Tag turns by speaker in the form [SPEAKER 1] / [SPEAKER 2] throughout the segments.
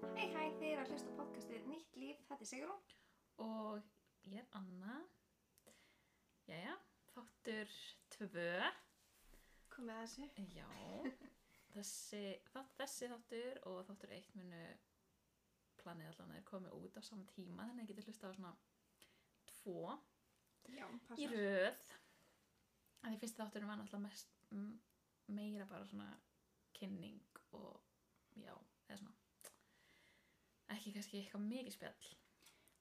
[SPEAKER 1] Þið er að hlusta á podcastið Nýtt líf, þetta er Sigrún.
[SPEAKER 2] og ég er Anna Jæja, þáttur tvö
[SPEAKER 1] Komið að þessu.
[SPEAKER 2] Já þessi, þátt, þessi þáttur og þáttur eitt munu planið allan að er komið út á sama tíma þannig að ég geti hlusta á svona tvo
[SPEAKER 1] Já,
[SPEAKER 2] í röð að því fyrsti þátturinn var náttúrulega mest m- meira bara svona kynning og já, eða svona ekki kannski eitthvað mikið spjall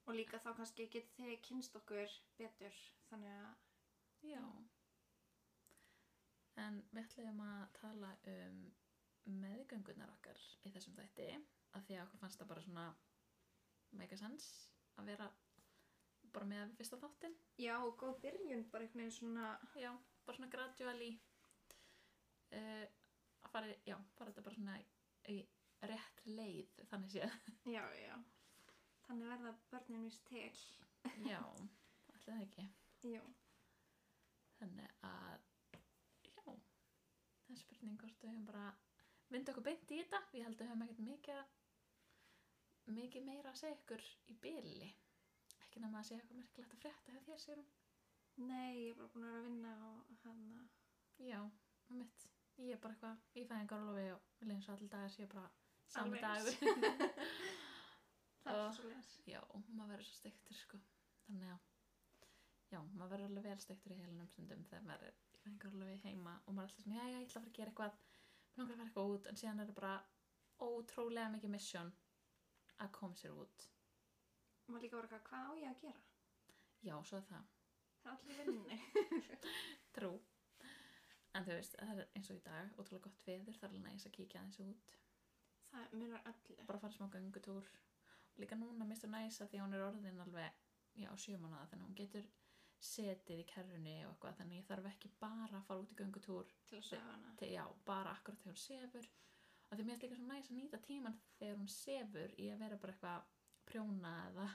[SPEAKER 1] Og líka þá kannski getið þið kynst okkur betur. Þannig að
[SPEAKER 2] Já. En við ætlum að tala um meðgöngunar okkar í þessum þætti af því að okkur fannst það bara svona mega sens að vera bara með við fyrsta þáttin.
[SPEAKER 1] já, og góð byrjun bara einhvern veginn svona,
[SPEAKER 2] Já, bara svona gradually uh, að fara, já, fara þetta bara svona í rétt leið þannig séð.
[SPEAKER 1] já, já. Þannig verða börnin vist til.
[SPEAKER 2] Já, ætlaði það ekki.
[SPEAKER 1] Já.
[SPEAKER 2] Þannig að, já, það er spurning hvort við höfum bara vinda okkur beint í þetta. Ég held að við höfum ekkert mikið, mikið meira að segja ykkur í byli. Ekki nema að segja eitthvað merkilegt að frétta hjá þér, Sigrún.
[SPEAKER 1] Nei, ég er bara búin að vera að vinna á hana.
[SPEAKER 2] Já, mitt. Ég er bara eitthvað, ég fæði einhver alveg og vil eins og allir dagar sé bara sami
[SPEAKER 1] Alveg eins.
[SPEAKER 2] dagur.
[SPEAKER 1] Það er
[SPEAKER 2] Og-
[SPEAKER 1] svo leir.
[SPEAKER 2] já, maður verður svo steiktur, sko. Þannig að, já, maður verður alveg vel steiktur í heilinum stundum þegar maður er í fæðingar alveg heima og maður er alltaf svona, já, já, ég ætla að fara að gera eitthvað, maður langar að fara eitthvað út, en síðan er það bara ótrúlega mikið mission að koma sér út.
[SPEAKER 1] Má líka bara eitthvað, hvað á ég að gera?
[SPEAKER 2] Já, svo er það.
[SPEAKER 1] Það er allir í vinnunni.
[SPEAKER 2] Trú. En þú veist, það er eins og í dag, ótrúlega gott veður, það er alveg næs að kíkja aðeins út.
[SPEAKER 1] Það munar öllu.
[SPEAKER 2] bara fara smá göngutúr líka núna minnst hún næsa því að hún er orðin alveg já, sjömanada þannig að hún getur setið í kerrunni og eitthvað þannig ég þarf ekki bara að fara út í göngutúr
[SPEAKER 1] Til að sögja hana.
[SPEAKER 2] til, já, bara akkurat þegar hún sefur og því mér er líka svo næs að nýta tíman þegar hún sefur í að vera bara eitthvað að prjóna eða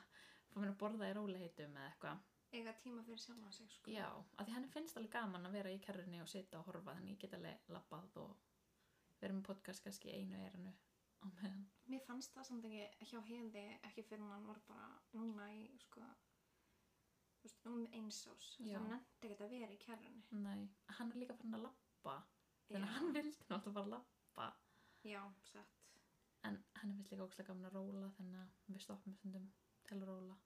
[SPEAKER 2] fá mér að borða í róliheitum eða eitthvað
[SPEAKER 1] Eiga tíma fyrir sjálfa sig, sko.
[SPEAKER 2] já, að því henni finnst alveg gaman að vera í kerrunni og sitja og horfa þannig ég get alveg labbað og vera með podcast kannski í einu erinu á meðan
[SPEAKER 1] Mér fannst það samt ekki hjá heiði ekki fyrir hann var bara núna í sko þú veist, um eins ás
[SPEAKER 2] Já.
[SPEAKER 1] það nefndi ekki að vera í kærunni
[SPEAKER 2] Nei, hann er líka farin að lappa
[SPEAKER 1] Já.
[SPEAKER 2] þannig að hann vildi náttúrulega bara lappa
[SPEAKER 1] Já, satt
[SPEAKER 2] en hann finnst líka ókslega gaman að róla þannig að við stoppum stundum til að róla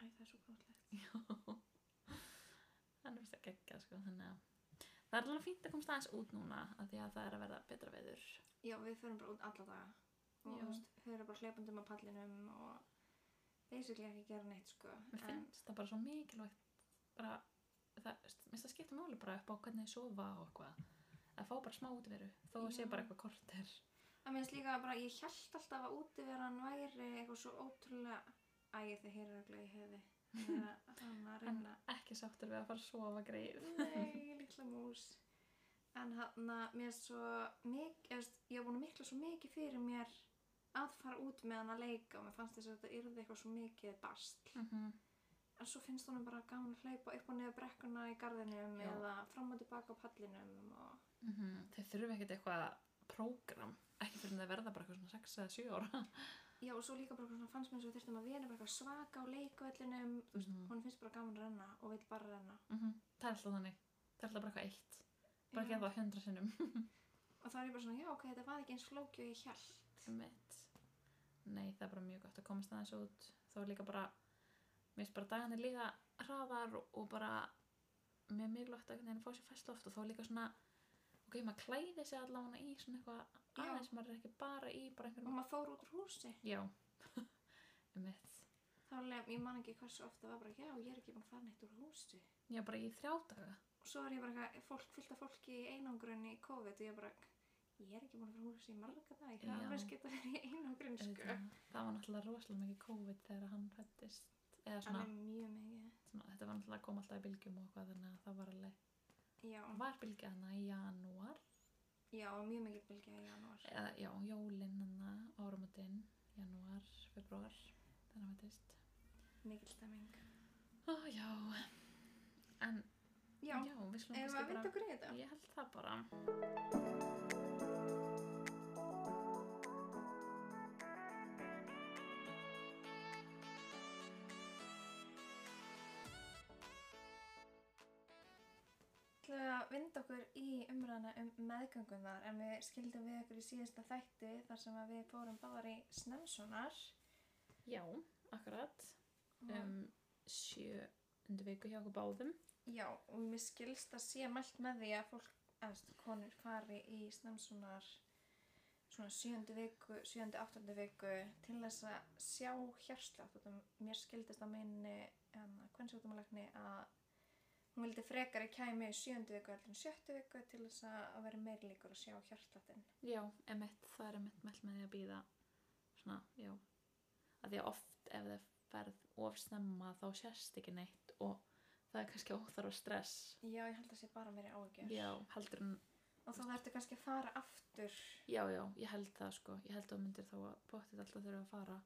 [SPEAKER 1] Æ, það er svo grótlegt
[SPEAKER 2] hann finnst það gegga sko þannig að það er alveg fínt að komast aðeins út núna af því að það er að verða betra veður
[SPEAKER 1] Já, við förum bara út alla daga og
[SPEAKER 2] Já.
[SPEAKER 1] þú veist, þau eru bara hleypundum á pallinum og basically ekki gera neitt sko
[SPEAKER 2] mér finnst það bara svo mikilvægt bara, það, veist, mér finnst það skipta máli bara upp á hvernig þið sofa og eitthvað að fá bara smá útveru þó að sé
[SPEAKER 1] Já.
[SPEAKER 2] bara eitthvað korter
[SPEAKER 1] Það minnst líka bara, ég held alltaf að útiveran væri eitthvað svo ótrúlega Æ, þið heyrir örugglega í heiði þannig að hann að
[SPEAKER 2] en
[SPEAKER 1] reyna Mm.
[SPEAKER 2] ekki sáttur við að fara að sofa greið
[SPEAKER 1] Nei, litla mús. En hann að mér er svo mikið, ég, veist, ég var búin að mikla svo mikið fyrir mér að fara út með hann að leika og mér fannst þess að þetta yrði eitthvað svo mikið bast.
[SPEAKER 2] mm -hmm.
[SPEAKER 1] En svo finnst honum bara gaman að hlaupa upp og niður brekkuna í garðinum
[SPEAKER 2] Já.
[SPEAKER 1] eða fram og tilbaka á pallinum og...
[SPEAKER 2] Mm
[SPEAKER 1] Mhm.
[SPEAKER 2] Þeir þurfa ekkert eitthvað prógram, ekki fyrir en það verða bara eitthvað svona 6 eða 7 ára.
[SPEAKER 1] Já, og svo líka bara svona fannst mér svo þurftum að vera bara eitthvað svaka á leikvellinum, þú veist,
[SPEAKER 2] Mhm.
[SPEAKER 1] honum finnst bara gaman að renna og vil bara renna.
[SPEAKER 2] Mm Það er alltaf þannig, það er alltaf bara eitthvað eitt, bara
[SPEAKER 1] Já.
[SPEAKER 2] gera það 100 sinnum.
[SPEAKER 1] Og þá er ég bara svona, já, ok, þetta var ekki eins flóki og ég hjælt.
[SPEAKER 2] Einmitt. Nei, það er bara mjög gott að komast aðeins út, þá er líka bara, mér finnst bara dagarnir líða hraðar og, og bara, mér er mjög lótt að einhvern veginn fá sér fæstloft og þá er líka svona, ok, maður klæði sig allavega í svona eitthvað
[SPEAKER 1] Já.
[SPEAKER 2] aðeins, maður er ekki bara í
[SPEAKER 1] Og
[SPEAKER 2] bara einhverjum,
[SPEAKER 1] maður fór út úr húsi.
[SPEAKER 2] já, einmitt.
[SPEAKER 1] Þá lef, ég man ekki hversu ofta var bara, já, ég er ekki búin að fara neitt úr húsi.
[SPEAKER 2] Já, bara í þrjá daga.
[SPEAKER 1] Og svo er ég bara eitthvað, fólk, fylgta fólki í einangrun í COVID og ég bara, ég er ekki búin að fara úr húsi í marga dag. Ég hef
[SPEAKER 2] Já.
[SPEAKER 1] alveg skipt að vera í einangrun, sko.
[SPEAKER 2] Auðvitað. Það var náttúrulega rosalega mikið COVID þegar hann fættist. Eða svona,
[SPEAKER 1] Alveg mjög mikið.
[SPEAKER 2] svona, þetta var náttúrulega að koma alltaf í bylgjum og eitthvað þannig að það var alveg,
[SPEAKER 1] Já,
[SPEAKER 2] var bylgja hann í janúar,
[SPEAKER 1] já, mjög mikið bylgja í janúar.
[SPEAKER 2] eða já, jólinn hann áramotinn, janúar, februar, þannig að hann fættist.
[SPEAKER 1] Mikil stemming.
[SPEAKER 2] Ó já, en
[SPEAKER 1] Já,
[SPEAKER 2] já, við slum
[SPEAKER 1] ef að vinda okkur í þetta.
[SPEAKER 2] Ég held það bara.
[SPEAKER 1] ætlum við að vinda okkur í umræðana um meðgöngunar en við skildum við okkur í síðasta þætti þar sem að við fórum báðar í snemmsónar
[SPEAKER 2] Já, akkurat. Um, sjö undir viku hjá okkur báðum.
[SPEAKER 1] Já, og mér skilst að sé mælt með því að fólk, eðst, konur fari í snemmsónar svona sjöndu viku, sjöndu áttundu viku til þess að sjá hjarslátt og mér skildist að minni en að kvennsjóttumalegni að hún vildi frekar í kæmi í sjöndu viku allir sjöttu viku til þess að vera meiri líkur að sjá hjartsláttin.
[SPEAKER 2] Já, emitt, það er emitt mell með því að býða svona, já. Að því að oft ef það ferð of snemma þá sérst ekki neitt og það er kannski óþarfa stress.
[SPEAKER 1] Já, ég held að sé bara meiri áhyggjur.
[SPEAKER 2] Já, heldur en,
[SPEAKER 1] Og þá þarftu kannski að fara aftur.
[SPEAKER 2] já, já, ég held það sko. Ég held að þú myndir þá að bóttið alltaf þurfa að fara.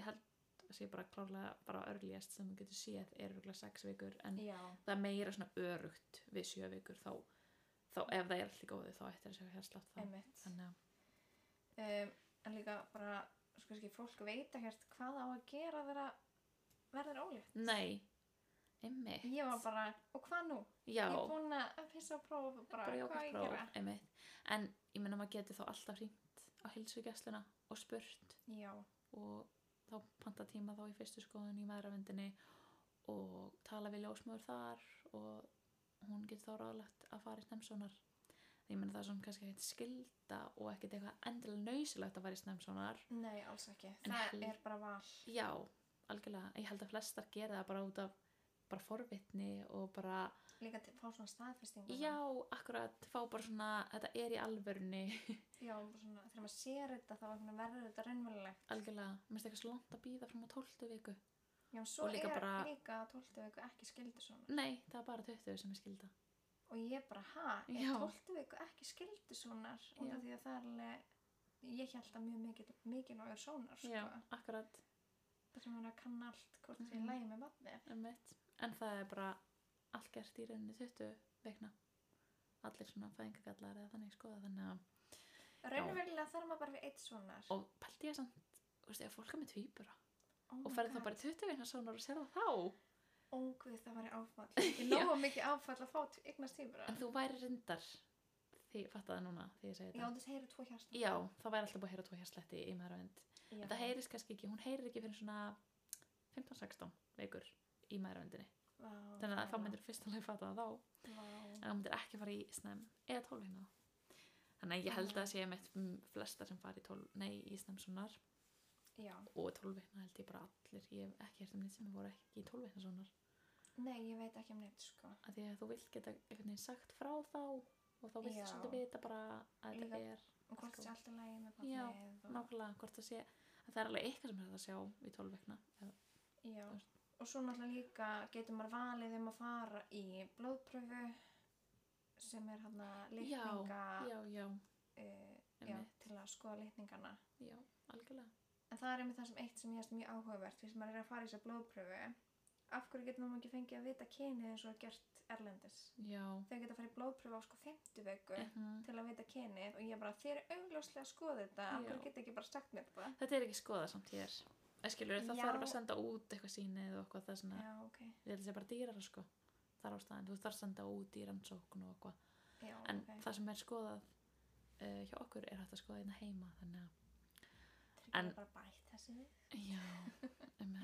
[SPEAKER 2] Ég held að sé bara klárlega bara örlíðast sem þú getur séð er örgulega sex vikur en
[SPEAKER 1] Já.
[SPEAKER 2] það er meira svona örugt við sjö vikur þá, þá ef það er allt í góðu þá ættir að sjá hérslátt þá
[SPEAKER 1] Einmitt.
[SPEAKER 2] þannig að,
[SPEAKER 1] Um, en líka bara, sko kannski, fólk veit ekkert hvað á að gera þegar það verður ólétt.
[SPEAKER 2] nei einmitt,
[SPEAKER 1] Ég var bara, og hvað nú?
[SPEAKER 2] já
[SPEAKER 1] Ég er búin að pissa á próf og bara, hvað á
[SPEAKER 2] bara
[SPEAKER 1] ég að
[SPEAKER 2] jókartpróf,
[SPEAKER 1] gera?
[SPEAKER 2] einmitt en ég menna maður getur þá alltaf hringt á hilsugjæsluna og spurt
[SPEAKER 1] Já,
[SPEAKER 2] og þá panta tíma þá í fyrstu skoðun í maðuravendinni og tala við ljósmöður þar og hún getur þá ráðlegt að fara í snemsónar ég menna það er svona kannski ekkert skilda og ekkert eitthvað endilega nausilegt að fara í snemsónar
[SPEAKER 1] nei, alls ekki. Það
[SPEAKER 2] hel-
[SPEAKER 1] er bara val.
[SPEAKER 2] Já, algjörlega. Ég held að flestar gera það bara út af bara forvitni og bara,
[SPEAKER 1] Líka til að fá svona staðfestingu.
[SPEAKER 2] já, akkurat, fá bara svona, þetta er í alvörunni,
[SPEAKER 1] Já, bara svona, þegar maður sér þetta þá einhvern veginn verður þetta raunverulegt.
[SPEAKER 2] algjörlega, mér finnst eitthvað svo langt að býða fram á 12 viku.
[SPEAKER 1] Já, en svo
[SPEAKER 2] Og líka
[SPEAKER 1] er
[SPEAKER 2] bara-
[SPEAKER 1] líka 12. viku ekki skildur svona.
[SPEAKER 2] Nei, það er bara 20 sem er skilda.
[SPEAKER 1] og ég bara, ha, er
[SPEAKER 2] Já.
[SPEAKER 1] 12 viku ekki skildu sonar út
[SPEAKER 2] Já.
[SPEAKER 1] af því að það er alveg ég held að mjög mikið, mikilvægur sonar sko.
[SPEAKER 2] Já, akkurat,
[SPEAKER 1] það sem hann er að kanna allt hvort mm. ég
[SPEAKER 2] Mhm.
[SPEAKER 1] lægi með vatni
[SPEAKER 2] emmitt. En það er bara allt gert í rauninni 20 vikna. Allir svona fæðingagallar eða þannig skoða þannig að,
[SPEAKER 1] raunverulega þarf maður bara við eitt sonar
[SPEAKER 2] og pælti ég samt, þú veist, ef fólk er með tvíbura
[SPEAKER 1] Oh
[SPEAKER 2] og ferði þá bara í 20 vikna svona og sér það þá.
[SPEAKER 1] ógvið það væri áfall ég nógu mikið áfall að fá t- eignast tímur
[SPEAKER 2] En þú væri reyndar því, fattaði núna því ég segi
[SPEAKER 1] já,
[SPEAKER 2] þetta.
[SPEAKER 1] þetta heyri tvo hjarta
[SPEAKER 2] Já, það væri alltaf búið að heyra tvo hérsletti í maðurönd.
[SPEAKER 1] Já.
[SPEAKER 2] En það heyrist kannski ekki, hún heyrir ekki fyrir svona 15-16 vikur í maðuröndinni.
[SPEAKER 1] Vá,
[SPEAKER 2] Þannig að
[SPEAKER 1] það
[SPEAKER 2] þá
[SPEAKER 1] er
[SPEAKER 2] myndir fyrst alveg fatta það þá,
[SPEAKER 1] langt. Vá.
[SPEAKER 2] en það myndir ekki fara í snem eða 12 hérna. Þannig að ég held að það sé meitt flesta sem fara í 12, nei, í snem svonar
[SPEAKER 1] já,
[SPEAKER 2] og 12 hérna held ég bara allir. Ég hef ekki hert um neitt sem voru ekki í 12 hérna svonar.
[SPEAKER 1] nei, ég veit ekki um neitt sko
[SPEAKER 2] Af því að þú vilt geta einhvern veginn sagt frá þá og þá vilt
[SPEAKER 1] Já.
[SPEAKER 2] svolítið vita bara að þetta
[SPEAKER 1] Líka-
[SPEAKER 2] er
[SPEAKER 1] og Um hvort
[SPEAKER 2] Sko.
[SPEAKER 1] sé alltaf lægi með
[SPEAKER 2] Já,
[SPEAKER 1] vatnið og...
[SPEAKER 2] nákvæmlega hvort það sé að það er alveg eitthvað sem er hægt að sjá í hérna. 12 vekna
[SPEAKER 1] já,
[SPEAKER 2] Þú veist.
[SPEAKER 1] og svo náttúrulega líka getur maður valið um að fara í blóðpröfu sem er hann að litninga
[SPEAKER 2] já, já,
[SPEAKER 1] eh, já,
[SPEAKER 2] einmitt.
[SPEAKER 1] til að skoða litningana
[SPEAKER 2] já, algjörlega
[SPEAKER 1] en það er einmitt það sem eitt sem ég hefst mjög áhugavert því sem maður er að fara í þessa blóðpröfu af hverju getur maður ekki fengið að vita kynið eins og er gert erlendis
[SPEAKER 2] já,
[SPEAKER 1] þau geta að fara í blóðpröfu á sko 50 vöku
[SPEAKER 2] Mhm.
[SPEAKER 1] til að vita kynið og ég bara þér er augljóslega að skoða þetta af
[SPEAKER 2] Já.
[SPEAKER 1] hverju geta ekki bara sagt mér þetta
[SPEAKER 2] þetta er ekki skoðað samt hér Eða skilur, það
[SPEAKER 1] Já.
[SPEAKER 2] þarf að senda út eitthvað sýnið og eitthvað það er svona,
[SPEAKER 1] já, ok,
[SPEAKER 2] ég held að sé bara dýrar sko, þar á staðin, þú þarf að senda út í rannsókn og eitthvað,
[SPEAKER 1] já,
[SPEAKER 2] en
[SPEAKER 1] ok
[SPEAKER 2] það sem er skoðað uh, hjá okkur er hægt að skoða hérna heima þannig að,
[SPEAKER 1] Þeir
[SPEAKER 2] en-
[SPEAKER 1] geta bara bætt þessu við.
[SPEAKER 2] já, um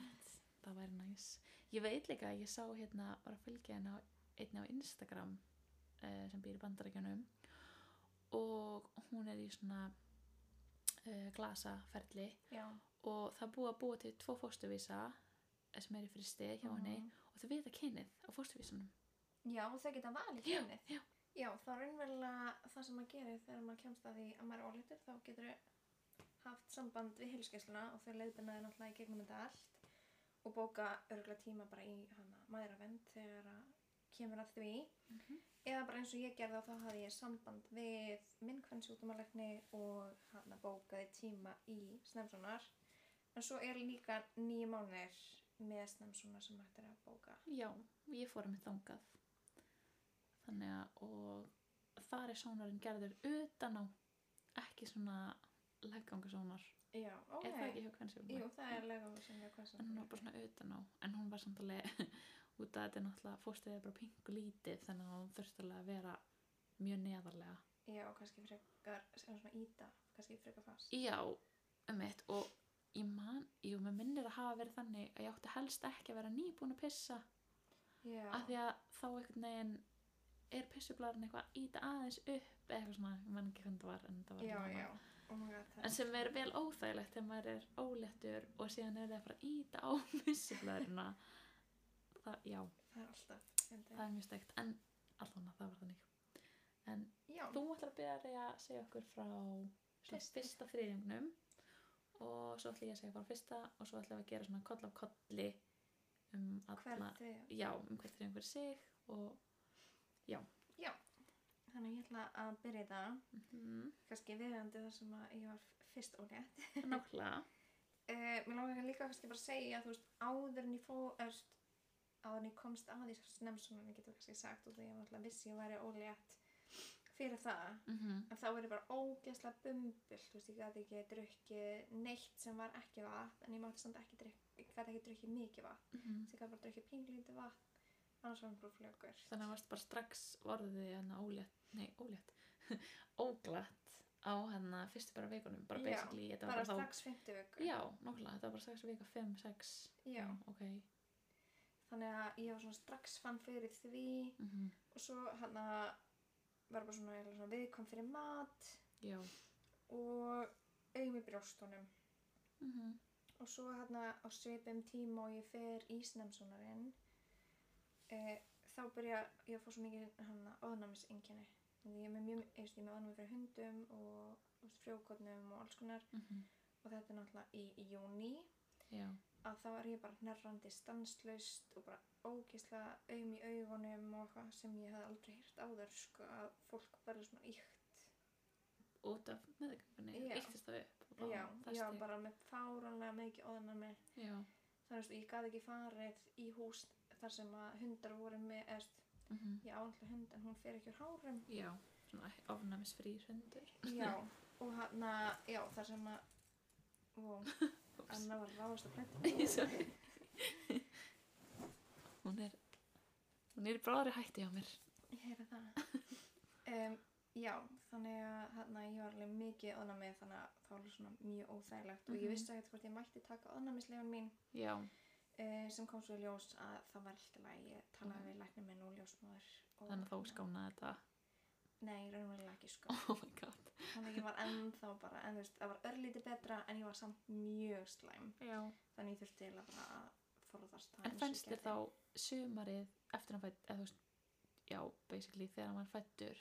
[SPEAKER 2] það væri næs ég veit líka, að ég sá hérna, var að fylgja hérna á einni á Instagram uh, sem býr í bandarækjunum og hún er í svona uh, glasaferli
[SPEAKER 1] já,
[SPEAKER 2] og það er búið að búa til tvo fóstuvísa sem er í fristi hjá henni
[SPEAKER 1] Mhm.
[SPEAKER 2] og þau vita kynið á fóstuvísunum
[SPEAKER 1] Já, og þau geta valið
[SPEAKER 2] Já,
[SPEAKER 1] kynið.
[SPEAKER 2] já.
[SPEAKER 1] Já, þá er raunverulega það sem maður gerir þegar maður kemst að því að maður er ólítur, þá getur þau haft samband við helskessluna og þau leiðbyrna þau náttúrulega í gegnum þetta allt og bóka örgulega tíma bara í hana maðuravend þegar að kemur að því.
[SPEAKER 2] Mhm.
[SPEAKER 1] Eða bara eins og ég gerði þá hafði ég samband við minn kvennsjúkdumalegni og hana bókaði tíma í snemsonar. En svo er líka nýju mánuðir með snemsonar sem hægt er að bóka.
[SPEAKER 2] já, ég fór með þangað þannig að og þar er sónarinn gerður utan á ekki svona leggangasónar
[SPEAKER 1] Já, ok.
[SPEAKER 2] er það ekki hjá hvernig
[SPEAKER 1] Jú, það er lega sem við
[SPEAKER 2] en hún var
[SPEAKER 1] kvæsum.
[SPEAKER 2] bara svona utan á en hún var samtalið út að þetta er náttúrulega fóstrið er bara pingu lítið þannig að hún þurfti alveg að vera mjög neðarlega
[SPEAKER 1] Já, og kannski frekar, sem svona íta, kannski frekar fast.
[SPEAKER 2] já, um eitt og ég man, jú, mér minnir að hafa verið þannig að ég átti helst ekki að vera nýbúin að pissa
[SPEAKER 1] Já,
[SPEAKER 2] af því að þá einhvern veginn er pissublarin eitthvað að íta aðeins upp eða eitthvað svona, ég man ekki hvernig það var en það var
[SPEAKER 1] já,
[SPEAKER 2] eitthvað
[SPEAKER 1] já.
[SPEAKER 2] annað.
[SPEAKER 1] Oh my god, það
[SPEAKER 2] en sem er vel óþægilegt þegar maður er óléttur og síðan er það að fara að íta á pissublarina það, já,
[SPEAKER 1] það er alltaf.
[SPEAKER 2] það er mjög steikt en allan að það var þannig en
[SPEAKER 1] Já,
[SPEAKER 2] þú ætlar að byrja Reyja, að segja okkur frá svona
[SPEAKER 1] Fyrsta.
[SPEAKER 2] fyrsta þriðjungnum og svo ætla ég að segja frá fyrsta og svo ætlum við að gera svona koll af kolli um alla,
[SPEAKER 1] hvernig þið?
[SPEAKER 2] já, um hvert þriðjung fyrir sig og
[SPEAKER 1] Þannig ég ætla að byrja það,
[SPEAKER 2] mm
[SPEAKER 1] kannski viðandi þar sem að ég var f- fyrst ólétt.
[SPEAKER 2] nákvæmlega
[SPEAKER 1] Uh, mér langar líka kannski bara að segja, þú veist, áður en ég fó, erst, áður en ég komst að því svo snemm svona, ég getur kannski sagt og því ég var alltaf vissi ég væri ólétt fyrir það.
[SPEAKER 2] mm
[SPEAKER 1] En þá var ég bara ógeðslega bumbull, þú veist, ég gæti ekki drukkið neitt sem var ekki vatn, en ég mátti samt ekki drukk, ég gæti ekki drukkið mikið vatn,
[SPEAKER 2] -hmm.
[SPEAKER 1] þess ég gæti bara drukkið pinglítið vatn, annars var hann bara flögur.
[SPEAKER 2] þannig að varst bara strax orðið hérna ólétt, nei ólétt óglatt á hérna fyrstu bara vikunum, bara
[SPEAKER 1] Já,
[SPEAKER 2] basically þetta var
[SPEAKER 1] Bara
[SPEAKER 2] þá-
[SPEAKER 1] strax 50 vöku.
[SPEAKER 2] já, nákvæmlega, þetta var bara strax vika 5, 6
[SPEAKER 1] Já,
[SPEAKER 2] ok
[SPEAKER 1] þannig að ég var svona strax fann fyrir því
[SPEAKER 2] mm -hmm.
[SPEAKER 1] og svo hann að var bara svona, eiginlega svona viðkom fyrir mat
[SPEAKER 2] já
[SPEAKER 1] og augum í brjóstunum.
[SPEAKER 2] mm
[SPEAKER 1] Mhm,
[SPEAKER 2] -hmm.
[SPEAKER 1] Og svo hérna á svipum tíma og ég fer í snemsónarinn, e, þá byrja ég að fá svo mikið hana óðnæmisengjenni. Ég er með mjög, ég veist, ég er með óðnæmi fyrir hundum og, og frjókotnum og alls konar og þetta er náttúrulega í, í júni
[SPEAKER 2] Mhm, já
[SPEAKER 1] að þá er ég bara hnerrandi stanslaust og bara ógeðslega aum í augunum og eitthvað sem ég hef aldrei hýrt áður sko að fólk verður svona íkt.
[SPEAKER 2] út af meðgöngunni
[SPEAKER 1] Já.
[SPEAKER 2] eittist það upp og
[SPEAKER 1] Já,
[SPEAKER 2] það
[SPEAKER 1] já,
[SPEAKER 2] stig.
[SPEAKER 1] bara með fáranlega mikið óðnæmi.
[SPEAKER 2] já.
[SPEAKER 1] þannig að ég gaf ekki farið í hús þar sem að hundar voru með eða þú veist,
[SPEAKER 2] Mm
[SPEAKER 1] ég áhandla hund en hún fer ekki úr hárum
[SPEAKER 2] já svona ofnæmisfrýr hundur
[SPEAKER 1] já, og hann að já, þar sem að og
[SPEAKER 2] Úps.
[SPEAKER 1] Anna var að ráðast að plönta
[SPEAKER 2] Ég sorry. hún er hún er í bráðri hætti á mér
[SPEAKER 1] ég heyra það um, já, þannig að hann að ég var alveg mikið ónamið þannig að það var svona mjög óþægilegt og
[SPEAKER 2] Mhm.
[SPEAKER 1] ég vissi ekkert hvort ég mætti taka ónamislegun mín
[SPEAKER 2] já
[SPEAKER 1] uh, sem kom svo í ljós að það var alltaf að ég talaði
[SPEAKER 2] Mhm.
[SPEAKER 1] við læknir minn og ljósmaður og hérna.
[SPEAKER 2] þannig að þá skánaði þetta
[SPEAKER 1] nei, raunverulega ekki sko
[SPEAKER 2] oh my god
[SPEAKER 1] þannig að ég var ennþá bara en þú veist, það var örlítið betra en ég var samt mjög slæm
[SPEAKER 2] já.
[SPEAKER 1] þannig ég þurfti eiginlega bara að forðast það eins
[SPEAKER 2] en
[SPEAKER 1] og ég
[SPEAKER 2] fannst þér
[SPEAKER 1] gæti.
[SPEAKER 2] þá sumarið eftir hann fætt eða þú veist já basically þegar hann var fættur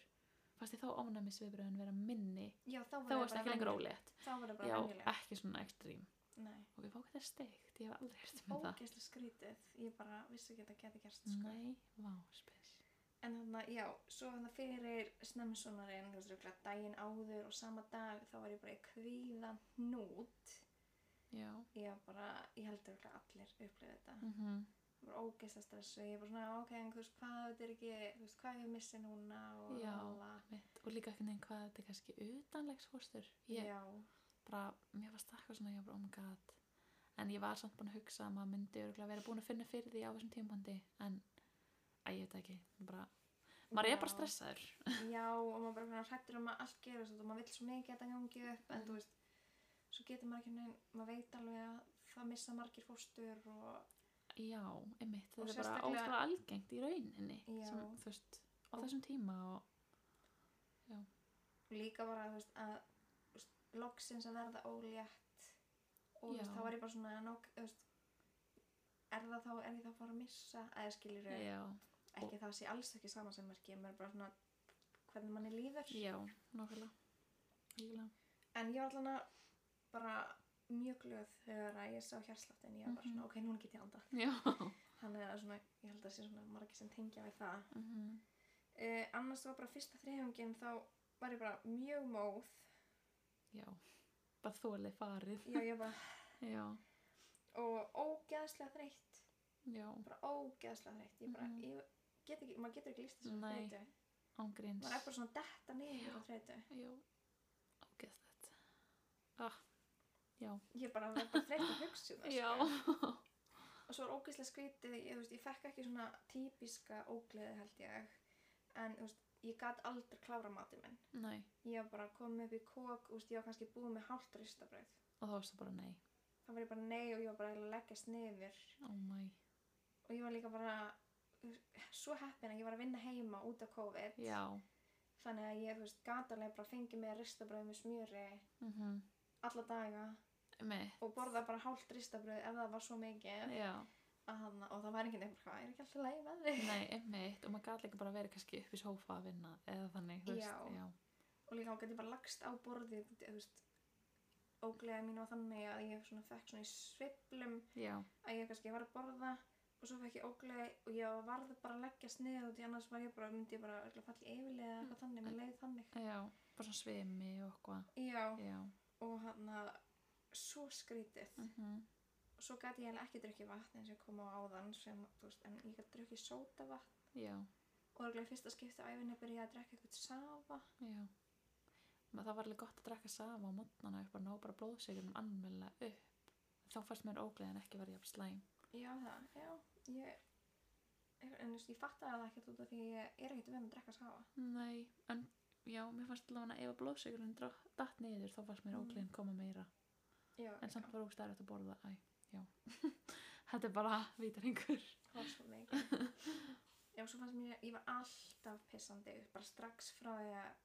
[SPEAKER 2] fannst þér þá ofnæmisviðbröðin vera minni
[SPEAKER 1] já, þá
[SPEAKER 2] þá varst ekki lengur ólétt
[SPEAKER 1] þá var það
[SPEAKER 2] já ah,
[SPEAKER 1] bara venjulega
[SPEAKER 2] ekki svona ekstrím
[SPEAKER 1] nei,
[SPEAKER 2] og við fáum þetta steikt ég hef aldrei hérst um það
[SPEAKER 1] ógeðslega skrítið ég bara vissi ekki að það geti gerst sko.
[SPEAKER 2] Nei, vá, spes.
[SPEAKER 1] en þannig að, já, svo þannig að fyrir snemmsonarinn, þú veist, örugglega daginn áður og sama dag, þá var ég bara í kvíða hnút
[SPEAKER 2] Já.
[SPEAKER 1] ég var bara, ég held að allir upplifið þetta
[SPEAKER 2] Mm
[SPEAKER 1] Ég var ógeðslega stressu, ég var svona, ok, en þú veist, hvað þetta er ekki, þú veist, hvað ég missi núna og
[SPEAKER 2] Já.
[SPEAKER 1] lala.
[SPEAKER 2] Mitt. Og líka einhvern veginn hvað þetta er kannski utanlegs fórstur. Ég
[SPEAKER 1] Já,
[SPEAKER 2] bara, mér varst það eitthvað svona, ég var bara, oh my god. En ég var samt búin að hugsa að maður myndi örgulega vera búin að finna fyrir því á þessum tímpandi. En, að ég veit ekki, bara, maður er bara
[SPEAKER 1] Já.
[SPEAKER 2] stressaður.
[SPEAKER 1] já og maður bara hrættur um að allt gerist og maður vill svo mikið að þetta gangi upp en
[SPEAKER 2] Mm.
[SPEAKER 1] þú veist, svo getur maður ekki neginn, maður veit alveg að það missa margir fóstur og,
[SPEAKER 2] Já, einmitt,
[SPEAKER 1] Og
[SPEAKER 2] þetta er bara
[SPEAKER 1] sérstaklega-
[SPEAKER 2] ótrúlega algengt í rauninni.
[SPEAKER 1] Já.
[SPEAKER 2] Sem, þú veist, á þessum tíma og,
[SPEAKER 1] og líka bara þú veist, að þú veist, loksins að verða ólétt og þú
[SPEAKER 2] Já.
[SPEAKER 1] veist, þá var ég bara svona nok, þú veist, er það þá, er ég þá að fara að missa eða skilur ég
[SPEAKER 2] já,
[SPEAKER 1] ekki það sé alls ekki saman sem merki maður er bara svona hvernig manni líður
[SPEAKER 2] já, nákvæmlega. Líklega.
[SPEAKER 1] en ég var allan að bara mjög glöð þegar að ég sá hjarsláttin ég var bara
[SPEAKER 2] Mhm.
[SPEAKER 1] svona, ok, núna get ég anda
[SPEAKER 2] Já.
[SPEAKER 1] þannig að svona, ég held að sé svona margir sem tengja við það
[SPEAKER 2] Mm
[SPEAKER 1] uh, annars var bara fyrsta þriðjungin þá var ég bara mjög móð
[SPEAKER 2] Já. Bara þólið farið.
[SPEAKER 1] já, ég var
[SPEAKER 2] Já,
[SPEAKER 1] og ógeðslega þreytt
[SPEAKER 2] já,
[SPEAKER 1] bara ógeðslega þreytt ég bara,
[SPEAKER 2] Mhm.
[SPEAKER 1] ég get ekki, maður getur ekki líst þessu
[SPEAKER 2] Nei.
[SPEAKER 1] þreytu
[SPEAKER 2] ángríns.
[SPEAKER 1] maður er bara svona detta
[SPEAKER 2] Já.
[SPEAKER 1] niður á þreytu
[SPEAKER 2] Já, ágæðslegt. Ah, já.
[SPEAKER 1] ég bara var bara þreytt að hugsa um það sko.
[SPEAKER 2] Já.
[SPEAKER 1] og svo er ógeðslega skrítið ég, þú veist, ég fekk ekki svona típiska ógleði held ég en þú veist, ég gat aldrei klára matið minn
[SPEAKER 2] Nei.
[SPEAKER 1] ég var bara komið upp í kók úst, ég var kannski búið með hálft ristabröð
[SPEAKER 2] Og þá varst það bara nei.
[SPEAKER 1] þá var ég bara nei og ég var bara að leggast niður
[SPEAKER 2] Oh my.
[SPEAKER 1] og ég var líka bara þú veist, svo heppin að ég var að vinna heima út af COVID
[SPEAKER 2] Já.
[SPEAKER 1] þannig að ég þú veist, gat alveg bara fengið með ristabröð með smjöri
[SPEAKER 2] Mm
[SPEAKER 1] alla daga
[SPEAKER 2] Með.
[SPEAKER 1] og borða bara hálft ristabröð ef það var svo mikið
[SPEAKER 2] Já.
[SPEAKER 1] að hann, og það var ekki nefnir hvað, er ekki alltaf leið með þig
[SPEAKER 2] Nei, einmitt. Og maður gæti líka bara verið kannski upp í sófa að vinna eða þannig. þú
[SPEAKER 1] Já.
[SPEAKER 2] Veist, já.
[SPEAKER 1] og líka hún gæti bara lagst á borðið þú veist ógleða mín var þannig að ég svona fekk svona í sveiflum
[SPEAKER 2] Já.
[SPEAKER 1] að ég kannski var að borða og svo fekk ég ógleði og ég varð bara að leggjast niður út í annars var ég bara, myndi ég bara örugglega falla í yfirlega eða eitthvað þannig, mér leiði þannig
[SPEAKER 2] Já. Bara svona svimi og eitthvað.
[SPEAKER 1] já,
[SPEAKER 2] Já.
[SPEAKER 1] og hann að svo skrítið
[SPEAKER 2] Mm
[SPEAKER 1] og svo gæti ég eiginlega ekki drukkið vatn eins og ég kom á áðan sem, þú veist, en ég gæti drukkið sótavatn
[SPEAKER 2] Já.
[SPEAKER 1] og örugglega í fyrsta skipti á æfinni byrjaði ég að drekka eitthvað safa
[SPEAKER 2] Já. Ma, það var alveg gott að drekka safa á mótnana upp og ná bara blóðsíkurum anmjöla upp. Þá fannst mér ógleðin ekki verið jafn slæm.
[SPEAKER 1] Já, það, já, ég, en þú veist, ég fattaði það ekkert út af því ég er ekkert venn að drekka sáa.
[SPEAKER 2] Nei, en já, mér fannst allavega ef að blóðsökurinn datt niður þá fannst mér
[SPEAKER 1] Mm.
[SPEAKER 2] ógleðin koma meira
[SPEAKER 1] Já,
[SPEAKER 2] en samt var ógst erfitt að borða Æ, já, þetta er bara vítaringur
[SPEAKER 1] var svo mikið. já, svo fannst mér, ég var alltaf pissandi, bara strax frá því að,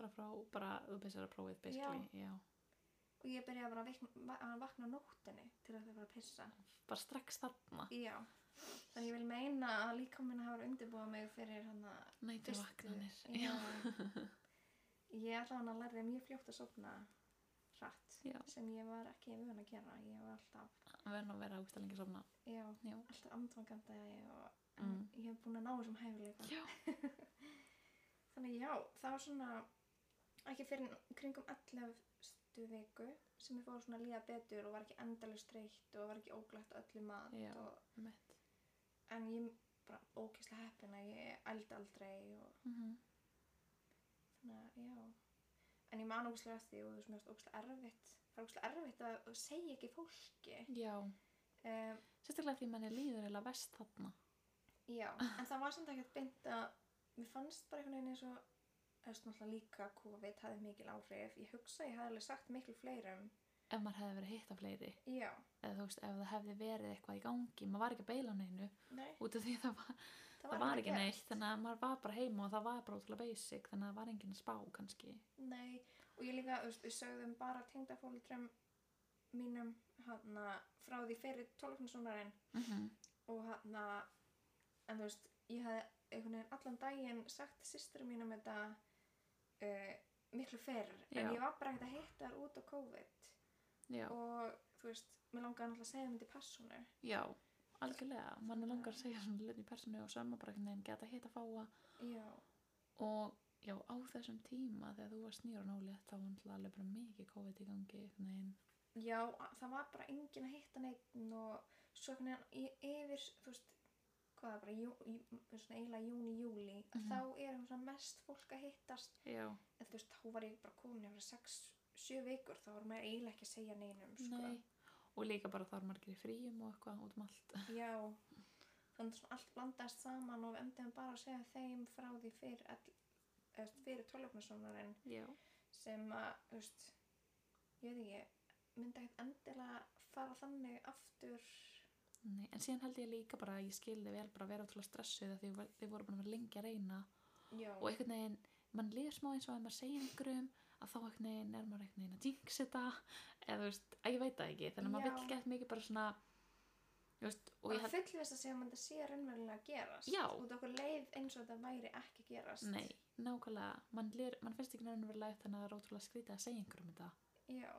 [SPEAKER 2] bara frá, bara þú pissar að prófið basically, já.
[SPEAKER 1] og ég byrjaði bara að, vikna, að vakna á nóttinni til að það var að pissa.
[SPEAKER 2] bara strax þarna
[SPEAKER 1] Já, þannig ég vil meina að líka minna hafa undirbúið mig fyrir hann að...
[SPEAKER 2] nættu
[SPEAKER 1] fyrstu-
[SPEAKER 2] vaknanir
[SPEAKER 1] Já. ég ætla hann að læra mjög fljótt að sofna hratt,
[SPEAKER 2] Já.
[SPEAKER 1] sem ég var ekki vun að gera, ég var alltaf,
[SPEAKER 2] verður nú að vera ógst að lengi að sofna
[SPEAKER 1] já,
[SPEAKER 2] já,
[SPEAKER 1] alltaf andvangandi og
[SPEAKER 2] Mm.
[SPEAKER 1] en ég hef búin að ná þessum hæfileika
[SPEAKER 2] já,
[SPEAKER 1] þannig já, það var svona ekki fyrir kringum 11. viku sem ég fór svona að líða betur og var ekki endalist streitt og var ekki óglætt öllu mat
[SPEAKER 2] Já.
[SPEAKER 1] og,
[SPEAKER 2] mitt
[SPEAKER 1] en ég bara ókislega heppin að ég eld aldrei og
[SPEAKER 2] mm -hmm.
[SPEAKER 1] þannig að já en ég man ókislega eftir því og þú veist ókislega erfitt það er ókislega erfitt að segja ekki fólki
[SPEAKER 2] já,
[SPEAKER 1] um,
[SPEAKER 2] sérstaklega því manni líður eða vest þarna
[SPEAKER 1] já, en það var samt ekkert beint að mér fannst bara einhvern veginn eins og eða svona alltaf líka COVID hafði mikil áhrif ég hugsa að ég hafði alveg sagt miklu fleirum
[SPEAKER 2] ef maður hefði verið hitt af fleiri
[SPEAKER 1] já,
[SPEAKER 2] eða þú veist, ef það hefði verið eitthvað í gangi maður var ekki að beila á neinu
[SPEAKER 1] nei
[SPEAKER 2] út af því það var
[SPEAKER 1] það
[SPEAKER 2] það var ekki
[SPEAKER 1] að
[SPEAKER 2] neitt, þannig að maður var bara heima og það var bara ótrúlega basic, þannig að það var enginn að spá kannski.
[SPEAKER 1] gera. Nei, og ég líka, þú veist, við sögðum bara tengdafóldrum mínum hana, frá því fyrir 12. sonarinn
[SPEAKER 2] Mm -hmm.
[SPEAKER 1] og hana, en þú veist, ég hafði einhvern veginn allan daginn sagt sýstur mínum þetta uh, miklu fyrr,
[SPEAKER 2] Já.
[SPEAKER 1] en ég var bara ekkert að hitta þar út á COVID
[SPEAKER 2] Já,
[SPEAKER 1] og þú veist, mér langaði náttúrulega að segja myndi persónu.
[SPEAKER 2] já, algjörlega, mann langar að segja svona hluti í personu og saman bara einhvern veginn geta hitt að fáa
[SPEAKER 1] Já,
[SPEAKER 2] og já, á þessum tíma þegar þú var snýr og nálið þá var náttúrulega alveg bara mikið COVID í gangi, einhvern veginn.
[SPEAKER 1] já, það var bara enginn að hitta neitt og svo einhvern veginn í- yfir, þú veist, hvað er bara, jú, jú, svona eiginlega júni, júli,
[SPEAKER 2] Mhm.
[SPEAKER 1] þá er hún svona mest fólk að hittast,
[SPEAKER 2] Já,
[SPEAKER 1] en þú veist, þá var ég bara komin yfir 6-7 vikur, þá var maður eiginlega ekki að segja neinum, sko.
[SPEAKER 2] nei. Og líka bara þá er margir í fríum og eitthvað út um allt.
[SPEAKER 1] Já, þannig svona allt blandast saman og við endiðum bara að segja þeim frá því fyrir, all, eða, fyrir tólöfnarsónarinn
[SPEAKER 2] Já.
[SPEAKER 1] sem að, þú veist, ég veit ekki, myndi ekkert endilega fara þannig aftur
[SPEAKER 2] Nei, en síðan held ég líka bara að ég skildi vel bara að vera ótrúlega stressuð að því þið voru búin að vera lengi að reyna
[SPEAKER 1] Já,
[SPEAKER 2] og einhvern veginn, mann líður smá eins og að maður segir einhverjum að þá einhvern veginn er maður einhvern veginn að jinx þetta eða þú veist, að ég veit það ekki þannig að maður
[SPEAKER 1] Já.
[SPEAKER 2] vill gett mikið bara svona þú veist, og
[SPEAKER 1] bara
[SPEAKER 2] ég held,
[SPEAKER 1] full þess að segja að þetta sé raunverulega að gerast
[SPEAKER 2] Já.
[SPEAKER 1] út okkur leið eins og þetta væri ekki að gerast
[SPEAKER 2] nei, nákvæmlega mann, líður, mann finnst ekki nefnilega upp þannig að það er ótrúlega skrítið að segja einhverjum þetta
[SPEAKER 1] Já,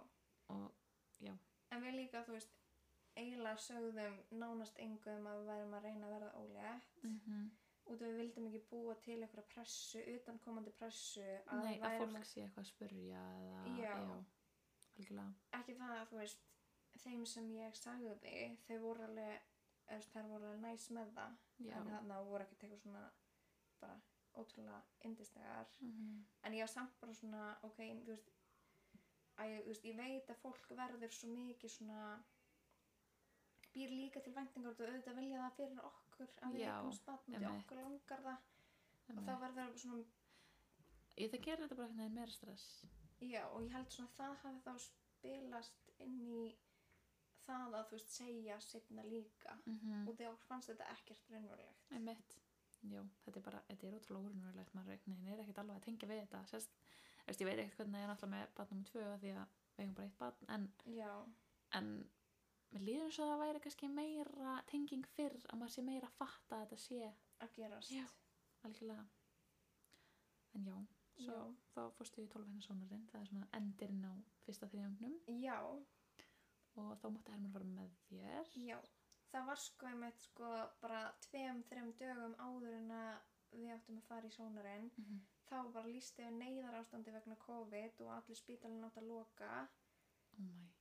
[SPEAKER 2] og
[SPEAKER 1] en við líka, þú veist eiginlega sögðum nánast engum að við værum að reyna að verða ólétt
[SPEAKER 2] mm
[SPEAKER 1] Mhm. út af við vildum ekki búa til einhverja pressu utan komandi pressu að
[SPEAKER 2] nei,
[SPEAKER 1] við
[SPEAKER 2] að
[SPEAKER 1] værum
[SPEAKER 2] fólk sé eitthvað að spurja eða,
[SPEAKER 1] Já.
[SPEAKER 2] algjörlega
[SPEAKER 1] ekki það að þú veist þeim sem ég sagði þig þau voru alveg, þú veist, þær voru alveg næs með það
[SPEAKER 2] já,
[SPEAKER 1] en þannig að voru ekki tegur svona bara ótrúlega indistegar
[SPEAKER 2] mm
[SPEAKER 1] en ég var samt bara svona ok, þú veist, að, ég- þú veist ég veit að fólk verður svo mikið svona býr líka til væntingar og auðvitað vilja það fyrir okkur að við
[SPEAKER 2] Já,
[SPEAKER 1] leikum spatn og
[SPEAKER 2] einmitt.
[SPEAKER 1] okkur langar það og
[SPEAKER 2] Einmitt.
[SPEAKER 1] það verður svona,
[SPEAKER 2] Ég það gerir þetta bara einhvern veginn meira stress.
[SPEAKER 1] já og ég held svona að það hafi þá spilast inn í það að þú veist segja setna líka
[SPEAKER 2] Mm
[SPEAKER 1] og þegar okkur fannst þetta ekkert raunverulegt
[SPEAKER 2] Einmitt. Jú, þetta er bara, þetta er ótrúlega úrunverulegt, maður einhvern veginn er ekkert alveg að tengja við þetta. Sérst, eftir, ég veit ekkert hvernig ég er náttúrulega með barn nummer tvö af því að við eigum bara eitt barn, en,
[SPEAKER 1] já,
[SPEAKER 2] en mér líður eins og það væri kannski meira tenging fyrr, að maður sé meira að fatta að þetta sé
[SPEAKER 1] að gerast
[SPEAKER 2] Já. algjörlega. En já, svo
[SPEAKER 1] Já.
[SPEAKER 2] þá fórstu í 12 hennar sónarinn, það er svona endirinn á fyrsta þriðjangnum
[SPEAKER 1] já,
[SPEAKER 2] og þá mátti Hermann fara með þér.
[SPEAKER 1] já það var sko einmitt sko bara tveim, þreim dögum áður en að við áttum að fara í sónarinn
[SPEAKER 2] Mm -hmm.
[SPEAKER 1] þá var bara líst yfir neyðar ástandi vegna COVID og allir spítalinn átt að loka
[SPEAKER 2] Oh my.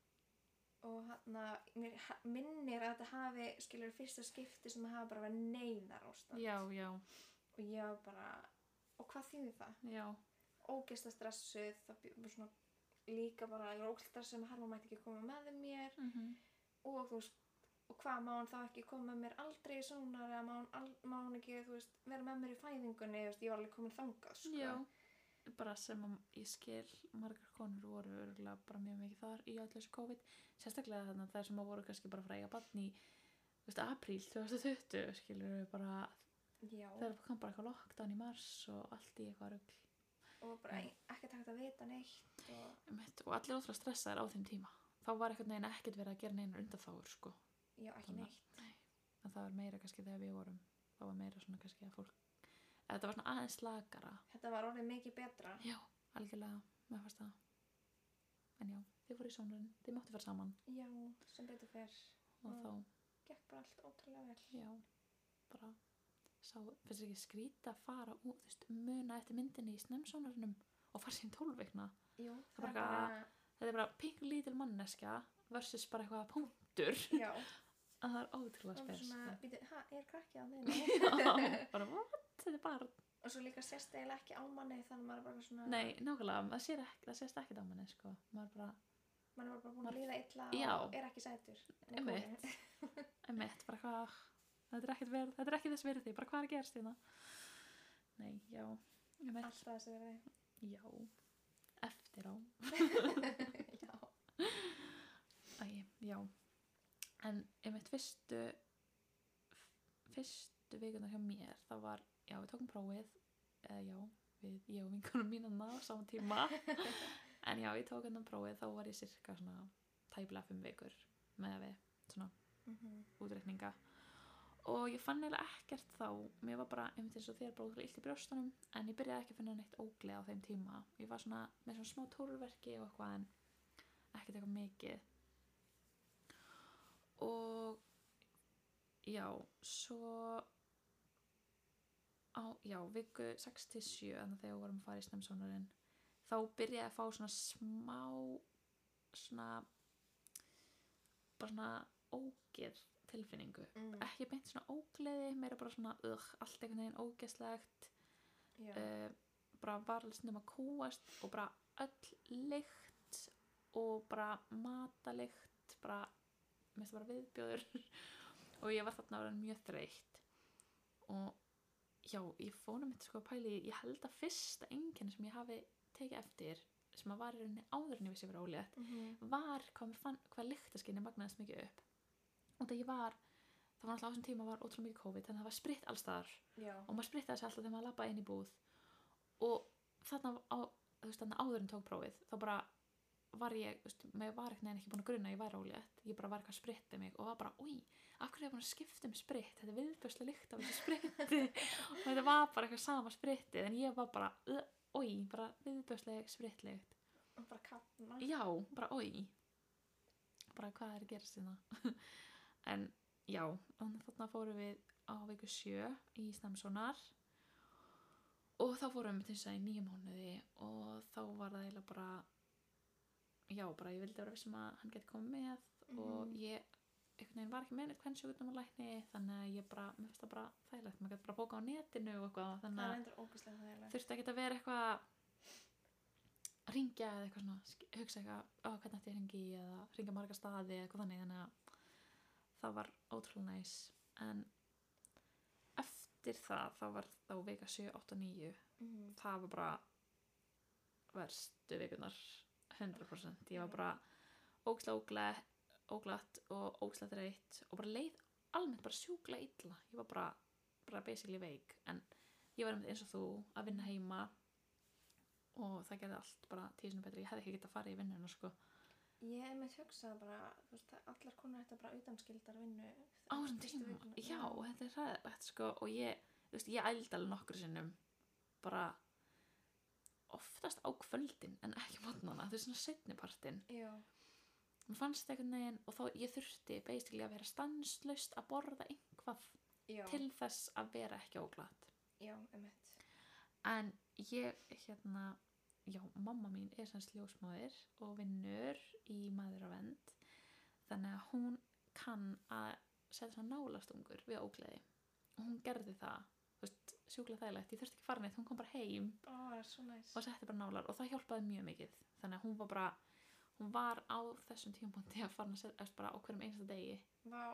[SPEAKER 1] og hann að mér ha- minnir að þetta hafi skilur fyrsta skipti sem það hafi bara verið neyðar ástand
[SPEAKER 2] Já, já,
[SPEAKER 1] og ég var bara, og hvað þýðir það?
[SPEAKER 2] já,
[SPEAKER 1] ógeðslega stressuð það bjó- var svona líka bara ég var ógeðslega stressuð með Harma mætti ekki koma með mér
[SPEAKER 2] mm
[SPEAKER 1] og þú veist og hvað má hann þá ekki koma með mér aldrei í sónar eða má hann, al, má hann ekki þú veist, vera með mér í fæðingunni þú veist, ég var alveg komin þangað sko.
[SPEAKER 2] Já, bara sem að ég skil margar konur voru örgulega bara mjög mikið þar í öllu þessu COVID sérstaklega þannig að þær sem að voru kannski bara frá eiga barn í þú veist, apríl 2020 skilur við bara
[SPEAKER 1] Já,
[SPEAKER 2] þegar það kom bara eitthvað lockdown í mars og allt í eitthvað rugl
[SPEAKER 1] og bara ein- ekkert hægt að vita neitt og
[SPEAKER 2] Einmitt, og allir ótrúlega stressaðir á þeim tíma þá var eitthvað neginn ekkert verið að gera neginn undanþáur sko
[SPEAKER 1] já, ekki
[SPEAKER 2] Þannig að-
[SPEAKER 1] neitt
[SPEAKER 2] en það var meira kannski þegar við vorum þá var meira svona kannski að fólk eða þetta var svona aðeins slakara
[SPEAKER 1] þetta var orðið mikið betra
[SPEAKER 2] já, algjörlega, með fast það en já, þið voru í sónurinn, þið máttu fara saman
[SPEAKER 1] já, sem betur fer
[SPEAKER 2] og
[SPEAKER 1] Já.
[SPEAKER 2] þá
[SPEAKER 1] gekk bara allt ótrúlega vel
[SPEAKER 2] Já, bara sá, finnst þér ekki skrýta að fara út, þú veist, muna eftir myndinni í snemsónarinnum og fara sín tólveikna.
[SPEAKER 1] Jú,
[SPEAKER 2] Það bara- Þetta er bara pingu lítil manneskja versus bara eitthvað punktur
[SPEAKER 1] já,
[SPEAKER 2] að það er ótrúlega
[SPEAKER 1] það var
[SPEAKER 2] spes.
[SPEAKER 1] svona býtu, hæ, er krakkið á þeim
[SPEAKER 2] Já, bara what? Þetta er bara,
[SPEAKER 1] og svo líka sérst eiginlega ekki á manni þannig að maður er bara svona
[SPEAKER 2] nei, nákvæmlega, það, sér ekki, það sést ekkert á manni, sko. Maður bara,
[SPEAKER 1] maður er bara búin að líða illa
[SPEAKER 2] Já.
[SPEAKER 1] og er ekki sætur Nei,
[SPEAKER 2] Einmitt.
[SPEAKER 1] kúl.
[SPEAKER 2] einmitt, bara hvað, þetta er ekkert verð, þetta er ekki þess verði, bara hvað er að gerast þérna? Nei, já, einmitt,
[SPEAKER 1] alltaf þessi verði
[SPEAKER 2] já, eftir á.
[SPEAKER 1] já,
[SPEAKER 2] Æ, já. En einmitt fyrstu fyrstu vikunar hjá mér þá var, já, við tókum prófið eða já, við, ég og vinkunum mínum á sama tíma en já, ég tók hennan prófið, þá var ég sirka svona tæplega fimm vikur með að við, svona
[SPEAKER 1] Mhm.
[SPEAKER 2] útreikninga og ég fann eiginlega ekkert þá mér var bara, einmitt eins og þér, bara útrúlega illt í brjóstunum en ég byrjaði ekki að finna neitt ógleð á þeim tíma ég var svona með svona smá tórverki og eitthvað en ekkert eitthvað mikið og já, svo á, já, viku 6-7 þannig að þegar við vorum að fara í snemsónarinn þá byrjaði að fá svona smá svona bara svona ógeð tilfinningu
[SPEAKER 1] mm,
[SPEAKER 2] ekki beint svona ógleði, meira bara svona ugh, allt einhvern veginn ógeðslegt
[SPEAKER 1] já.
[SPEAKER 2] uh, bara var alveg stundum að kúast og bara öll lykt og bara matalykt bara, mest bara viðbjóður og ég var þarna að vera mjög þreytt og já, ég fóna mitt sko að pæli í- ég held að fyrsta einkenni sem ég hafi tekið eftir sem að var í rauninni áður en ég vissi að vera ólétt
[SPEAKER 1] Mhm.
[SPEAKER 2] var hvað, mér fann, hvað lyktaskinni magnaðist mikið upp og það ég var það var alltaf á þessum tíma var ótrúlega mikið COVID þannig að það var spritt allstaðar
[SPEAKER 1] já,
[SPEAKER 2] og maður sprittaði þessi alltaf þegar maður lappaði inn í búð og þarna á, þú veist, þarna áður en tók prófið þá bara var ég, þú veist, maður var ekki neginn ekki búin að grunna að ég væri ólétt ég bara var eitthvað að spritta mig og var bara, úi, af hverju er ég búin að skipta um spritt þetta er viðbjörslega lykt af þessu spritti og þetta var bara eitthvað sama spritti en ég var bara, úi, bara viðbjörslega sprittlykt
[SPEAKER 1] og bara kafna
[SPEAKER 2] já, bara oi bara hvað er að gerast hérna en já þannig þarna fórum við á viku sjö í Stamsonar og þá fórum við til þess að í nýju mánuði og þá var það eiginlega bara já, bara ég vildi vera vissum að hann geti komið með og
[SPEAKER 1] Mhm.
[SPEAKER 2] ég einhvern veginn var ekki með neitt hvernig sjúkvæmdum að lækni þannig að ég bara, mér finnst það bara þægilegt maður gæti bara bóka á netinu og eitthvað þannig
[SPEAKER 1] það
[SPEAKER 2] að
[SPEAKER 1] er endur ógæslega þærlega
[SPEAKER 2] þurfti ekki að vera eitthvað að ringja eða eitthvað svona sk- hugsa eitthvað, á, hvernig ætti ég að ringi eða ringja marga staði eða eitthvað þannig þannig að það var ótrúlega næs en eftir það þá var þá vika 7, 8 og 9
[SPEAKER 1] Mm.
[SPEAKER 2] það var bara verstu vikunar 100% ég var bara ógæslega óglætt, óglætt og ógæslega þreytt og bara leið almennt bara sjúkla illa ég var bara, bara basically veik en ég var einmitt eins og þú að vinna heima og það gerði allt bara tísinu betri, ég hefði ekki getað farið í vinnuna sko,
[SPEAKER 1] Ég hef með hugsað bara, þú veist, að allar konar þetta bara utanskildar vinnu
[SPEAKER 2] á þessum
[SPEAKER 1] fyrstu
[SPEAKER 2] tíma
[SPEAKER 1] vikuna.
[SPEAKER 2] já, þetta er hræðilegt sko og ég, þú veist, ég ældi alveg nokkru sinnum bara oftast á kvöldin en ekki mótnana, þú veist, svona setnipartin
[SPEAKER 1] Já,
[SPEAKER 2] mér fannst þetta einhvern veginn og þá ég þurfti basically að vera stanslaust að borða einhvað
[SPEAKER 1] já,
[SPEAKER 2] til þess að vera ekki óglatt
[SPEAKER 1] já, emitt.
[SPEAKER 2] en ég, hérna já, mamma mín er sanns ljósmóðir og vinnur í maðuravend þannig að hún kann að setja svona nálastungur við ógleði og hún gerði það þú veist, sjúklega þægilegt, ég þurfti ekki að fara neitt hún kom bara heim
[SPEAKER 1] Ó, það er svo næs.
[SPEAKER 2] og setti bara nálar og það hjálpaði mjög mikið þannig að hún var bara hún var á þessum tímapunkti að fara að setja eftir bara á hverjum einsta degi
[SPEAKER 1] Vá,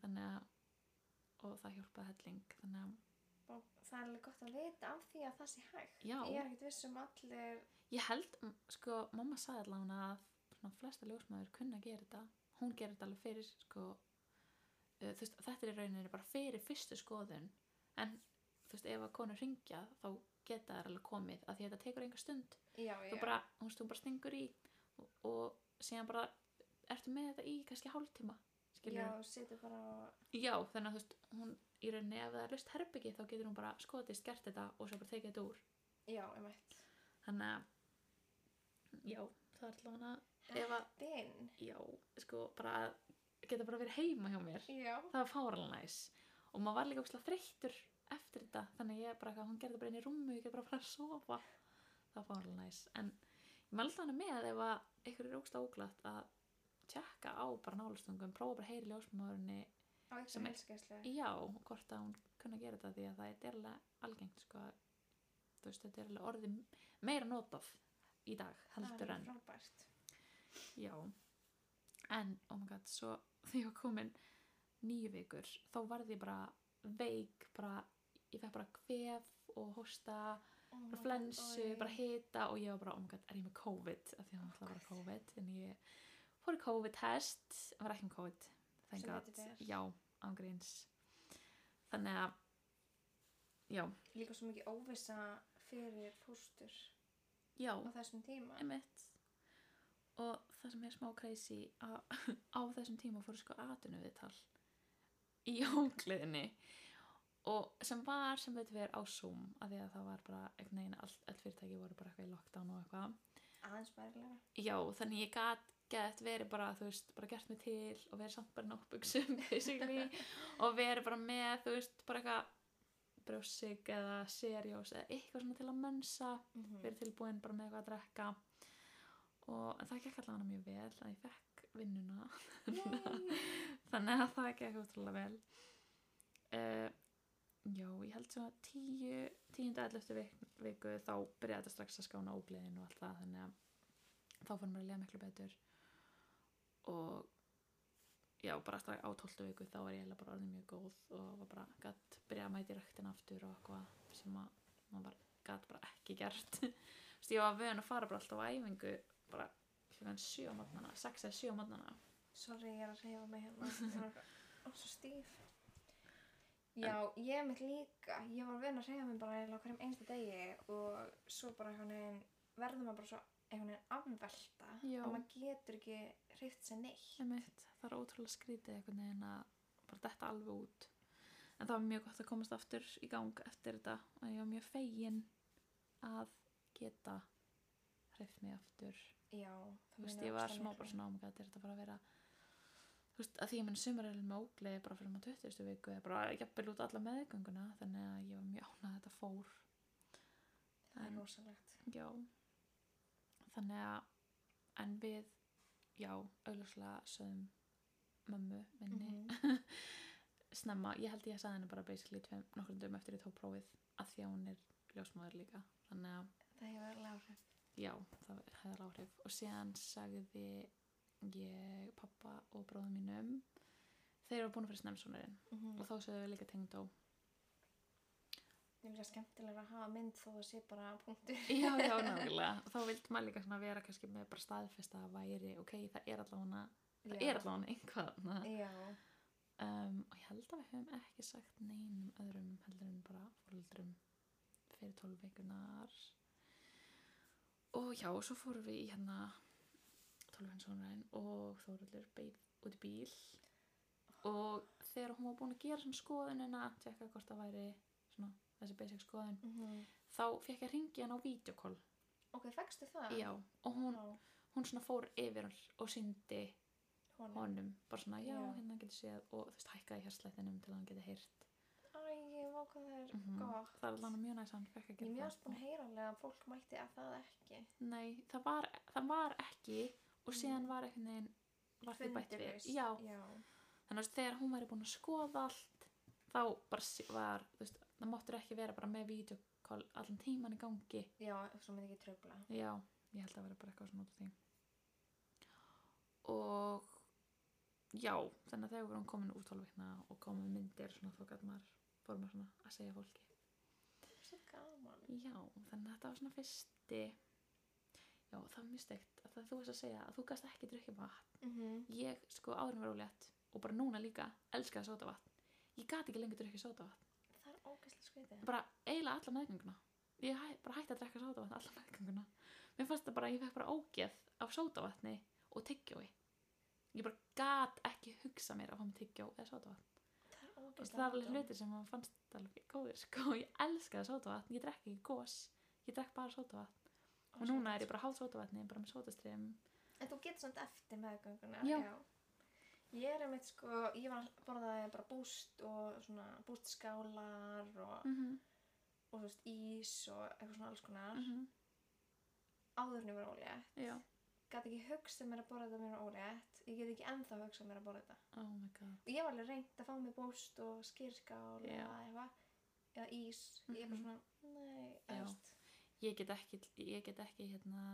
[SPEAKER 2] þannig að og það hjálpaði helling þannig að
[SPEAKER 1] vá, það er alveg gott að vita af því að það sé hægt.
[SPEAKER 2] Já.
[SPEAKER 1] Ég er ekkert viss um allir,
[SPEAKER 2] ég held, mm, sko, mamma sagði allavega að svona flesta ljósmaður kunna að gera þetta hún gerir þetta alveg fyrir sko, uh, þú veist, þetta er í rauninni bara fyrir fyrstu skoðun en þú veist, ef að konur ringja þá geta þær alveg komið að því að þetta tekur einhver stund
[SPEAKER 1] já,
[SPEAKER 2] þú
[SPEAKER 1] já,
[SPEAKER 2] bara, hún veist, þú bara stingur í og, og síðan bara ertu með þetta í kannski hálftíma skilur
[SPEAKER 1] já, setur bara á,
[SPEAKER 2] já, þannig að þú veist, hún í rauninni ef það er lust herbyggi þá getur hún bara skotist gert þetta og svo bara tekið þetta úr
[SPEAKER 1] já, emitt.
[SPEAKER 2] þannig að já, það er allavega ef að,
[SPEAKER 1] Din,
[SPEAKER 2] já, sko bara að geta bara verið heima hjá mér
[SPEAKER 1] já,
[SPEAKER 2] það var fáralega næs og maður var líka óslega þreyttur eftir þetta þannig að ég bara, eitthvað, hún gerði bara inn í rúmi ég get bara bara að sofa það var fáralega næs en ég mældi hana með ef að ykkur er óslega óglætt að tjekka á bara nálastungum prófa bara að heyri ljósmáðurinni
[SPEAKER 1] á eitthvað
[SPEAKER 2] Sem er-
[SPEAKER 1] helskeslega.
[SPEAKER 2] já, hvort að hún kunna gera þetta því að það er derlega algengt sko að, þú veist, þetta er alveg orðið meira notað í dag heldur en
[SPEAKER 1] Það er frábært.
[SPEAKER 2] Já, en oh my god, svo þegar ég var komin nýju vikur, þá varði ég bara veik, bara, ég fekk bara kvef og hósta,
[SPEAKER 1] Oh my god,
[SPEAKER 2] bara
[SPEAKER 1] Oh
[SPEAKER 2] flensu,
[SPEAKER 1] oj.
[SPEAKER 2] bara hita og ég var bara, oh my god, er ég með COVID? Af því að hann ætlaði að vera COVID, en ég fór í COVID-test, var ekki með COVID,
[SPEAKER 1] Sem
[SPEAKER 2] þannig
[SPEAKER 1] betur fer.
[SPEAKER 2] að, já, ángríns. Þannig að, já,
[SPEAKER 1] Líka svo mikið óvissa fyrir fóstur
[SPEAKER 2] já,
[SPEAKER 1] á þessum tíma.
[SPEAKER 2] emitt. Og það sem er smá crazy að á þessum tíma fóru sko atinu viðtal í ógleðinni og sem var sem betur verið á Zoom af því að það var bara einhvern veginn allt, allt fyrirtæki voru bara eitthvað í lockdown og eitthvað
[SPEAKER 1] Aðeins bærilega.
[SPEAKER 2] já þannig ég gat gett verið bara þú veist bara gert mig til og verið samt bara náttbuksum basically og verið bara með þú veist bara eitthvað brjósig eða serjós eða eitthvað svona til að mönsa
[SPEAKER 1] Mm -hmm.
[SPEAKER 2] verið tilbúin bara með eitthvað að drekka og en það gekk allavega mjög vel að ég fekk vinnuna þannig að það gekk ótrúlega vel uh, já, ég held svona tíu, tíundu ellöftu viku þá byrjaði þetta strax að skána ógleðin og allt það þannig að þá fór mér að lega miklu betur og já, bara strax á tóltu viku þá var ég eiginlega bara orðin mjög góð og var bara gatt byrjaði að mæti ræktin aftur og eitthvað sem að maður bara gatt bara ekki gert Vist, ég var vön að fara bara alltaf á æfingu bara klukkan sjö á mótnana, sex eða sjö á mótnana
[SPEAKER 1] Sorry, ég er að reyfa mig hérna. Ég var eitthvað- ó, svo stíf. Já, ég mitt líka. Ég var vinn að reyfa mig bara eiginlega á hverjum einsta degi og svo bara einhvern veginn verður maður bara svo einhvern veginn afvelta
[SPEAKER 2] Já.
[SPEAKER 1] og maður getur ekki reyft sér neitt.
[SPEAKER 2] Einmitt, það er ótrúlega skrítið einhvern veginn að bara detta alveg út en það var mjög gott að komast aftur í gang eftir þetta og ég var mjög fegin að geta hreift mig aftur
[SPEAKER 1] Já, það
[SPEAKER 2] þú veist,
[SPEAKER 1] meinar
[SPEAKER 2] ég var
[SPEAKER 1] ógeðslega
[SPEAKER 2] smá
[SPEAKER 1] miklu.
[SPEAKER 2] bara svona ámgætt er þetta bara að vera þú veist, að því ég minn sumar er með ógleði bara fyrir maður 20. viku eða bara jafnvel út alla meðgönguna þannig að ég var mjög ánað að þetta fór
[SPEAKER 1] Það er
[SPEAKER 2] en-
[SPEAKER 1] rosalegt.
[SPEAKER 2] Já Þannig að en við, já, auðvitað sögum mömmu minni
[SPEAKER 1] Mhm.
[SPEAKER 2] snemma, ég held ég að sagði henni bara basically tveim, nokkrum dögum eftir ég tók prófið að því að hún er ljósmóður líka þannig að,
[SPEAKER 1] Það hefur alveg áhrif.
[SPEAKER 2] já, það hefði áhrif og síðan sagði ég pappa og bróðum mínum þeir eru búin að fyrir snemsónurinn
[SPEAKER 1] Mhm.
[SPEAKER 2] og þá séu við líka tengdó
[SPEAKER 1] Ég finnst það skemmtilega að hafa mynd þó það sé bara punktur.
[SPEAKER 2] já, já, nákvæmlega og þá vildi maður líka svona vera kannski með bara staðfesta að væri, ok, það er allavega það
[SPEAKER 1] Já.
[SPEAKER 2] er allavega einhvað na.
[SPEAKER 1] Já,
[SPEAKER 2] um, og ég held að við höfum ekki sagt neinum öðrum heldur en bara fóruldrum fyrir 12 vikunar og já, svo fórum við í hérna 12 hinsónurinn og Þóruldur beigð út í bíl og þegar hún var búin að gera svona skoðunina, tjekka hvort það væri svona þessi basic skoðun
[SPEAKER 1] mm
[SPEAKER 2] þá fekk ég að ringi hann á videokoll
[SPEAKER 1] ok, fækstu það?
[SPEAKER 2] já, og hún,
[SPEAKER 1] Já,
[SPEAKER 2] hún svona fór yfir og syndi
[SPEAKER 1] honum.
[SPEAKER 2] honum bara svona, já,
[SPEAKER 1] Já.
[SPEAKER 2] hérna getur séð og þú veist, hækkaði hérslættinum til að hann geti heyrt
[SPEAKER 1] Æ, ég vá hvað það er
[SPEAKER 2] Mhm.
[SPEAKER 1] gott.
[SPEAKER 2] það er alveg mjög næst að hann fekk að
[SPEAKER 1] Ég
[SPEAKER 2] gera
[SPEAKER 1] mjög spún heyranlega að fólk mætti að það ekki.
[SPEAKER 2] nei, það var, það var ekki
[SPEAKER 1] Mm.
[SPEAKER 2] og síðan var einhvern veginn var því bætt
[SPEAKER 1] Fundur
[SPEAKER 2] við
[SPEAKER 1] laust.
[SPEAKER 2] já,
[SPEAKER 1] Já,
[SPEAKER 2] þannig að þegar hún væri búin að skoða allt þá bara sí- var, þú veist, það máttur ekki vera bara með videokoll allan tíman í gangi
[SPEAKER 1] já, svo myndi ekki tröfla.
[SPEAKER 2] Já, ég held að vera bara eitthvað svona út af því. Og já, þannig að þegar við vorum komin úr tólveikna hérna og komum myndir svona þá gæt maður, fórum maður svona að segja fólki.
[SPEAKER 1] Svo gaman.
[SPEAKER 2] Já, þannig að þetta var svona fyrsti, já það var mjög steikt að það þú veist að segja að þú gæst ekki drukkið vatn.
[SPEAKER 1] Mm
[SPEAKER 2] Ég sko áðurinn var ólétt og bara núna líka elskaði sótavatn. Ég gat ekki lengur drukkið sótavatn.
[SPEAKER 1] Það er ógæslega skvitið.
[SPEAKER 2] Bara eiginlega alla meðgönguna. Ég hæ, bara hætti að drekka sótavatn alla meðgönguna. Mér fannst það bara, ég fekk bara ógeð af sótavatni og tyggjói. Ég bara gat ekki hugsa mér að fá mig tyggjó eða sótavatn.
[SPEAKER 1] Það er
[SPEAKER 2] Þú veist,
[SPEAKER 1] ógæslega
[SPEAKER 2] Það er alveg hlutir sem maður fannst alveg góðir sko. Ég elskaði sótavatn, ég drekk ekki gós, ég drekk bara sótavatn. Og núna er ég bara háð sótavatni, bara með sótastrým.
[SPEAKER 1] En þú getur samt eftir meðgönguna.
[SPEAKER 2] Já.
[SPEAKER 1] Ég er einmitt sko, ég var borðaði bara búst og svona bústskálar og,
[SPEAKER 2] Mm -hmm.
[SPEAKER 1] og þú veist ís og eitthvað svona alls konar.
[SPEAKER 2] mm
[SPEAKER 1] Áðurinn ég var ólétt.
[SPEAKER 2] Já.
[SPEAKER 1] Gat ekki hugsað mér að borða þetta mér ólétt. Ég get ekki ennþá hugsað mér að borða þetta.
[SPEAKER 2] Oh my god.
[SPEAKER 1] Ég var alveg reynd að fá mér búst og skýrskál
[SPEAKER 2] Já. Mhm.
[SPEAKER 1] eða eitthvað. Eða ís. Ég er bara svona, nei,
[SPEAKER 2] Já.
[SPEAKER 1] eftir.
[SPEAKER 2] Ég get ekki, ég get ekki hérna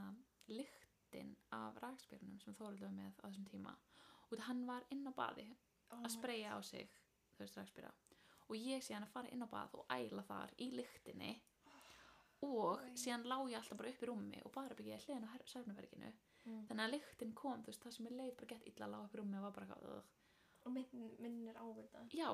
[SPEAKER 2] lyktin af rakspyrnum sem Þórildur var með á þessum tíma. Út að hann var inn á baði
[SPEAKER 1] Oh
[SPEAKER 2] að spreja á sig þau straxbýra og ég síðan að fara inn á bað og æla þar í lyktinni og
[SPEAKER 1] Oj.
[SPEAKER 2] síðan lá ég alltaf bara upp í rúmi og bara byggja hliðin á sörnuverkinu
[SPEAKER 1] Mm.
[SPEAKER 2] þannig að lyktin kom, þú veist, það sem ég leið bara gett illa lá upp í rúmi og var bara eitthvað "Ugh."
[SPEAKER 1] Og minn, minnir á þetta.
[SPEAKER 2] já,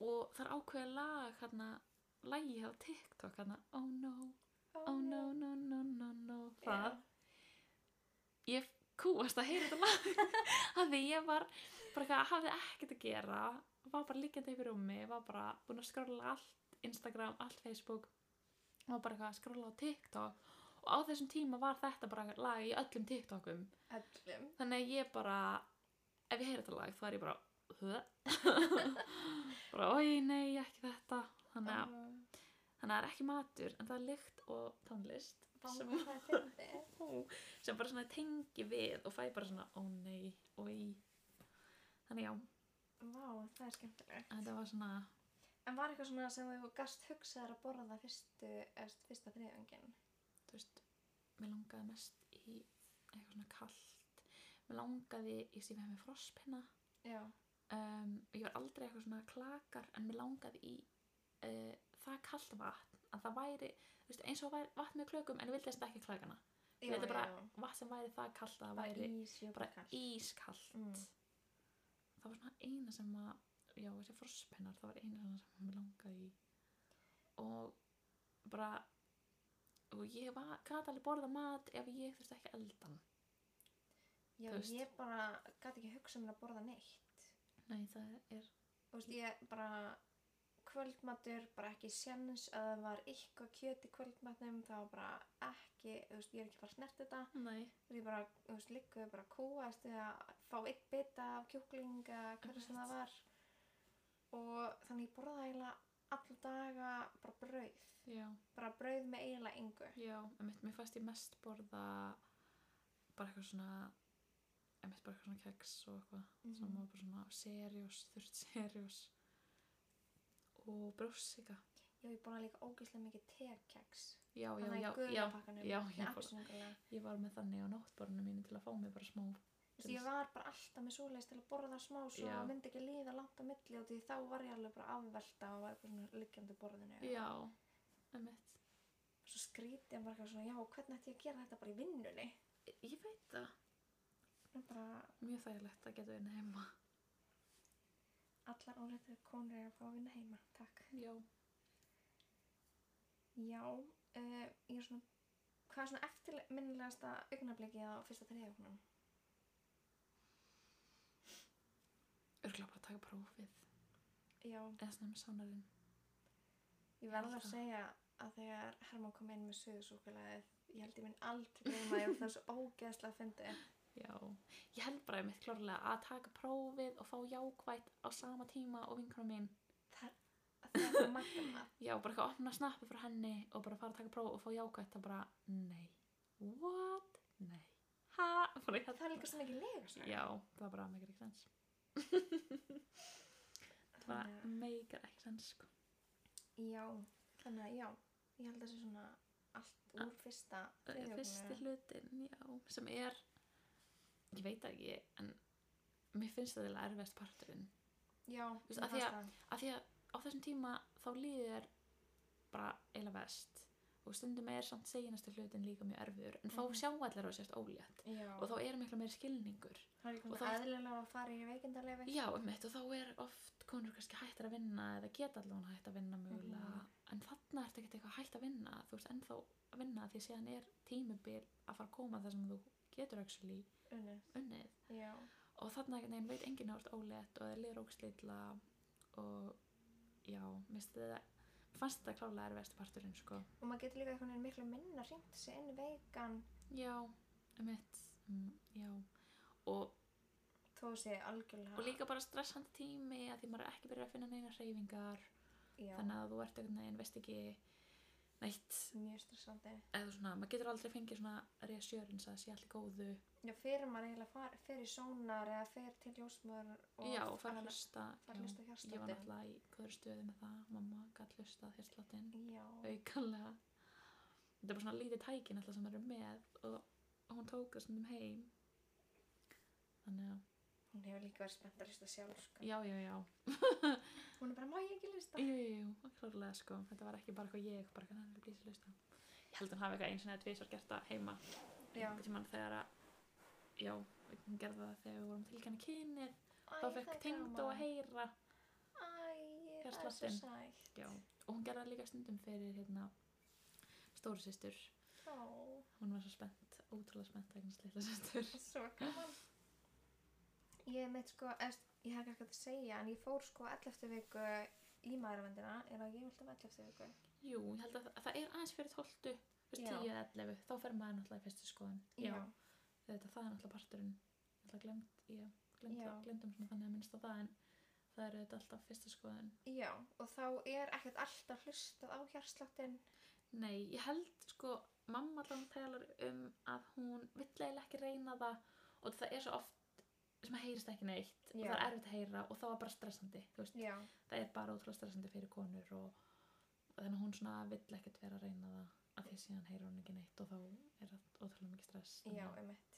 [SPEAKER 2] og það er ákveðið lag hérna, lagi á TikTok hérna, oh no, oh no, no, no, no, no það,
[SPEAKER 1] Já.
[SPEAKER 2] ég kúast að heyra þetta lag af því ég var bara eitthvað, hafði ekkert að gera var bara liggjandi yfir rúmi var bara búin að skrolla allt Instagram, allt Facebook var bara eitthvað að skrolla á TikTok og á þessum tíma var þetta bara lag í öllum TikTokum
[SPEAKER 1] Öllum.
[SPEAKER 2] þannig að ég bara ef ég heyri þetta lag þá er ég bara "Huh?" bara oi nei ekki þetta þannig að,
[SPEAKER 1] Uh,
[SPEAKER 2] þannig að það er ekki matur en það er lykt og tónlist
[SPEAKER 1] Vá,
[SPEAKER 2] sem
[SPEAKER 1] hvað það er fyndið.
[SPEAKER 2] Ó, sem bara svona tengi við og fæ bara svona, ó nei, oi þannig já,
[SPEAKER 1] Vá, það er skemmtilegt.
[SPEAKER 2] þetta var svona
[SPEAKER 1] En var eitthvað svona sem þú gast hugsaðar að borða fyrstu, erst, fyrsta þriðangin?
[SPEAKER 2] þú veist, mér langaði mest í eitthvað svona kalt mér langaði, ég sé með mér frosspinna
[SPEAKER 1] Já.
[SPEAKER 2] um, ég var aldrei eitthvað svona klakar en mér langaði í uh, það kalt vatn að það væri, þú veist, eins og væri vatn með klökum en ég vildi þess ekki klakana ég vildi bara vatn sem væri það kalt að það
[SPEAKER 1] Bara
[SPEAKER 2] væri
[SPEAKER 1] ís, jú,
[SPEAKER 2] bara
[SPEAKER 1] bara kall.
[SPEAKER 2] ískalt
[SPEAKER 1] Mm.
[SPEAKER 2] það var svona eina sem að já, þessi frospennar, það var eina svona sem að mér langaði í og bara og ég var, gæti alveg borða mat ef ég þurfti ekki eldan
[SPEAKER 1] Já,
[SPEAKER 2] þú veist.
[SPEAKER 1] ég bara gæti ekki hugsað mér að borða neitt.
[SPEAKER 2] nei, það er,
[SPEAKER 1] Þú veist, ég bara kvöldmatur, bara ekki sjans að það var eitthvað kjöt í kvöldmatnum, það var bara ekki, þú veist, ég er ekki bara snert þetta.
[SPEAKER 2] nei
[SPEAKER 1] Þú veist, ég bara, þú veist, líkuðu bara kúast eða fá eitt bita af kjúklinga, hverju sem það var. Og þannig ég borða eiginlega alla daga bara brauð.
[SPEAKER 2] já,
[SPEAKER 1] Bara brauð með eiginlega engu.
[SPEAKER 2] já, emitt, mér fannst ég mest borða bara eitthvað svona emitt bara eitthvað svona keks og eitthvað mm
[SPEAKER 1] Mhm.
[SPEAKER 2] -hmm. sem var bara svona seriós, þurft seriós og brjósika
[SPEAKER 1] Já, ég borða líka ógeðslega mikið tekeks.
[SPEAKER 2] já, já,
[SPEAKER 1] Þannig
[SPEAKER 2] já,
[SPEAKER 1] að
[SPEAKER 2] já,
[SPEAKER 1] guðnapakkanum,
[SPEAKER 2] já,
[SPEAKER 1] nei,
[SPEAKER 2] ég borða
[SPEAKER 1] appelsínugula.
[SPEAKER 2] ég var með þannig á náttborðinu mínu til að fá mig bara smá
[SPEAKER 1] Vist, ég var bara alltaf með svoleiðis til að borða smá svo
[SPEAKER 2] Já.
[SPEAKER 1] að myndi ekki líða langt á milli og því þá var ég alveg bara afvelta og var bara svona liggjandi á borðinu
[SPEAKER 2] Já, emmitt.
[SPEAKER 1] svo skrítið bara eitthvað svona já, hvernig ætti ég að gera þetta bara í vinnunni
[SPEAKER 2] Ég veit það.
[SPEAKER 1] Það er bara
[SPEAKER 2] Mjög þægilegt að geta verið heima.
[SPEAKER 1] allar óleittu konur er að fá að vinna heima takk
[SPEAKER 2] Já.
[SPEAKER 1] já, uh, ég er svona hvað er svona eftirminnilegasta augnablikið á fyrsta þriðjóknum
[SPEAKER 2] Örgla bara að taka prófið.
[SPEAKER 1] já,
[SPEAKER 2] Eða snemma sánarinn.
[SPEAKER 1] ég verð að
[SPEAKER 2] Helga.
[SPEAKER 1] segja að þegar Herman kom inn með suðusúkulegið ég held ég minn aldrei gleyma því að það er svo ógeðslega að fyndi
[SPEAKER 2] Já. Ég held bara einmitt klárlega að taka prófið og fá jákvætt á sama tíma og vinkunum mín.
[SPEAKER 1] það er bara magna
[SPEAKER 2] Já, bara eitthvað að opna snappi frá henni og bara fara að taka prófið og fá jákvætt. Það bara, nei. What? Nei. Ha? Bara, ég held-
[SPEAKER 1] það er líka svo mikið lega svona
[SPEAKER 2] Já, það bara meikar ekki sens. Það
[SPEAKER 1] þannig,
[SPEAKER 2] meikar ekki sens, sko.
[SPEAKER 1] að- já, þannig að já ég held að það sé svona allt úr fyrsta
[SPEAKER 2] Eh, Fyrsti
[SPEAKER 1] þriðjóknum
[SPEAKER 2] hlutin, já, sem er, ég veit það ekki, en mér finnst það eiginlega erfiðast parturinn.
[SPEAKER 1] já, um
[SPEAKER 2] Veistu, af því að- Af því að á þessum tíma þá líður þér bara eiginlega vest og stundum er samt segjinastu hlutin líka mjög erfiður, en þá
[SPEAKER 1] Mhm.
[SPEAKER 2] sjá allir á sérst ólétt
[SPEAKER 1] já,
[SPEAKER 2] og þá er miklu meir skilningur.
[SPEAKER 1] það er líka
[SPEAKER 2] og
[SPEAKER 1] þá...
[SPEAKER 2] þá-
[SPEAKER 1] eðlilega að fara í veikindalefi
[SPEAKER 2] Já, um og þá er oft konur kannski hættir að vinna eða geta allan hætt að vinna mögulega
[SPEAKER 1] Mhm.
[SPEAKER 2] en þarna ertu ekkert eitthvað hætt að vinna þú ert ennþá að vinna því séðan er tímubil að fara að koma þar sem þú getur actually
[SPEAKER 1] Unnið.
[SPEAKER 2] unnið
[SPEAKER 1] já,
[SPEAKER 2] og þarna einhvern veginn veit enginn að þú ert ólétt og það lýr ógslitla og já, misti þetta fannst þetta klálega er vesti parturinn sko
[SPEAKER 1] og maður getur líka einhvern veginn miklu minna hringt sér inn í veikan
[SPEAKER 2] já, um mm, já og,
[SPEAKER 1] þó sé algjörlega
[SPEAKER 2] og líka bara stressandi tími að því maður er ekki byrjað að finna neina hreyfingar
[SPEAKER 1] já,
[SPEAKER 2] þannig að þú ert einhvern veginn, veist ekki neitt,
[SPEAKER 1] mjög stressandi
[SPEAKER 2] eða svona, maður getur aldrei fengið svona reassurance að það sé allir góðu
[SPEAKER 1] já, fyrir maður eiginlega far, fyrir sónar eða fyrir til ljósmör og
[SPEAKER 2] já, og fara
[SPEAKER 1] að-
[SPEAKER 2] að hlusta
[SPEAKER 1] fara að
[SPEAKER 2] Já,
[SPEAKER 1] hlusta á
[SPEAKER 2] ég var
[SPEAKER 1] hjartsláttinn.
[SPEAKER 2] náttúrulega í hverju stöðu með það, mamma gætt hlusta hérsláttin,
[SPEAKER 1] já,
[SPEAKER 2] aukanlega þetta er bara svona lítið tækin alltaf sem maður er með og, og hún tók það stundum heim þannig að,
[SPEAKER 1] hún hefur líka verið spennt að hlusta sjálf sko.
[SPEAKER 2] já, já, já
[SPEAKER 1] hún er bara, má ég ekki hlusta
[SPEAKER 2] Jú, jú, jú, klárlega sko þetta var ekki bara eitthvað ég, bara hvernig hann blýs að hlusta ég held að hann hafi eitthvað eins og neða tvisar gert það heima
[SPEAKER 1] Já.
[SPEAKER 2] einhvern tímann þegar að já, hún gerði það þegar við vorum tilkynna kynið
[SPEAKER 1] Æ,
[SPEAKER 2] þá
[SPEAKER 1] það
[SPEAKER 2] fekk
[SPEAKER 1] er
[SPEAKER 2] tengd og
[SPEAKER 1] gaman.
[SPEAKER 2] að heyra
[SPEAKER 1] Æ, það er svo
[SPEAKER 2] Hjartsláttinn.
[SPEAKER 1] sætt.
[SPEAKER 2] já, og hún gerði það líka stundum fyrir hérna stóru systur
[SPEAKER 1] Ó,
[SPEAKER 2] hún var svo spennt, ótrúlega spennt vegna slita systur
[SPEAKER 1] það er svo gaman. Ég meitt sko, eftir, ég hef ekki eitthvað að segja, en ég fór sko 11. viku í maðuravendina, er það ekki alltaf 11. viku?
[SPEAKER 2] jú, ég held að það, það er aðeins fyrir 12 fyrst
[SPEAKER 1] Já.
[SPEAKER 2] 10 eða 11, þá fer maður náttúrulega í fyrstu skoðan
[SPEAKER 1] Já,
[SPEAKER 2] þetta það er náttúrulega parturinn ég ætla að glemt, ég glemt
[SPEAKER 1] Já.
[SPEAKER 2] það, glemdum svona þannig að minnst á það en það eru þetta alltaf fyrsta skoðun
[SPEAKER 1] Já, og þá er ekkert alltaf hlustað á hjartsláttinn.
[SPEAKER 2] nei, ég held sko mamma allan talar um að hún vill eiginlega ekki reyna það og það er svo oft sem að heyrist ekki neitt og
[SPEAKER 1] Já.
[SPEAKER 2] það er erfitt að heyra og það var bara stressandi þú veist,
[SPEAKER 1] Já,
[SPEAKER 2] það er bara ótrúlega stressandi fyrir konur og, og þannig að hún svona vill ekkert vera að reyna það af því síðan heyrir hún ekki neitt og þá er það ótrúlega mikið stress
[SPEAKER 1] já,
[SPEAKER 2] Þannig að-
[SPEAKER 1] um mitt.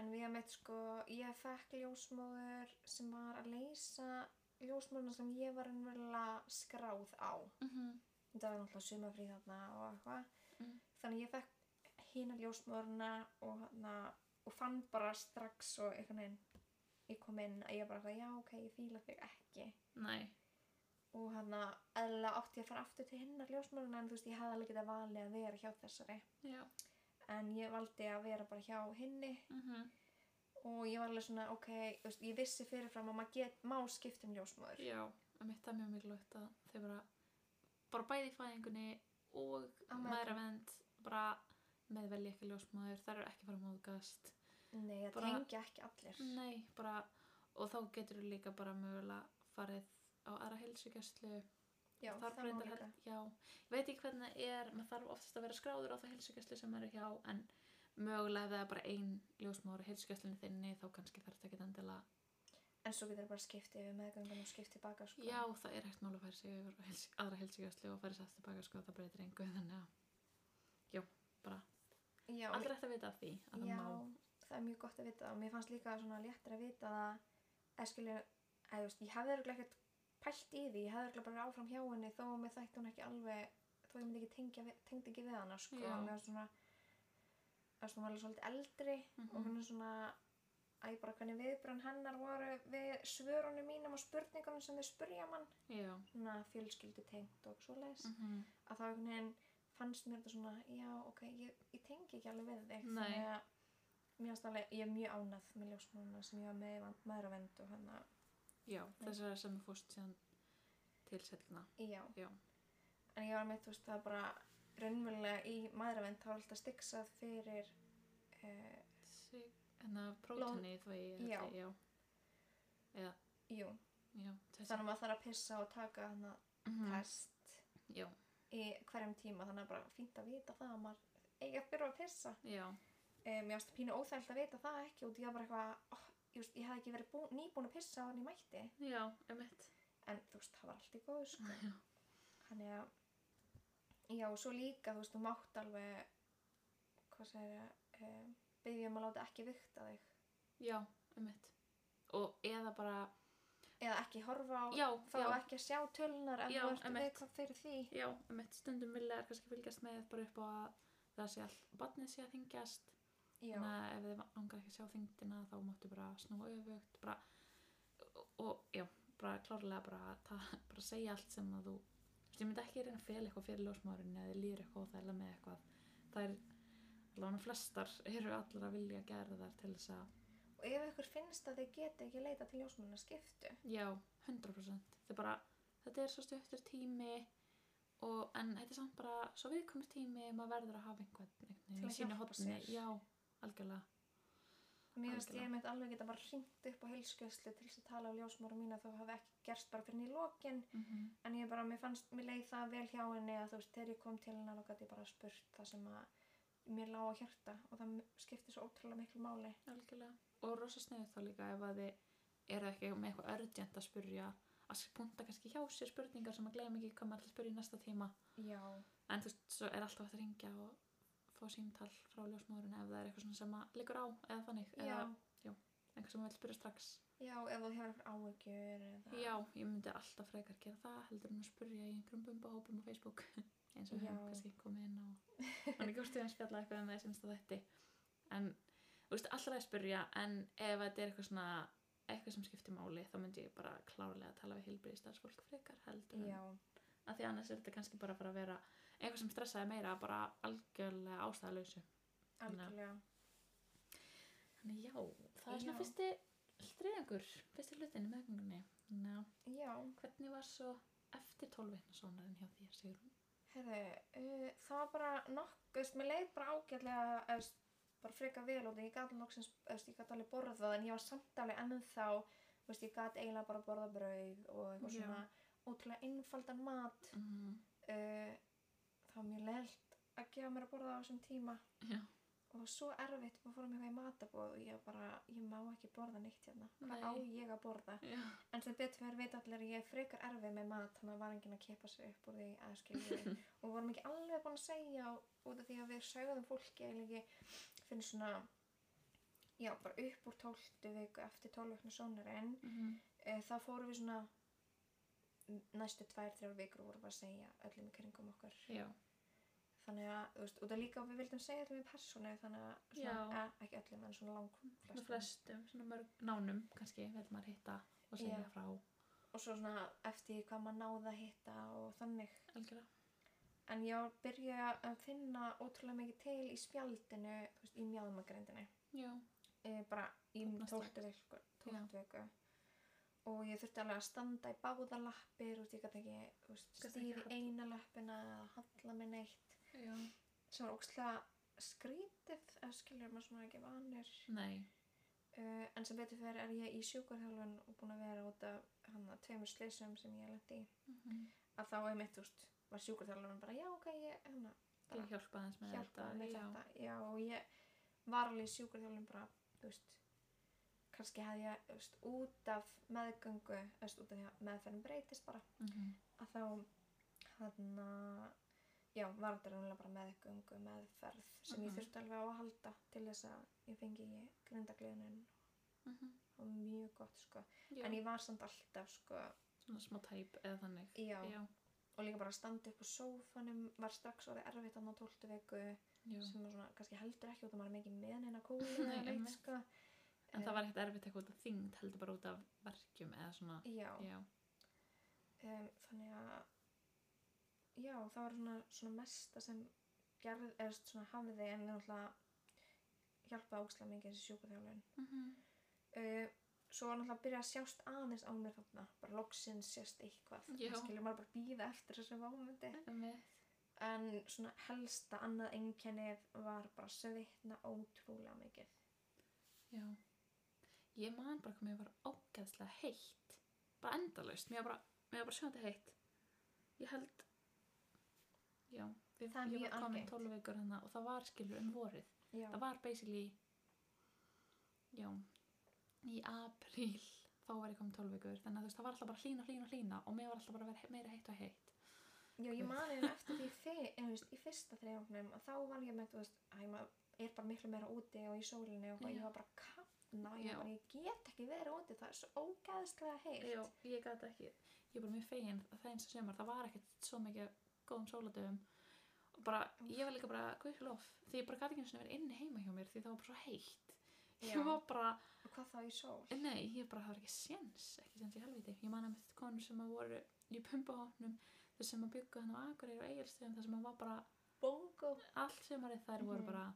[SPEAKER 1] En við meitt sko, ég fekk ljósmóður sem var að leysa ljósmóðurna sem ég var einverulega skráð á.
[SPEAKER 2] Mhm,
[SPEAKER 1] þetta var náttúrulega sumafrí þarna og eitthvað
[SPEAKER 2] Mm.
[SPEAKER 1] þannig ég fekk hina ljósmóruna og, þarna, og fann bara strax og einhvern veginn ég kom inn að ég bara eitthvað, já ok, ég fíla þig ekki
[SPEAKER 2] nei,
[SPEAKER 1] og hann að eðla átti ég að fara aftur til hinnar ljósmóruna en þú veist ég hefði alveg getað valið að vera hjá þessari
[SPEAKER 2] já
[SPEAKER 1] en ég valdi að vera bara hjá hinni
[SPEAKER 2] mhm,
[SPEAKER 1] og ég var alveg svona ok, þú veist, ég vissi fyrirfram að maður get, má skipta um ljósmóður
[SPEAKER 2] Já, að mitt það er mjög mikilvægt að þau bara, bara bæði í fæðingunni og
[SPEAKER 1] Á meðgöngu.
[SPEAKER 2] maðuravend bara með velja ekki ljósmaður, þær eru ekki fara móðgast.
[SPEAKER 1] nei, það
[SPEAKER 2] Bara-
[SPEAKER 1] tengja ekki allir
[SPEAKER 2] Nei, bara, og þá getur þú líka bara mögulega farið á aðra heilsugjastlu.
[SPEAKER 1] já, það, má líka
[SPEAKER 2] Já, ég veit ekki hvernig það er, maður þarf oftast að vera skráður á það heilsugjastlu sem maður er hjá, en mögulega ef það er bara ein ljósmaður á heilsugjastlunni þinni, þá kannski þarf þetta ekki endilega.
[SPEAKER 1] en svo getur það bara skipti yfir meðgöngun og skipti baka sko.
[SPEAKER 2] Já, það er ekkert mál að færa sig yfir á heils- aðra heilsugjastlu og færa sig aftur tilbaka sko, það breytir engu þannig að
[SPEAKER 1] Já,
[SPEAKER 2] allir ætti að vita af því að
[SPEAKER 1] já,
[SPEAKER 2] það má
[SPEAKER 1] það er mjög gott að vita það og mér fannst líka svona léttir að vita það eða skilja, eða þú veist, ég hefði örugglega ekkert pælt í því, ég hefði örugglega bara verið áfram hjá henni þó að mér þætti hún ekki alveg þó ég myndi ekki tengja, við- tengdi ekki við hana sko,
[SPEAKER 2] Já.
[SPEAKER 1] og mér var svona að svona var alveg svolítið eldri og
[SPEAKER 2] Mhm.
[SPEAKER 1] hún er svona að ég bara hvernig viðbrönd hennar voru við svörunum mínum og spurningunum sem þau spurja mann
[SPEAKER 2] já,
[SPEAKER 1] svona fjölskyldu tengt og svoleiðis
[SPEAKER 2] mhm,
[SPEAKER 1] að þá einhvern veginn fannst mér þetta svona já ok, ég, ég tengi ekki alveg við þig
[SPEAKER 2] Nei.
[SPEAKER 1] þannig að mér fannst alveg, ég er mjög ánæð með ljósmónuna sem ég var með í vand- maðuravend og hérna hann að,
[SPEAKER 2] já, þessar sem þú fórst síðan til setna,
[SPEAKER 1] já
[SPEAKER 2] já,
[SPEAKER 1] en ég var með, þú veist, það bara raunverulega í maðuravend þá er alltaf stiksað fyrir uh,
[SPEAKER 2] en að prótini þú ég,
[SPEAKER 1] Já.
[SPEAKER 2] já, eða,
[SPEAKER 1] jú,
[SPEAKER 2] já, þessi,
[SPEAKER 1] þannig að maður þarf að pissa og taka hann að
[SPEAKER 2] Mhm,
[SPEAKER 1] test
[SPEAKER 2] já,
[SPEAKER 1] í hverjum tíma þannig að bara fínt að vita það að maður eigi að byrja að pissa
[SPEAKER 2] já,
[SPEAKER 1] um, ég varst pínu óþægild að vita það ekki og ég var bara eitthvað oh, ég, veist, ég hafði ekki verið bú, nýbúin að pissa á hann ég mætti
[SPEAKER 2] já, emitt,
[SPEAKER 1] en þú veist, það var allt í góðu sko.
[SPEAKER 2] já,
[SPEAKER 1] þannig að já, og svo líka, þú veist, þú mátt alveg hvað segir ég um, byggja um að láta ekki vikta þig
[SPEAKER 2] já, emitt, og eða bara,
[SPEAKER 1] eða ekki horfa á
[SPEAKER 2] já,
[SPEAKER 1] þá
[SPEAKER 2] já,
[SPEAKER 1] ekki að sjá tölunar ef
[SPEAKER 2] Já,
[SPEAKER 1] þú ert
[SPEAKER 2] einmitt.
[SPEAKER 1] eitthvað fyrir því
[SPEAKER 2] já, emitt, stundum vilja er kannski fylgjast með bara upp á að það sé all, barnið sé að þingjast,
[SPEAKER 1] já,
[SPEAKER 2] þannig að ef þið langar ekki að sjá þingdina þá máttu bara snúa öfugt bara, og, og já, bara klárlega bara, ta, bara segja allt sem að þú þú veist, ég myndi ekki reyna að fela eitthvað fyrir ljósmárin eða þið líður eitthvað og þæla með eitthvað það er, alveg flestar eru allar að vilja gera þar til þess að
[SPEAKER 1] og ef ykkur finnst að þið geti ekki leita til ljósmunna skiptu
[SPEAKER 2] já, 100% þetta er bara, þetta er svo stuttur tími og, en þetta er samt bara svo viðkomur tími, maður verður að hafa einhvern, einhvern
[SPEAKER 1] Til
[SPEAKER 2] veginn
[SPEAKER 1] að
[SPEAKER 2] í sínu
[SPEAKER 1] hjálpa
[SPEAKER 2] horni,
[SPEAKER 1] sér.
[SPEAKER 2] já, algjörlega
[SPEAKER 1] mér finnst
[SPEAKER 2] Algjörlega.
[SPEAKER 1] ég mitt alveg geta bara hringt upp á heilskjöðslu til þess að tala á ljósmára mína þó hafi ekki gerst bara fyrir í lokin
[SPEAKER 2] mm -hmm.
[SPEAKER 1] en ég bara, mér fannst, mér leið það vel hjá henni að þú veist, þegar ég kom til hennar og gæti ég bara spurt það sem að mér lág á hjarta og það skipti svo ótrúlega miklu máli
[SPEAKER 2] Algjörlega. Og rosa sniðið þá líka ef að þið eru ekki með eitthvað örgjent að spurja að sk- punta kannski hjá sér spurningar sem að gleyma ekki hvað maður ætlar að spurja í næsta tíma.
[SPEAKER 1] já,
[SPEAKER 2] En þú veist, svo er alltaf hægt að ringja og fá símtal frá ljósmóðurinn ef það er eitthvað svona sem að liggur á eða þannig.
[SPEAKER 1] já,
[SPEAKER 2] Eða eitthvað sem maður vil spurja strax.
[SPEAKER 1] já, ef þú hefur einhver áhyggjur eða,
[SPEAKER 2] Já, ég myndi alltaf frekar gera það heldur en að spurja í einhverjum bumbahópum á Facebook eins og við
[SPEAKER 1] Já.
[SPEAKER 2] höfum kannski komið inn á hann ekki úrstu að spjalla eitthvað um með þessum stað þetta en, þú veist, allra að spurja en ef þetta er eitthvað svona eitthvað sem skiptir máli, þá myndi ég bara klárlega að tala við heilbriðistarsfólk frekar heldur
[SPEAKER 1] já,
[SPEAKER 2] en að því annars er þetta kannski bara að fara að vera eitthvað sem stressaði meira bara algjörlega ástæðalausu
[SPEAKER 1] algjörlega
[SPEAKER 2] þannig já, það er svona
[SPEAKER 1] Já.
[SPEAKER 2] fyrsti þriðangur, fyrsti hlutin í meðgöngunni Ná,
[SPEAKER 1] já,
[SPEAKER 2] hvernig var svo eftir 12 veitna sónarinn hjá þér, Sigrun?
[SPEAKER 1] herðu, uh, það var bara nokkuð, mér leið bara ágætlega eðst, bara freka vel og því ég gæti loksins, eðst, ég gæti alveg borðað en ég var samt alveg ennþá veist, ég gæti eiginlega bara borðað brauð og eitthvað
[SPEAKER 2] Já.
[SPEAKER 1] svona ótrúlega einfaldan mat
[SPEAKER 2] Mm,
[SPEAKER 1] uh, það var mjög leilt að gefa mér að borða á þessum tíma
[SPEAKER 2] já,
[SPEAKER 1] og það var svo erfitt, maður fórum eitthvað í matabóð og ég var bara, ég má ekki borða neitt hérna hvað
[SPEAKER 2] Nei.
[SPEAKER 1] á ég að borða
[SPEAKER 2] já,
[SPEAKER 1] en sem betur fyrir veit allir að ég er frekar erfið með mat þannig að var enginn að kepa sér upp úr því að skilja og við vorum ekki alveg búin að segja út af því að við sögðum fólki eiginlega ekki fyrir svona já, bara upp úr 12 viku eftir 12 vikna sónurinn
[SPEAKER 2] mm,
[SPEAKER 1] e, þá fórum við svona næstu 2-3 vikur vorum við að segja öllum í kringum okkur
[SPEAKER 2] já,
[SPEAKER 1] þannig að, þú veist, og það líka við vildum segja þetta með persónu, þannig að svona,
[SPEAKER 2] Já.
[SPEAKER 1] að, ekki öllum en svona
[SPEAKER 2] svona
[SPEAKER 1] langflestum
[SPEAKER 2] flestum, svona mörg nánum kannski, vil maður hitta og segja
[SPEAKER 1] Já.
[SPEAKER 2] frá
[SPEAKER 1] og svo svona eftir því hvað maður náði að hitta og þannig
[SPEAKER 2] algjörlega,
[SPEAKER 1] en ég var að byrja að finna ótrúlega mikið til í spjaldinu þú veist, í mjáðumagrindinu
[SPEAKER 2] já,
[SPEAKER 1] e, bara í
[SPEAKER 2] Þarna
[SPEAKER 1] tóltu viku, tóltu viku og ég þurfti alveg að standa í báða lappir og ég gæti ekki þú veist,
[SPEAKER 2] Gast
[SPEAKER 1] stíð
[SPEAKER 2] ekki
[SPEAKER 1] í eina lappina eða halla með neitt
[SPEAKER 2] já
[SPEAKER 1] sem var ókslega skrítið eða skilur maður svona ekki vanur
[SPEAKER 2] nei,
[SPEAKER 1] Uh, en sem betur fyrir er ég í sjúkarþjálfun og búin að vera út af hann að tveimur sleysum sem ég lendi í
[SPEAKER 2] mhm,
[SPEAKER 1] að þá er mitt úst var sjúkarþjálfun bara já ok ég hérna, hann
[SPEAKER 2] til að hjálpa aðeins með
[SPEAKER 1] hjálpa
[SPEAKER 2] þetta,
[SPEAKER 1] með
[SPEAKER 2] já,
[SPEAKER 1] þetta já og ég var alveg í sjúkarþjálfun bara þú veist kannski hefði ég þú veist, út af meðgöngu þú veist, út
[SPEAKER 2] Mm-hmm.
[SPEAKER 1] af því að meðferðin breytist bara
[SPEAKER 2] mhm,
[SPEAKER 1] að þá hann að já, var þetta rannlega bara meðgöngu meðferð sem ég
[SPEAKER 2] Mhm.
[SPEAKER 1] þurfti alveg á að halda til þess að ég fengi grindagliðunin
[SPEAKER 2] mm -hmm.
[SPEAKER 1] og mjög gott sko en ég var samt alltaf sko
[SPEAKER 2] svona smá tæp eða þannig
[SPEAKER 1] já,
[SPEAKER 2] já,
[SPEAKER 1] og líka bara að standa upp á sófanum var strax orðið erfitt hann á 12 viku
[SPEAKER 2] já.
[SPEAKER 1] sem var svona kannski heldur ekki út að maður er mikið með hennar kólu eða
[SPEAKER 2] Nei,
[SPEAKER 1] neitt
[SPEAKER 2] einmitt.
[SPEAKER 1] sko
[SPEAKER 2] en það var ekkert erfitt eitthvað út af þyngd heldur bara út af verkjum eða svona
[SPEAKER 1] já,
[SPEAKER 2] já,
[SPEAKER 1] um, þannig að já, það var svona, svona mesta sem gerð, eða svona hafði en náttúrulega hjálpaði ógstlega mikið þessi sjúkaþjálun
[SPEAKER 2] mm -hmm.
[SPEAKER 1] uh, svo var náttúrulega að byrja að sjást aðeins á mér þarna, bara loksins sést eitthvað
[SPEAKER 2] Já.
[SPEAKER 1] skilur maður bara býða eftir þessu vámundi
[SPEAKER 2] Einmitt.
[SPEAKER 1] en svona helsta annað einkennið var bara svitna ótrúlega mikið
[SPEAKER 2] já ég man bara hvað mér var ógeðslega heitt bara endalaust, mér var bara, mér var bara sjöndi heitt ég held já, við,
[SPEAKER 1] Það er
[SPEAKER 2] ég
[SPEAKER 1] mjög
[SPEAKER 2] var komin
[SPEAKER 1] algengt.
[SPEAKER 2] 12 vikur hana og það var skilur um vorið
[SPEAKER 1] já,
[SPEAKER 2] það var basically já í apríl þá var ég komin 12 vikur þannig að þú veist það var alltaf bara hlýna, hlýna, hlýna og mér var alltaf bara að vera he- meira heitt og heitt
[SPEAKER 1] já ég mani henni eftir því fyr, en, þú veist, í fyrsta þrejungnum að þá var ég með, þú veist, æ, maður er bara miklu meira úti og í sólinni og eitthvað,
[SPEAKER 2] Já.
[SPEAKER 1] ég var bara að kafna, ég,
[SPEAKER 2] Já.
[SPEAKER 1] var bara, ég get ekki verið úti það er svo ógæðslega heitt
[SPEAKER 2] Já, ég gæti ekki, ég er bara mjög fegin það eins og sumar, það var ekkert svo mikið af góðum sóladöfum og bara, ég var líka bara, guð lof því ég bara gæti ekki einu sinni verið inni heima hjá mér því það var bara svo heitt
[SPEAKER 1] Já.
[SPEAKER 2] ég var bara,
[SPEAKER 1] og hvað þá í sól
[SPEAKER 2] nei, ég bara, það var ekki séns ekki séns í helviti, ég man að með konur sem að voru í pumpahóknum þau sem að byggja hann á Akureyri og Egilstöðum þar sem að var bara,
[SPEAKER 1] bongo
[SPEAKER 2] allt sumarið þær voru
[SPEAKER 1] Mhm.
[SPEAKER 2] bara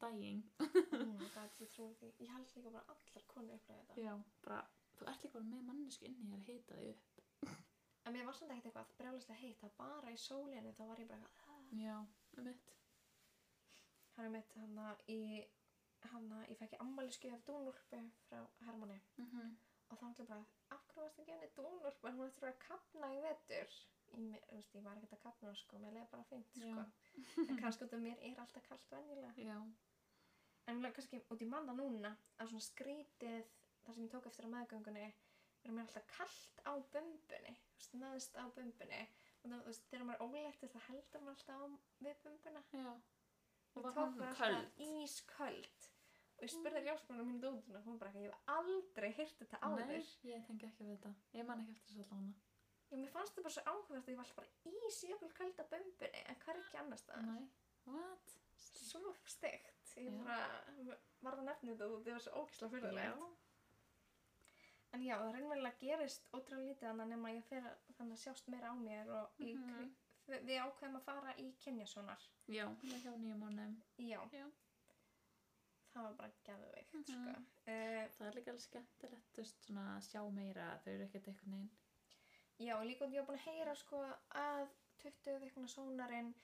[SPEAKER 2] dying,
[SPEAKER 1] mm, það, ég, trúi því. ég held líka bara allar konur upplega þetta
[SPEAKER 2] já, bara þú ert líka bara með mannesku inni þér að hita þig upp
[SPEAKER 1] En mér var samt ekkert eitthvað brjálislega heitt að bara í sólinni þá var ég bara eitthvað "Ah."
[SPEAKER 2] já, um mitt
[SPEAKER 1] Hann er mitt hann að í hann að ég fekk ammælisgjöf dúnúlpu frá Hermanni
[SPEAKER 2] mm
[SPEAKER 1] og þá ætla bara af hverju varst að gefa henni dúnúlpu en hún ætti að kapna í vetur í mér, þú veist, ég var ekkert að kapna sko mér leiði bara fint sko
[SPEAKER 2] Já.
[SPEAKER 1] en kannski út af mér er alltaf kalt venjulega
[SPEAKER 2] já,
[SPEAKER 1] en mér leiði kannski út í manna núna að svona skrítið þar sem ég tók eftir að meðgöngunni verður mér alltaf kalt á bumbunni þú veist, neðst á bumbunni og það, þú veist, þegar maður er óleitt þá heldur maður alltaf á við bumbuna
[SPEAKER 2] já
[SPEAKER 1] Ég
[SPEAKER 2] Og var
[SPEAKER 1] tók
[SPEAKER 2] hún
[SPEAKER 1] bara
[SPEAKER 2] köld?
[SPEAKER 1] alltaf ísköld og ég spurði ljósmanum mínu dótuna og hún bara ekki, ég hef aldrei hýrt þetta áður
[SPEAKER 2] Nei, ég tengi ekki við þetta. Ég man ekki eftir þessu allavega.
[SPEAKER 1] Já, mér fannst þetta bara svo áhugavert að ég var alltaf bara ís í okkur köld á bumbunni en hvað er ekki annars það?
[SPEAKER 2] Nei, what?
[SPEAKER 1] Svo steikt ég
[SPEAKER 2] Já.
[SPEAKER 1] bara varð að nefna þetta og þetta var svo ókíslega fyrirlegt
[SPEAKER 2] Já.
[SPEAKER 1] En já, það reynverulega gerist ótrúlega lítið þannig nema ég fer að- þannig að sjást meira á mér og mm
[SPEAKER 2] Mhm.
[SPEAKER 1] við, við ákveðum að fara í kynjasónar
[SPEAKER 2] Já, hún var hjá nýjum mánuðum.
[SPEAKER 1] Já,
[SPEAKER 2] Já.
[SPEAKER 1] það var bara geðveikt
[SPEAKER 2] Mhm.
[SPEAKER 1] sko. uh,
[SPEAKER 2] Það er líka alveg skemmtilegt, þú veist, svona að sjá meira að þau eru ekkert einhvern veginn.
[SPEAKER 1] Já, og líka út ég var búin að heyra sko að 20 vikna sónarinn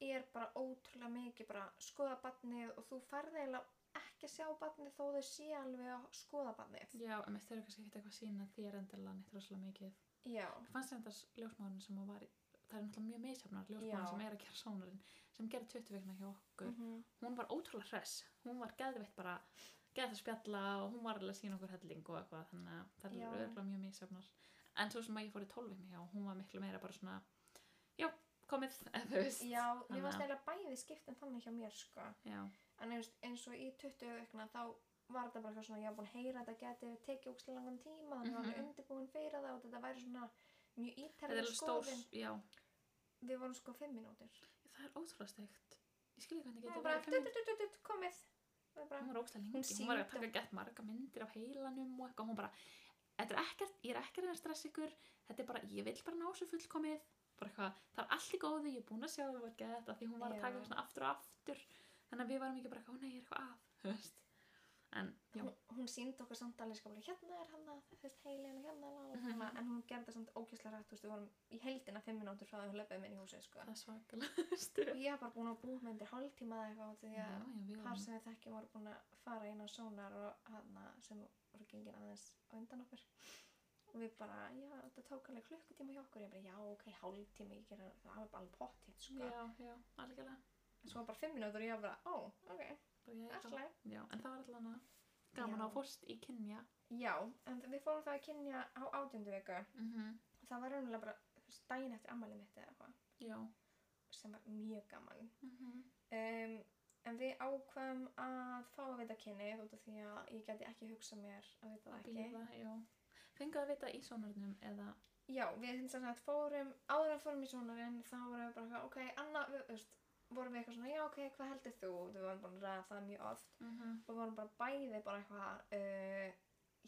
[SPEAKER 1] er bara ótrúlega mikið bara skoða barnið og þú færði eiginlega ekki að sjá barnið þó þau sé alveg að skoða barnið.
[SPEAKER 2] Já, en þau eru kannski ekkert eitthvað að sína þér endilega neitt rosalega mikið.
[SPEAKER 1] Já,
[SPEAKER 2] Mér fannst þetta ljósmáðurinn sem hún var, í- það er náttúrulega mjög meðsefnar,
[SPEAKER 1] Já.
[SPEAKER 2] ljósmáðurinn sem er að gera sónarinn, sem gerir 20 vikna hjá okkur. Hún var ótrúlega hress. Hún var geðveitt bara, geðveitt að spjalla og hún var alveg að sína okkur helling og eitthvað, þannig að það
[SPEAKER 1] Já.
[SPEAKER 2] er auðvitað mjög misjafnar. En svo sem að ég fór í 12 vikna hjá, hún var miklu meira bara svona, já, komið, eða þú veist.
[SPEAKER 1] já, mér
[SPEAKER 2] Þannig
[SPEAKER 1] varst
[SPEAKER 2] að-
[SPEAKER 1] eiginlega bæði skiptin þannig hjá mér sko.
[SPEAKER 2] Já,
[SPEAKER 1] En eins, eins og í 20 vikna þá var þetta bara eitthvað svona, ég var búin að heyra að þetta geti tekið ókslega langan tíma, þannig að mm
[SPEAKER 2] Mhm.
[SPEAKER 1] -hmm. undirbúin fyrir það og þetta væri svona mjög
[SPEAKER 2] þetta er
[SPEAKER 1] ítarlega
[SPEAKER 2] alveg stór,
[SPEAKER 1] skoðin.
[SPEAKER 2] já,
[SPEAKER 1] Við vorum sko 5 mínútur.
[SPEAKER 2] það er ótrúlega steikt. Ég skilja hvernig
[SPEAKER 1] Hún
[SPEAKER 2] getur
[SPEAKER 1] var bara,
[SPEAKER 2] verið fimm
[SPEAKER 1] "Tut, tut, tut, tut, komið. Við bara,
[SPEAKER 2] Hún var ókslega
[SPEAKER 1] Hún
[SPEAKER 2] lengi, hún var að
[SPEAKER 1] sýndi-
[SPEAKER 2] taka gett marga myndir af heilanum og eitthvað, hún bara, þetta er ekkert, ég er ekki að reyna að stressa ykkur, þetta er bara, ég vil bara ná svo fullkomið, bara eitthvað, það er allt í góðu, ég er búin að sjá það var gett, af því hún var að taka
[SPEAKER 1] Já.
[SPEAKER 2] svona aftur og aftur, þannig að við varum ekki bara, eitthvað, ó nei, ég er eitthvað að, þú veist, en, já,
[SPEAKER 1] hún, hún síndi okkur samt alveg skaplega hérna er hann að þess heilin og hérna la, la, la, la,
[SPEAKER 2] Mhm.
[SPEAKER 1] en hún gerði það samt ógeðslega rætt þú veist, við vorum í heldina fimm minútur frá því að hún löpum inn í húsið sko.
[SPEAKER 2] það er svakalega stuð.
[SPEAKER 1] og ég var bara búin að búa með undir hálftíma eða eitthvað út af því
[SPEAKER 2] Já,
[SPEAKER 1] að
[SPEAKER 2] já, við
[SPEAKER 1] par
[SPEAKER 2] varum,
[SPEAKER 1] sem við þekkjum voru búin að fara inn á sónar og hana sem voru gengin aðeins á undan okkur og við bara, já, þetta tók alveg klukkutíma hjá okkur ég bara, já, ok, hálftíma, ég gera það var bara alveg pott hitt, sko
[SPEAKER 2] já, já, algjörlega,
[SPEAKER 1] svo var bara fimm minútur og ég var bara, ó, ok,
[SPEAKER 2] bara ég
[SPEAKER 1] alltaf
[SPEAKER 2] já, en það var allan að, gaman
[SPEAKER 1] Já.
[SPEAKER 2] á fórst í kynja,
[SPEAKER 1] já, en við fórum það að kynja á átjöndu viku
[SPEAKER 2] mm
[SPEAKER 1] Mhm. það var raunlega bara þú veist, daginn eftir ammæli mitt eða eitthvað
[SPEAKER 2] já,
[SPEAKER 1] sem var mjög gaman
[SPEAKER 2] Mm -hmm.
[SPEAKER 1] um, en við ákveðum að fá að vita kynnið út af því að ég geti ekki hugsað mér að vita það
[SPEAKER 2] Að
[SPEAKER 1] ekki
[SPEAKER 2] býða, já. Fenguð að vita í sónurnum eða...
[SPEAKER 1] já, við hins að fórum áður en fórum í sonarinn þá vorum við bara eitthvað, ok, Anna við, þú veist, vorum við eitthvað svona, já ok, hvað heldur þú við vorum búin að ræða það mjög oft
[SPEAKER 2] Mm -hmm.
[SPEAKER 1] og vorum bara bæði bara eitthvað uh,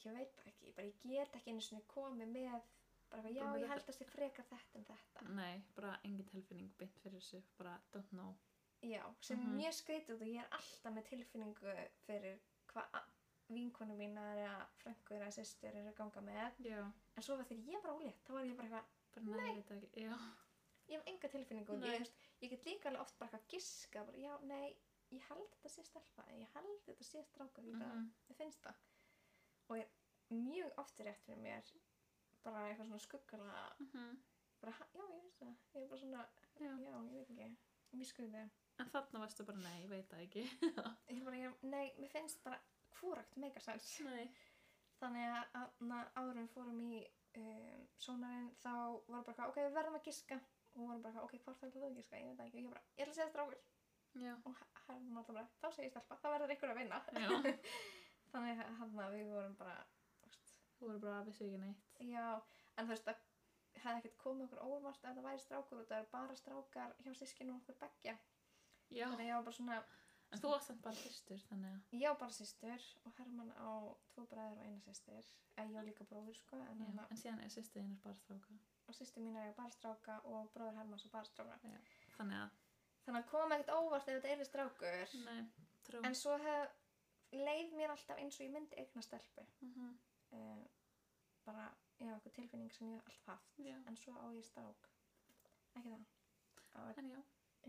[SPEAKER 1] ég veit það ekki, bara ég get ekki einu sinni komið með bara eitthvað,
[SPEAKER 2] Bara með
[SPEAKER 1] já, ég
[SPEAKER 2] þetta-
[SPEAKER 1] held að sé frekar þetta en þetta
[SPEAKER 2] Nei, bara engin tilfinning beint fyrir þessu, bara don't know.
[SPEAKER 1] Já, sem mm
[SPEAKER 2] Mhm.
[SPEAKER 1] -hmm. mér skrítið og ég er alltaf með tilfinningu fyrir hvað a- vinkonu mínar eða frængur eða sýstur eru að ganga með.
[SPEAKER 2] Já.
[SPEAKER 1] En svo var þegar ég var ólétt, þá var ég bara eitthvað,
[SPEAKER 2] Bara neður þetta ekki, já.
[SPEAKER 1] ég hef enga tilfinningu.
[SPEAKER 2] Nei.
[SPEAKER 1] Ég, veist, ég get líka alveg oft bara eitthvað giska, bara, já, nei, ég held þetta sé stelpa, eða ég held þetta sé strákur, ég
[SPEAKER 2] Mm
[SPEAKER 1] bara, mm -hmm. finnst það. Og ég mjög oft er rétt fyrir mér, bara eitthvað svona skuggala,
[SPEAKER 2] mhm.
[SPEAKER 1] bara, "Ha- já, ég veist það, ég er bara svona,
[SPEAKER 2] Já.
[SPEAKER 1] já, ég veit ekki, mjög skrítið.
[SPEAKER 2] En þarna varstu bara, nei, ég veit það ekki.
[SPEAKER 1] ég bara, ég, nei, mér finnst bara hvúrakt megasens
[SPEAKER 2] Nei.
[SPEAKER 1] þannig að þarna áður en við fórum í um, sónarinn þá var bara eitthvað, ok, við verðum að giska og hún var bara, eitthvað, ok, hvort ætlaðu þú að giska, ég veit það ekki og ég bara, ég ætla að segja strákur
[SPEAKER 2] Já.
[SPEAKER 1] og h- hann var alltaf bara, þá segir stelpa, það verður ykkur að vinna
[SPEAKER 2] Já.
[SPEAKER 1] þannig að hann að við vorum bara þú veist,
[SPEAKER 2] Þú voru bara að vissu ekki neitt.
[SPEAKER 1] já, en þú veist að hefði ekkert komið okkur óvart að það væri strákur og það eru bara strákar hjá sískinu okkur beggja
[SPEAKER 2] Já.
[SPEAKER 1] þannig að ég var bara svona,
[SPEAKER 2] En þú varst samt bara fyrstur, þannig að...
[SPEAKER 1] Ég á bara sýstur og Herman á tvo bræður og eina sýstur. Ég á líka bróður sko, en
[SPEAKER 2] Já.
[SPEAKER 1] hann á-
[SPEAKER 2] En síðan er sýstu einar bara stráka.
[SPEAKER 1] og sýstur mín er bara stráka og bróður Hermans er bara stráka.
[SPEAKER 2] Þannig að,
[SPEAKER 1] Þannig að kom ekkert óvart ef þetta er strákur.
[SPEAKER 2] nei, trú.
[SPEAKER 1] En svo hef, leið mér alltaf eins og ég myndi eigna stelpu.
[SPEAKER 2] Mhm.
[SPEAKER 1] Uh, bara, ég hef eitthvað tilfinning sem ég hef alltaf haft.
[SPEAKER 2] Já.
[SPEAKER 1] En svo á ég strák. Ekki það. Á,
[SPEAKER 2] En já.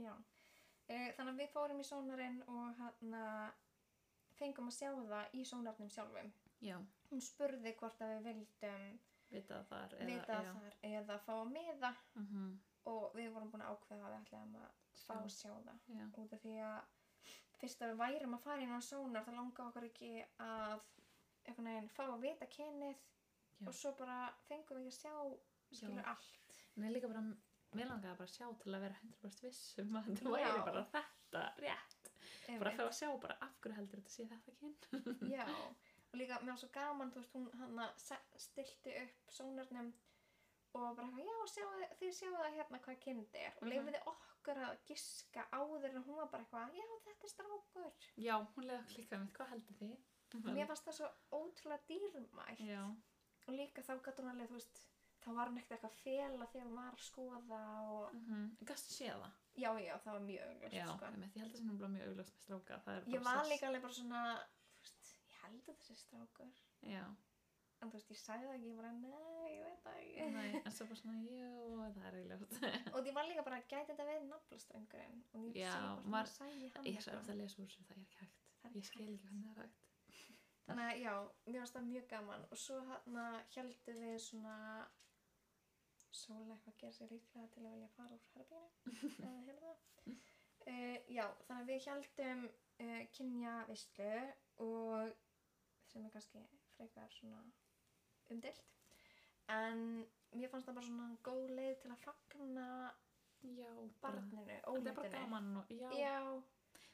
[SPEAKER 1] já. Uh, þannig að við fórum í sónarinn og hann fengum að sjá það í sónarnum sjálfum.
[SPEAKER 2] Já.
[SPEAKER 1] Hún spurði hvort að við vildum
[SPEAKER 2] Vita að þar.
[SPEAKER 1] vita
[SPEAKER 2] já.
[SPEAKER 1] þar eða fá að miða
[SPEAKER 2] Mhm.
[SPEAKER 1] og við vorum búin að ákveða að við ætlaðum að fá að sjá það
[SPEAKER 2] Já.
[SPEAKER 1] út af því að fyrst að við værum að fara inn á sónar þá langaði okkur ekki að einhvern veginn fá að vita kennið
[SPEAKER 2] Já.
[SPEAKER 1] og svo bara fengum við ekki að sjá skilur
[SPEAKER 2] Já.
[SPEAKER 1] allt
[SPEAKER 2] Nei, líka bara, mér langaði bara að sjá til að vera 100% viss um að þetta
[SPEAKER 1] Já.
[SPEAKER 2] væri bara þetta rétt. Bara
[SPEAKER 1] Einmitt.
[SPEAKER 2] að fá að sjá bara af hverju heldur þetta sé þetta kyn.
[SPEAKER 1] Já, og líka mér var svo gaman, þú veist, hún hann stilti upp sónarnum og bara eitthvað, já, sjáu, þið sjáu það hérna hvað kynnið er og
[SPEAKER 2] Mhm.
[SPEAKER 1] leifiði okkur að giska áður en hún var bara eitthvað, já, þetta er strákur.
[SPEAKER 2] Já, hún leiði okkur líka um hvað heldur þið?
[SPEAKER 1] Mér fannst það svo ótrúlega dýrmætt
[SPEAKER 2] Mhm. Já,
[SPEAKER 1] og líka þá gæti hún alveg, þú veist, þá var hún ekkert eitthvað að fela þegar hún var að skoða og
[SPEAKER 2] mm -hmm. gastu séð það?
[SPEAKER 1] já, já, það var mjög auglust,
[SPEAKER 2] Já,
[SPEAKER 1] sko.
[SPEAKER 2] einmitt, ég held að það sem er mjög augljóst með stráka. Það er bara
[SPEAKER 1] Ég var
[SPEAKER 2] sest-
[SPEAKER 1] líka alveg bara svona, þú veist, ég held að þessi strákur,
[SPEAKER 2] Já,
[SPEAKER 1] en þú veist, ég sagði það ekki, ég bara, nei, ég veit það ekki.
[SPEAKER 2] nei, en svo bara svona, jú, það er augljóst.
[SPEAKER 1] Og því var líka bara, gæti þetta verið naflaströngurinn? Og ég
[SPEAKER 2] Já,
[SPEAKER 1] sé hvort
[SPEAKER 2] maður-
[SPEAKER 1] maður sæði hann.
[SPEAKER 2] ég er svo
[SPEAKER 1] sko.
[SPEAKER 2] eftir að lesa úr þessu, það er ekki hægt.
[SPEAKER 1] Það er
[SPEAKER 2] Ég
[SPEAKER 1] ekki
[SPEAKER 2] skil ekki hvernig það er hægt.
[SPEAKER 1] Þannig að já, mér varst það mjög gaman. Og svo hann heldur við svona, Sóla eitthvað gera sér líklega til að vilja fara úr herrbínu, eða hérna. Uh, já, þannig að við heldum uh, kynja veistlu og sem er kannski frekar svona umdilt. En mér fannst það bara svona góð leið til að fagna
[SPEAKER 2] Já, bara,
[SPEAKER 1] barninu,
[SPEAKER 2] það er bara
[SPEAKER 1] óléttunni.
[SPEAKER 2] gaman og, já,
[SPEAKER 1] Já,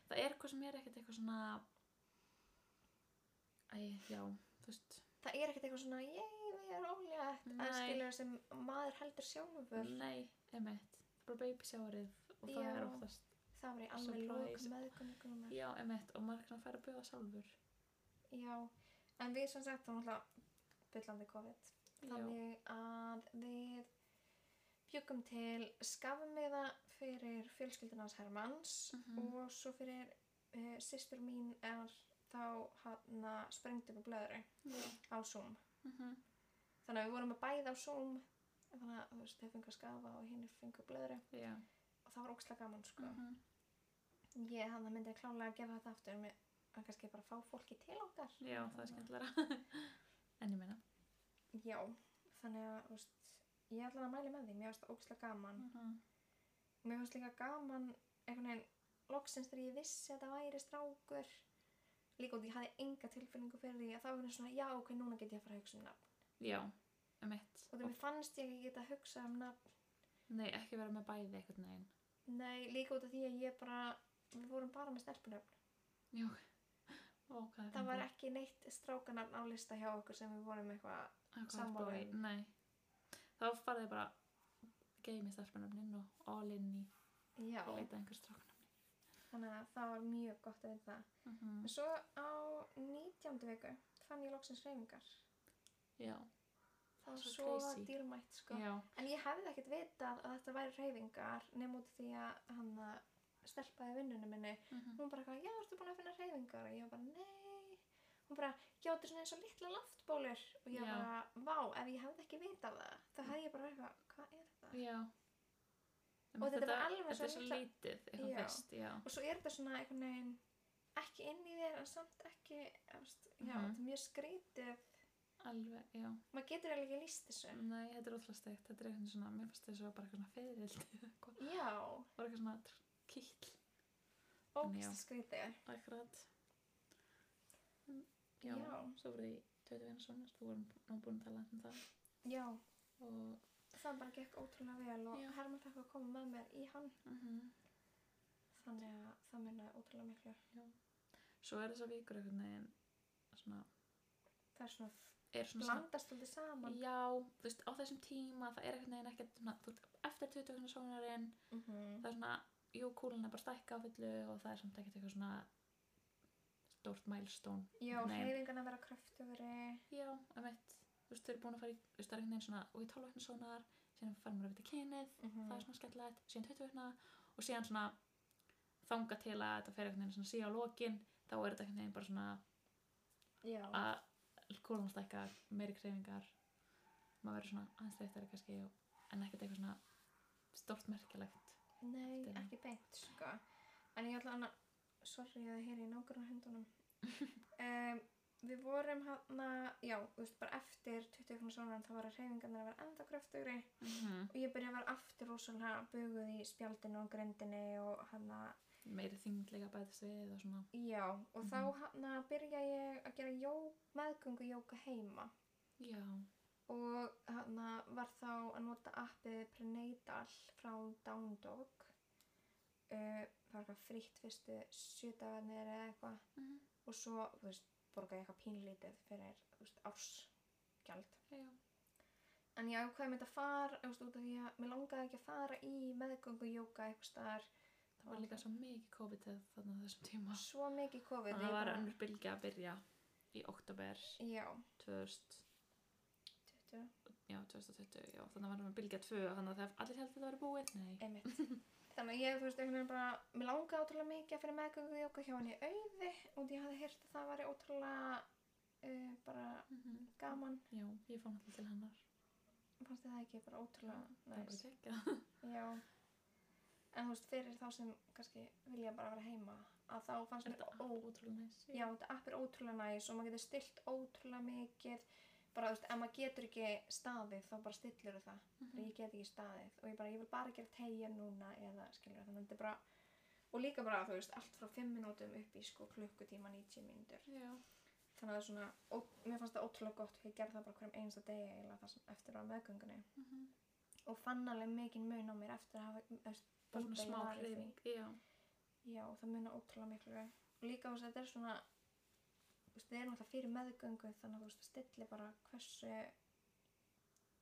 [SPEAKER 2] það er eitthvað sem er ekkert eitthvað svona Æ, já, þú veist
[SPEAKER 1] það er ekkert eitthvað svona ég, við erum ólétt en
[SPEAKER 2] Nei.
[SPEAKER 1] skilur sem maður heldur sjálfur
[SPEAKER 2] Nei, emitt, bara babysjárið og það
[SPEAKER 1] Já.
[SPEAKER 2] er oftast
[SPEAKER 1] það var í alveg lók
[SPEAKER 2] Surprise.
[SPEAKER 1] meðgöngunar
[SPEAKER 2] Já, emitt, og maður kannar færa að bjóða sjálfur
[SPEAKER 1] já, en við sem sagt þá náttúrulega byllandi COVID þannig að við bjögum til skafmiða fyrir fjölskyldunars Hermanns
[SPEAKER 2] Mhm.
[SPEAKER 1] og svo fyrir uh, systur mín er þá hann sprengtum við blöðru
[SPEAKER 2] Já, já.
[SPEAKER 1] á Zoom
[SPEAKER 2] Mm -hmm.
[SPEAKER 1] þannig að við vorum að bæða á Zoom þannig að þú veist, þau fengu að skafa og hinn fengu blöðru
[SPEAKER 2] já.
[SPEAKER 1] og það var ógstlega gaman sko
[SPEAKER 2] Mm -hmm.
[SPEAKER 1] Ég hann myndi klálega að gefa þetta aftur með að kannski bara fá fólki til okkar.
[SPEAKER 2] já, það er skemmtilega En ég meina
[SPEAKER 1] Já, þannig að þú veist, ég ætla að mæli með því, mér finnst það ógslag gaman.
[SPEAKER 2] mm -hmm.
[SPEAKER 1] Mér finnst líka gaman einhvern veginn loksins þegar ég vissi að það væri strákur. Líka út, í ég hafði enga tilfinningu fyrir því að það var svona, já, ok, núna get ég að fara að hugsa um nafn.
[SPEAKER 2] Já, emitt
[SPEAKER 1] Og það mér fannst ég ekki geta að hugsa um nafn,
[SPEAKER 2] Nei, ekki vera með bæði einhvern veginn
[SPEAKER 1] Nei, líka út af því að ég bara, við vorum bara með stelpunöfn.
[SPEAKER 2] Jú. Ó, hvað er
[SPEAKER 1] Það var ekki neitt strákanafn á lista hjá okkur sem við vorum eitthvað, sammála
[SPEAKER 2] sammála.
[SPEAKER 1] um.
[SPEAKER 2] Nei. Þá farið þið bara geimi starfsmennafnin og all in í
[SPEAKER 1] já,
[SPEAKER 2] að leita einhver stráknafni.
[SPEAKER 1] þannig að það var mjög gott að vita.
[SPEAKER 2] Mm
[SPEAKER 1] En Svo á 19. viku fann ég loksins reyfingar.
[SPEAKER 2] Já.
[SPEAKER 1] Það var
[SPEAKER 2] Svo
[SPEAKER 1] svo
[SPEAKER 2] crazy.
[SPEAKER 1] dýrmætt, sko.
[SPEAKER 2] Já.
[SPEAKER 1] En ég hefði ekkert vitað að þetta væri reyfingar nema út af því að hann stelpaði vinnunum minni.
[SPEAKER 2] Mm -hmm.
[SPEAKER 1] Hún bara, eitthvað, já, ertu búin að finna reyfingar? Og ég bara, nei. Hún bara, já, þetta er svona eins og litla loftbólur. Og ég
[SPEAKER 2] Já.
[SPEAKER 1] bara, vá, ef ég hefði ekki vitað það, þá hefði ég bara verið eitthvað, hvað er þetta?
[SPEAKER 2] Já.
[SPEAKER 1] Og þetta var alveg svo
[SPEAKER 2] þetta er svo
[SPEAKER 1] litla-
[SPEAKER 2] lítið, eitthvað
[SPEAKER 1] Já.
[SPEAKER 2] fyrst, já.
[SPEAKER 1] Og svo er þetta svona einhvern veginn ekki inn í þér en samt ekki, efst, já,
[SPEAKER 2] Mhm.
[SPEAKER 1] þetta er mjög skrítið.
[SPEAKER 2] Alveg, já.
[SPEAKER 1] Maður getur eiginlega ekki líst þessu.
[SPEAKER 2] Nei, þetta er ótrúlega steikt. Þetta er eitthvað svona, mér fannst þessu var bara eitthvað svona feðrildi eða eitthvað.
[SPEAKER 1] Já,
[SPEAKER 2] Var eitthvað svona tr- kýll.
[SPEAKER 1] ógæst skrítið.
[SPEAKER 2] Akkurat. Já.
[SPEAKER 1] Já.
[SPEAKER 2] já. Svo voru því Tötu Vinnarssonar, þú vorum nú búin að tala um það.
[SPEAKER 1] já.
[SPEAKER 2] Og
[SPEAKER 1] það bara gekk ótrúlega vel og
[SPEAKER 2] Já.
[SPEAKER 1] Herman fekk að koma með mér í hann
[SPEAKER 2] mm
[SPEAKER 1] þannig að það minnaði ótrúlega miklu
[SPEAKER 2] svo er þessar vikur einhvern veginn svona,
[SPEAKER 1] það er svona
[SPEAKER 2] er svona
[SPEAKER 1] blandast alltaf saman
[SPEAKER 2] já, þú veist, á þessum tíma það er einhvern veginn ekkert svona, þú veist, eftir 20. sónarinn,
[SPEAKER 1] mm -hmm.
[SPEAKER 2] það er svona jú, kúlun er bara stækka á fullu og það er samt ekkert eitthvað svona stórt milestone
[SPEAKER 1] já,
[SPEAKER 2] Nei.
[SPEAKER 1] hreyfingarna vera kröftugri
[SPEAKER 2] já, um eitt, þú veist, þau eru búin að fara í þú veist, það er einhvern veginn svona, og í 12 veginn sónar síðan fara maður að vita kynið,
[SPEAKER 1] mm
[SPEAKER 2] það er svona skemmtilegt síðan 20 veginn og síðan svona þanga til að þetta fer einhvern veginn svona síðan á lokin, þá er þetta einhvern veginn bara svona
[SPEAKER 1] já,
[SPEAKER 2] að kúlan stækkar, meiri kreyfingar maður verður svona aðeins þreyttari kannski og- en ekkert eitthvað svona stórt merkilegt
[SPEAKER 1] nei,
[SPEAKER 2] Þetta er-
[SPEAKER 1] ekki beint sko. en ég ætla annað sorry að það heyri í nákvæmna hundunum um, við vorum hann já, þú veist, bara eftir 20 ekkurna svona þá var hreyfingarna að vera enda kröftugri
[SPEAKER 2] mm -hmm.
[SPEAKER 1] og ég byrjaði að vera aftur rosalega buguð í spjaldinu og grindinni og hann
[SPEAKER 2] meiri þingleika bætist við og svona
[SPEAKER 1] Já, og þá
[SPEAKER 2] Mhm.
[SPEAKER 1] hann að byrja ég að gera jó, meðgöngu jóka heima
[SPEAKER 2] já,
[SPEAKER 1] og hann var þá að nota appið Prenatal frá Down Dog uh, það var eitthvað frítt fyrstu sjö dagarnir eða eitthvað
[SPEAKER 2] Mhm.
[SPEAKER 1] og svo, þú veist, borgaði ég eitthvað pínlítið fyrir, þú veist, ársgjald
[SPEAKER 2] já,
[SPEAKER 1] en ég ákveði mitt að fara, þú veist, út af því að mér langaði ekki að fara í meðgöngu jóka eitthvað staðar
[SPEAKER 2] það var líka svo mikið COVID eða þannig á þessum tíma
[SPEAKER 1] svo mikið COVID
[SPEAKER 2] þannig að
[SPEAKER 1] ég
[SPEAKER 2] það var
[SPEAKER 1] bara-
[SPEAKER 2] önnur bylgja að byrja í oktober
[SPEAKER 1] Já,
[SPEAKER 2] 2000,
[SPEAKER 1] 20,
[SPEAKER 2] já, 2020 já, þannig að var önnur bylgja 2 þannig að það allir heldur þetta verið búið nei,
[SPEAKER 1] einmitt þannig að ég, þú veist, einhvern veginn bara mér langaði ótrúlega mikið að fyrir meðgöngu jóka hjá henni auði og ég hafði heyrt að það væri ótrúlega uh, bara
[SPEAKER 2] mm
[SPEAKER 1] gaman
[SPEAKER 2] já, ég fann allir til hennar
[SPEAKER 1] fannst þið það ekki bara ótrúlega
[SPEAKER 2] það var
[SPEAKER 1] næs
[SPEAKER 2] ekki ekki
[SPEAKER 1] já en þú veist, fyrir þá sem kannski vilja bara vera heima að þá fannst mér
[SPEAKER 2] þetta
[SPEAKER 1] ó,
[SPEAKER 2] ótrúlega næs
[SPEAKER 1] já, þetta app er ótrúlega næs og maður getur stilt ótrúlega mikið bara, þú veist, ef maður getur ekki staðið þá bara stillur það
[SPEAKER 2] Mhm.
[SPEAKER 1] bara ég get ekki staðið og ég bara, ég vil bara gera tegja núna eða skilur þannig að þetta er bara og líka bara, þú veist, allt frá 5 minútum upp í sko klukkutíma 90 mínútur
[SPEAKER 2] já,
[SPEAKER 1] þannig að það er svona, ó, mér fannst það ótrúlega gott og ég gerði það bara hverjum einasta degi eiginlega það sem eftir á meðgöngunni
[SPEAKER 2] mm -hmm.
[SPEAKER 1] og fann alveg mikinn mun á mér eftir að hafa eftir,
[SPEAKER 2] bara svona
[SPEAKER 1] út að ég
[SPEAKER 2] smá
[SPEAKER 1] var í því.
[SPEAKER 2] hreyfing já,
[SPEAKER 1] já, það muna ótrúlega miklu og líka þú veist, þetta er svona þú veist, það er náttúrulega fyrir meðgöngu þannig að þú veist, það stilli bara hversu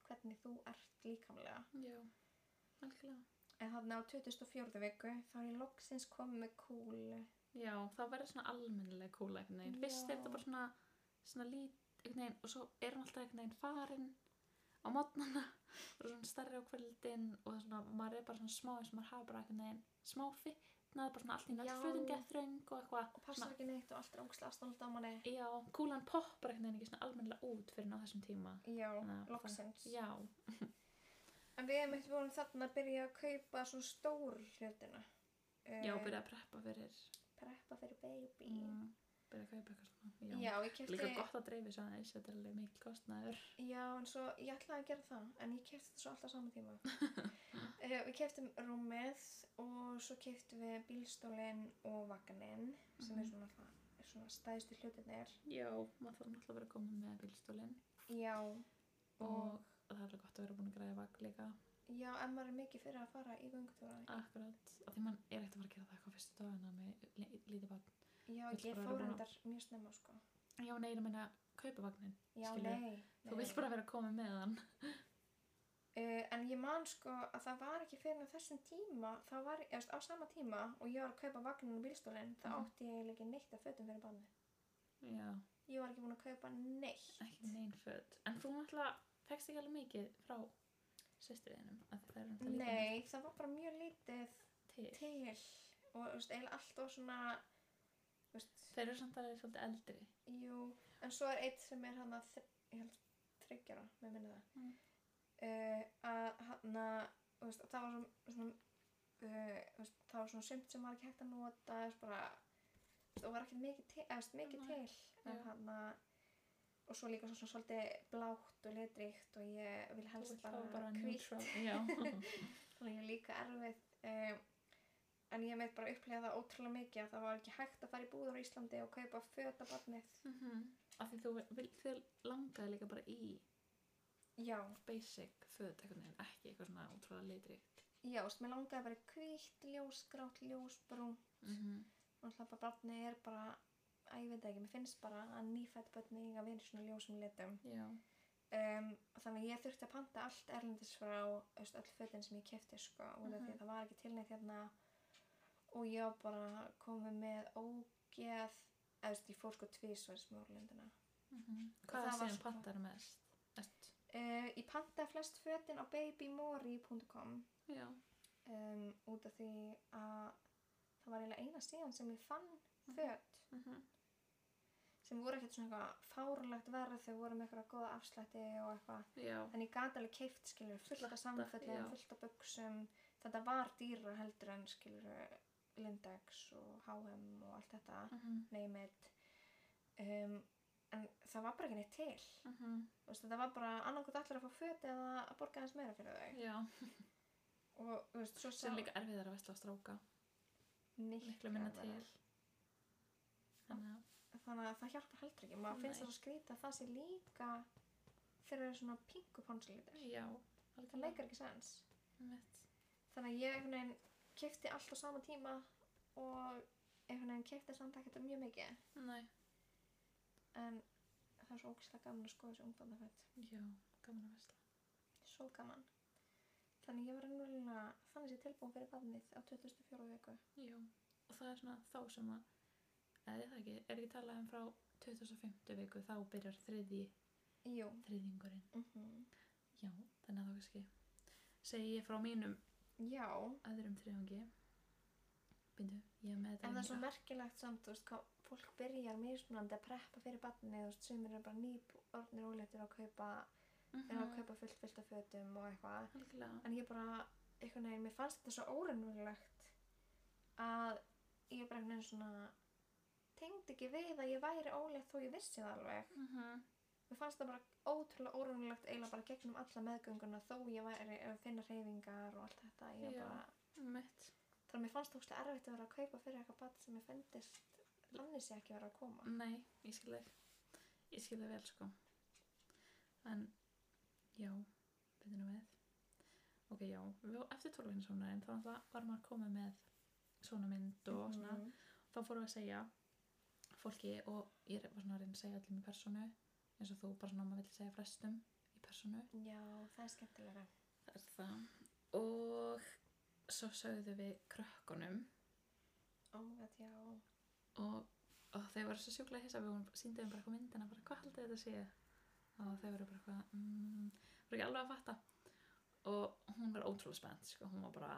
[SPEAKER 1] hvernig þú ert líkamlega
[SPEAKER 2] já, algjörlega
[SPEAKER 1] En þarna á 24. viku þá er ég loksins komið með kúlu.
[SPEAKER 2] já, það verður svona almennilega kúla einhvern veginn, fyrst
[SPEAKER 1] Já.
[SPEAKER 2] er þetta bara svona svona lít, einhvern veginn og svo er hún alltaf einhvern veginn farin á mótnana og svona starri á kvöldin og svona, maður er bara svona smá eins og maður hafa bara einhvern veginn smá fitnað bara svona
[SPEAKER 1] Já.
[SPEAKER 2] allt í nætt fötum gett þröng og eitthvað
[SPEAKER 1] Og passar
[SPEAKER 2] Svona-
[SPEAKER 1] ekki neitt og allt er ógslag aðstofnald á manni.
[SPEAKER 2] já, kúlan poppar einhvern veginn ekki svona almennilega út fyrir á þessum tíma
[SPEAKER 1] Já,
[SPEAKER 2] Þannig að það-
[SPEAKER 1] loksins.
[SPEAKER 2] já,
[SPEAKER 1] En við hefum eitt vorum þarna að byrja að kaupa svona stóru hlutina. Uh,
[SPEAKER 2] já, byrja að preppa fyrir
[SPEAKER 1] Preppa fyrir baby.
[SPEAKER 2] mm, byrja að kaupa eitthvað svona
[SPEAKER 1] Já, ég kefti...
[SPEAKER 2] Líka gott að dreifi svo aðeins, þetta er alveg mikil kostnaður.
[SPEAKER 1] Já, en svo ég ætlaði að gera það, en ég kefti þetta svo alltaf saman tíma. uh, við keftum rúmið og svo keftum við bílstólinn og vagninn sem er
[SPEAKER 2] Mhm.
[SPEAKER 1] svona, það, svona stæðstu hlutinir.
[SPEAKER 2] Já, maður þarf náttúrulega að vera að
[SPEAKER 1] Mm.
[SPEAKER 2] koma með bílstólinn
[SPEAKER 1] Já,
[SPEAKER 2] og það er alveg gott að vera búin að græða vagn líka.
[SPEAKER 1] já, en maður er mikið fyrir að fara í göngutúra
[SPEAKER 2] akkurat af því mann er ekkert að fara að gera það eitthvað fyrstu dagana með li- lítið barn
[SPEAKER 1] já,
[SPEAKER 2] Vill
[SPEAKER 1] ég
[SPEAKER 2] bara
[SPEAKER 1] fór
[SPEAKER 2] vera-
[SPEAKER 1] hendar mjög snemma sko
[SPEAKER 2] já, nei, ég meina kaupa vagnin
[SPEAKER 1] já,
[SPEAKER 2] Skilur.
[SPEAKER 1] nei, nei
[SPEAKER 2] þú vilt bara vera að koma með hann
[SPEAKER 1] Uh, en ég man sko að það var ekki fyrir en á þessum tíma, það var, ég veist, á sama tíma og ég var að kaupa vagninu og bílstólinn, þá
[SPEAKER 2] Mhm.
[SPEAKER 1] átti ég eiginlega ekki neitt að fötum fyrir barnið.
[SPEAKER 2] já,
[SPEAKER 1] Ég var ekki búin að kaupa neitt.
[SPEAKER 2] ekki neyn föt en þú náttúrulega fegst ekki alveg mikið frá sýstriðinum að það er náttúrulega líka
[SPEAKER 1] Nei, það var bara mjög lítið
[SPEAKER 2] mikið til
[SPEAKER 1] til og þú veist, eiginlega allt og svona, þú veist,
[SPEAKER 2] þeir eru samt alveg svolítið eldri
[SPEAKER 1] jú, en svo er eitt sem er hann að, ég held, þryggjara, með minni það,
[SPEAKER 2] Mm.
[SPEAKER 1] uh, að hann að, þú veist, það var svona, svona uh, þú veist, það var svona sumt sem var ekki hægt að nota, þú veist, bara, þú veist, og var ekkert mikið til, eða, þú veist, mikið
[SPEAKER 2] Nei.
[SPEAKER 1] til, en
[SPEAKER 2] Já.
[SPEAKER 1] hann að, og svo líka svona svolítið blátt og litríkt og ég vil
[SPEAKER 2] Þú
[SPEAKER 1] helst
[SPEAKER 2] vilt hafa
[SPEAKER 1] bara hvítt
[SPEAKER 2] neutral- já,
[SPEAKER 1] þannig að líka erfið um, en ég meit bara upplega það ótrúlega mikið að það var ekki hægt að fara í búður á Íslandi og kaupa föt af barnið
[SPEAKER 2] Mhm. af því þú vil þér langaði líka bara í
[SPEAKER 1] já,
[SPEAKER 2] basic föt eitthvað neginn, ekki eitthvað svona útrúlega litrikt
[SPEAKER 1] já, sem ég langaði bara í hvítt, ljósgrátt, ljósbrún
[SPEAKER 2] mm -hmm.
[SPEAKER 1] og alltaf bara barnið er bara að ég veit það ekki, mér finnst bara að nýfætt börn eiga að vera í svona ljósum litum
[SPEAKER 2] já,
[SPEAKER 1] um, þannig að ég þurfti að panta allt erlendis frá þú veist, öll fötin sem ég kefti sko, út af því
[SPEAKER 2] Mhm.
[SPEAKER 1] að það var ekki tilnætt hérna og ég var bara komið með ógeð eða þú veist, ég fór sko tvísværs með orlendina
[SPEAKER 2] mm hvað
[SPEAKER 1] það
[SPEAKER 2] er
[SPEAKER 1] var
[SPEAKER 2] sem
[SPEAKER 1] sko-
[SPEAKER 2] pantar mest Erst?
[SPEAKER 1] Uh, ég pantaði flest fötin á babymori.com
[SPEAKER 2] já,
[SPEAKER 1] um, út af því að það var eiginlega eina síðan sem ég fann
[SPEAKER 2] Mhm.
[SPEAKER 1] föt
[SPEAKER 2] mm -hmm.
[SPEAKER 1] sem voru ekkert svona eitthvað fárulegt verð þau voru með eitthvað góða afslætti og eitthvað
[SPEAKER 2] já
[SPEAKER 1] en ég gat alveg keift skilur fullt af
[SPEAKER 2] Slatta,
[SPEAKER 1] samföllum,
[SPEAKER 2] já.
[SPEAKER 1] fullt af buksum þetta var dýra heldur en skilur Lindex og H&M og allt þetta
[SPEAKER 2] mm -hmm.
[SPEAKER 1] name it um, en það var bara ekki neitt til
[SPEAKER 2] Mhm.
[SPEAKER 1] Þú veist, þetta var bara annarkot allir að fá föt eða að borga aðeins meira fyrir þau
[SPEAKER 2] já,
[SPEAKER 1] og þú veist, svo
[SPEAKER 2] sem líka erfiðar að vesla á stráka miklu minna til þannig að
[SPEAKER 1] þannig að það hjálpar heldur ekki maður finnst
[SPEAKER 2] Nei.
[SPEAKER 1] það svo skrítið að það sé líka þegar það er svona pingu ponsilítur
[SPEAKER 2] já, Mm.
[SPEAKER 1] það leikar ekki sens
[SPEAKER 2] mitt
[SPEAKER 1] þannig að ég einhvern veginn kefti allt á sama tíma og einhvern veginn kefti samt ekkert um mjög mikið
[SPEAKER 2] nei,
[SPEAKER 1] en það er svo ógislega gaman að skoða þessi ungbarnafett
[SPEAKER 2] já, gaman að vesla
[SPEAKER 1] svo gaman þannig að ég var einhverjulega þannig sé tilbúin fyrir barnið á 2004 viku
[SPEAKER 2] já, og það er svona þá sem að eða er það ekki, er ekki talað um frá 2005. viku, þá byrjar þriði
[SPEAKER 1] jú
[SPEAKER 2] þriðingurinn,
[SPEAKER 1] mm
[SPEAKER 2] já, þannig að þá kannski segi ég frá mínum
[SPEAKER 1] já
[SPEAKER 2] öðrum þriðungi bindu, ég er með þetta
[SPEAKER 1] En það er
[SPEAKER 2] hérna.
[SPEAKER 1] svo merkilegt samt, þú veist, hvað fólk byrjar mismunandi að preppa fyrir barnið, þú veist, sumir eru bara nýp orðnir óleittir að kaupa, eru að
[SPEAKER 2] Mhm,
[SPEAKER 1] kaupa fullt fullt af fötum og eitthvað.
[SPEAKER 2] algjörlega.
[SPEAKER 1] En ég bara, einhvern veginn, mér fannst þetta svo óreynulegt að ég bara einhvern veginn svona tengd ekki við að ég væri óleitt þó ég vissi það alveg.
[SPEAKER 2] Mhm,
[SPEAKER 1] Mér fannst það bara ótrúlega óreynulegt eiginlega bara gegnum alla meðgönguna þó ég væri að finna hreyfingar og allt þetta. Ég
[SPEAKER 2] Já.
[SPEAKER 1] bara,
[SPEAKER 2] mitt.
[SPEAKER 1] þannig að mér fannst það erfitt að vera að kaupa fyrir eitthvað barn sem ég fendist þannig sé ekki vera að koma.
[SPEAKER 2] Nei, ég skil þig. Ég skil þig vel, sko. En, já, byrðu nú við. Ok, já, við, eftir tólfinsónarinn þá náttúrulega var maður komið með svona mynd og svona.
[SPEAKER 1] Mhm.
[SPEAKER 2] Þá fórum við að segja fólki og ég var svona að reyna að segja öllum í personu eins og þú bara svona að maður vilja segja flestum í personu.
[SPEAKER 1] Já, það er skemmtilega.
[SPEAKER 2] Það er það. Og svo sögðu við krökkunum
[SPEAKER 1] Ó, að já.
[SPEAKER 2] og, og þeir voru svo sjúklega hissa við hún síndi þeim bara eitthvað myndina bara hvað haldið þetta sé og þeir voru bara eitthvað mm, voru ekki alveg að fatta og hún var ótrúlega spennt sko. hún var bara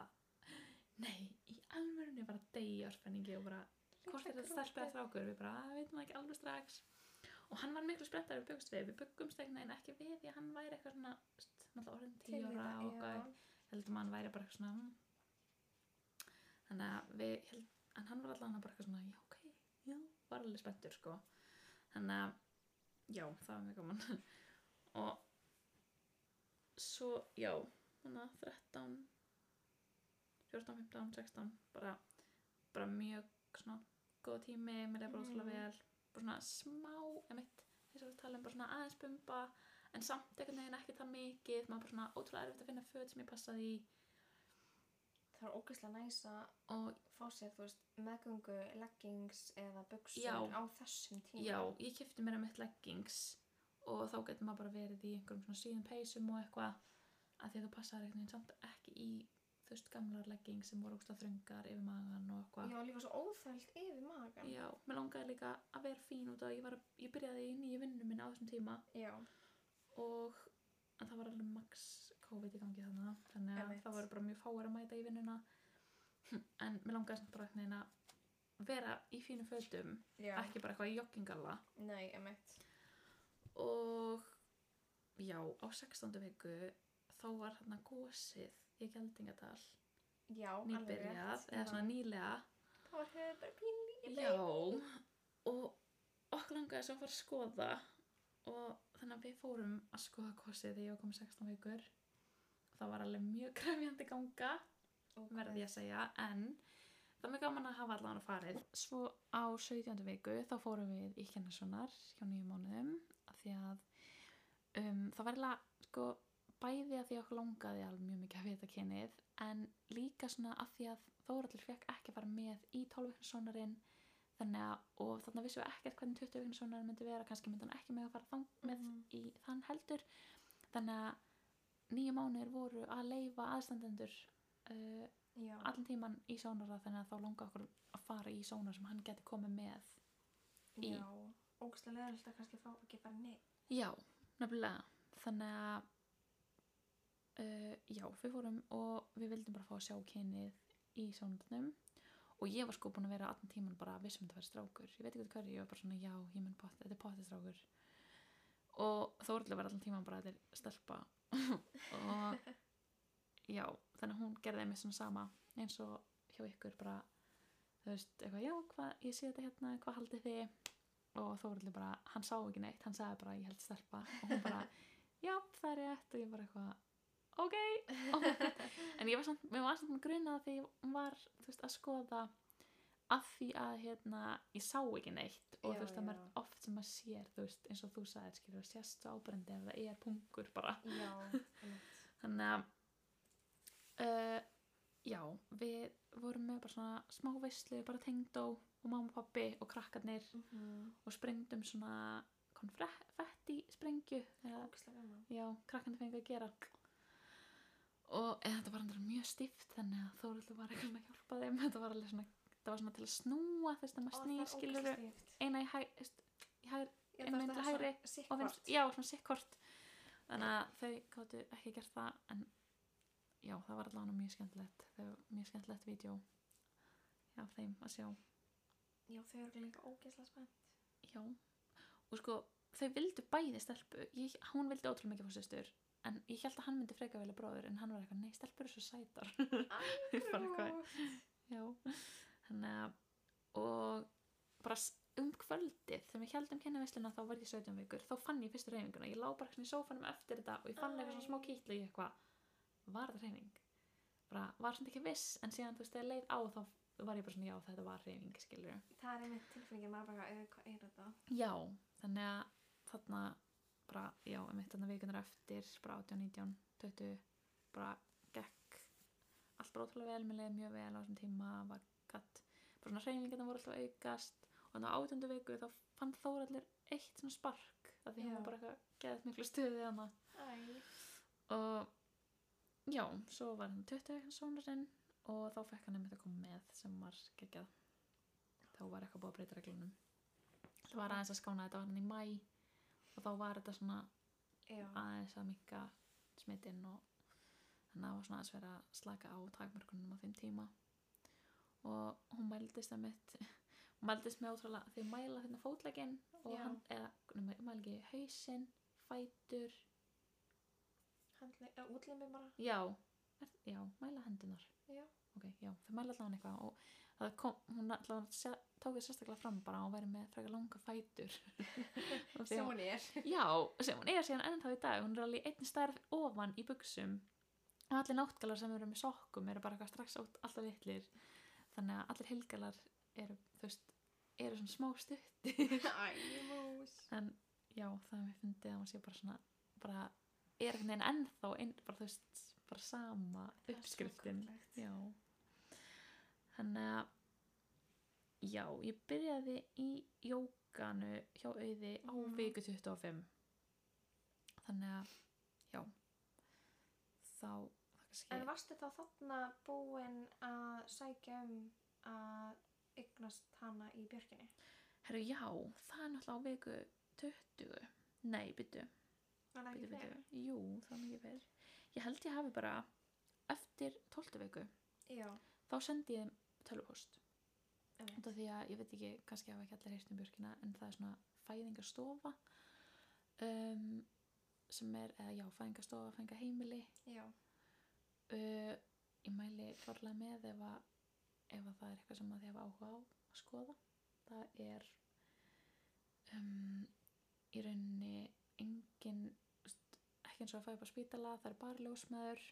[SPEAKER 2] nei, í alvörunni bara deyja spenningi og bara hvort er þetta stelpið að þrákur við bara "Æ, veitum það ekki alveg strax og hann var miklu sprettar við byggumst við við byggumst einhvern veginn ekki við því að hann væri eitthvað svona st- náttúrulega orðin tíu ára og eitthvað heldum að hann væri bara eitthvað svona mm. þannig að við held, en hann var allan bara eitthvað svona já ok, já, var alveg spenntur sko þannig að, já, það var mjög gaman og svo, já þannig að 13 14, 15, 16 bara, bara mjög svona góð tími, mér leið bara
[SPEAKER 1] Mhm.
[SPEAKER 2] ótrúlega vel bara svona smá, emitt þess að við tala um bara svona aðeins bumba en samt einhvern veginn ekki það mikið maður bara svona ótrúlega erfitt að finna föt sem ég passaði í
[SPEAKER 1] Það er ógeðslega næs að
[SPEAKER 2] og
[SPEAKER 1] fá sér, þú veist, meðgöngu, leggings eða buksur
[SPEAKER 2] Já.
[SPEAKER 1] á þessum tíma.
[SPEAKER 2] já, ég kefti mér að mitt leggings og þá getur maður bara verið í einhverjum svona síðum peysum og eitthvað að því að þú passaði einhvern veginn samt ekki í þú veist gamlar leggings sem voru ógstlega þröngar yfir magan og eitthvað
[SPEAKER 1] Já, líka svo óþælt yfir magan.
[SPEAKER 2] Já, mér langaði líka að vera fín út af að ég, var, að- ég byrjaði í nýju vinnu minni á þessum tíma
[SPEAKER 1] Já,
[SPEAKER 2] og en það var alveg max COVID í gangi þannig þannig að
[SPEAKER 1] Einmitt.
[SPEAKER 2] það voru bara mjög fáir að mæta í vinnuna Hm, en mér langaði samt bara einhvern veginn að vera í fínu fötum
[SPEAKER 1] já,
[SPEAKER 2] ekki bara eitthvað í joggingalla
[SPEAKER 1] nei, emitt.
[SPEAKER 2] og já, á 16. viku þá var hérna gósið í Geldingadal
[SPEAKER 1] Já,
[SPEAKER 2] nýbyrjað, eða svona nýlega
[SPEAKER 1] Það var hefur bara pínlítið.
[SPEAKER 2] Já, og okkur langaði svo að fara að skoða og þannig að við fórum að skoða kosið þegar ég var komið 16 vikur það var alveg mjög krefjandi ganga verði ég að segja, en það er mjög gaman að hafa allan að farið svo á 17. viku þá fórum við í kennarssonar hjá nýjum mánuðum af því að um, það var eiginlega sko, bæði að því að okkur langaði alveg mjög mikið að vita kynið en líka svona að því að Þóraldur fekk ekki að fara með í 12 vikna sonarinn þannig að og þannig að vissum við ekkert hvernig 20 vikna sonarinn myndi vera kannski myndi hann ekki með að fara þang, með
[SPEAKER 1] Mhm.
[SPEAKER 2] í þann heldur þannig að nýju mánuðir voru að leifa aðstandendur uh,
[SPEAKER 1] Já,
[SPEAKER 2] allan tíman í sónara þannig að þá langa okkur að fara í sónar sem hann geti komið með í-
[SPEAKER 1] já. Ógeðslega leðilegt að kannski fá ekki bara neitt.
[SPEAKER 2] já, nefnilega þannig að uh, já, við fórum og við vildum bara fá að sjá kynið í sónarnum og ég var sko búin að vera allan tíman bara um að vissum þetta væri strákur ég veit ekki hverju, ég var bara svona já, ég menn pott, þetta er pottið strákur og Þórhildur var allan tíman bara að þetta er stelpa og já, þannig að hún gerði mig svona sama eins og hjá ykkur bara þú veist, eitthvað, já, hvað, ég sé þetta hérna hvað haldið þið og Þórhildur bara, hann sá ekki neitt, hann sagði bara ég held stelpa og hún bara, já, það er rétt og ég bara eitthvað, ok en ég var samt, mér var samt grunað því hún var, þú veist, að skoða af því að hérna ég sá ekki neitt og
[SPEAKER 1] Já,
[SPEAKER 2] þú veist, það
[SPEAKER 1] já.
[SPEAKER 2] er oft sem maður sér, þú veist, eins og þú sagðir skilur, sérst svo ábrendi ef það er pungur bara
[SPEAKER 1] Já, emitt.
[SPEAKER 2] þannig að uh, já, við vorum með bara svona smá veislu, bara tengdó og mamma og pappi og krakkarnir
[SPEAKER 1] Mm
[SPEAKER 2] og sprengdum svona konfetti sprengju þegar
[SPEAKER 1] Ógeðslega gaman.
[SPEAKER 2] já, krakkarnir fengi að gera og eða, þetta var andra mjög stíft þannig að Þóruldur var eitthvað að hjálpa þeim þetta var alveg svona, þetta var svona til að snúa þess að
[SPEAKER 1] Ó,
[SPEAKER 2] maður
[SPEAKER 1] það er
[SPEAKER 2] snýr skilur
[SPEAKER 1] ógeðslega stíft.
[SPEAKER 2] eina í hæg, í hæg
[SPEAKER 1] Já,
[SPEAKER 2] En
[SPEAKER 1] það
[SPEAKER 2] mynd
[SPEAKER 1] er
[SPEAKER 2] til
[SPEAKER 1] svona
[SPEAKER 2] hægri og
[SPEAKER 1] sikkvart.
[SPEAKER 2] finnst, já, svona sikkort þannig að þau gáttu ekki gert það en já, það var allavega mjög skemmtilegt þau, mjög skemmtilegt vídeo já, þeim að sjá
[SPEAKER 1] Já, þau eru líka ógeðslega spennt.
[SPEAKER 2] já, og sko þau vildu bæði stelpu ég, hún vildi ótrúlega mikið fór sýstur en ég held að hann myndi freka velja bróður en hann var eitthvað, nei, stelpur eru svo sætar Ég bara eitthvað,
[SPEAKER 1] Grút.
[SPEAKER 2] já þannig að og bara s- um kvöldið þegar við heldum kynnavisluna þá var ég 17 vikur þá fann ég fyrstu reyfinguna, ég lá bara svona í sófanum eftir þetta og ég fann eitthvað svona smá
[SPEAKER 1] Æ.
[SPEAKER 2] kýtlu í eitthvað, var þetta reyfing? bara var svona ekki viss en síðan þú veist þegar leið á þá var ég bara svona já þetta var reyfing skilur
[SPEAKER 1] Það er einmitt tilfengið maður bara, "Eh, hvað er þetta?
[SPEAKER 2] já, þannig að þarna bara, já, um eitt þarna vikunar eftir bara 18, 19, 20 bara gekk allt bara ótrúlega vel, mér leiði mjög vel á þessum tíma var gatt, bara svona reyningarna voru alltaf að aukast og þannig á átjöndu viku þá fann Þóraldur eitt svona spark af
[SPEAKER 1] Já.
[SPEAKER 2] því hún var bara eitthvað geðið miklu stuði hana
[SPEAKER 1] Æ.
[SPEAKER 2] og já, svo var hann 20 vikna sonurinn og þá fekk hann einmitt að koma með sem var geggjað þá var eitthvað búið að breyta reglunum það var aðeins að skána þetta var hann í mæ og þá var þetta svona
[SPEAKER 1] Já,
[SPEAKER 2] aðeins að mikka smitinn og þannig að það var svona aðeins verið að slaka á takmörkunum á þeim tíma og hún mældist að mitt hún mældist með ótrúlega því að mæla hérna fótlegginn og
[SPEAKER 1] Já.
[SPEAKER 2] hann, eða, nema, mæla ekki hausinn, fætur
[SPEAKER 1] handlega, eh, útlimið bara.
[SPEAKER 2] Já, er, já, mæla hendunar.
[SPEAKER 1] Já.
[SPEAKER 2] Ok, já, þau mæla allavega eitthvað og það kom, hún allavega sé- tók þess sérstaklega fram bara að hún væri með frekar langa fætur. Og því
[SPEAKER 1] Sem
[SPEAKER 2] að-
[SPEAKER 1] hún er.
[SPEAKER 2] Já, sem hún er síðan ennþá í dag, hún er alveg einn stærð ofan í buksum og allir náttgalar sem eru með sokkum eru bara eitthvað strax át alltaf litlir þannig að allir helgalar eru, þú veist, eru svona smá stuttir
[SPEAKER 1] Æ, mús.
[SPEAKER 2] en já, það er mér fyndið að hún sé bara svona bara er einhvern veginn ennþá ein, bara þú veist, bara sama
[SPEAKER 1] Það er svo
[SPEAKER 2] uppskriftin
[SPEAKER 1] fallegt.
[SPEAKER 2] já þannig að já, ég byrjaði í jókanu hjá auði á
[SPEAKER 1] Mhm.
[SPEAKER 2] viku 25 þannig að já þá það kannski,
[SPEAKER 1] En varstu þá þarna búin að sækja um að eignast hana í björkinni?
[SPEAKER 2] herru já, það er náttúrulega á viku 20 nei, byrju
[SPEAKER 1] Var það
[SPEAKER 2] Bíddu,
[SPEAKER 1] ekki
[SPEAKER 2] bíddu.
[SPEAKER 1] fyrir?
[SPEAKER 2] Jú, það er mikið fyrr. Ég held ég hafi bara eftir 12 viku,
[SPEAKER 1] Já,
[SPEAKER 2] þá sendi ég þeim tölvupóst.
[SPEAKER 1] Einmitt.
[SPEAKER 2] Út af því að ég veit ekki, kannski hafa ekki allir heyrt um björkina, en það er svona fæðingastofa um, sem er, eða já, fæðingastofa, fæðingaheimili.
[SPEAKER 1] já,
[SPEAKER 2] Uh, ég mæli forlega með ef, að, ef að það er eitthvað sem að þið hafa áhuga á að skoða. Það er um, í rauninni engin, þú veist, ekki eins og að fæða upp á spítala, það er bara ljósmaður.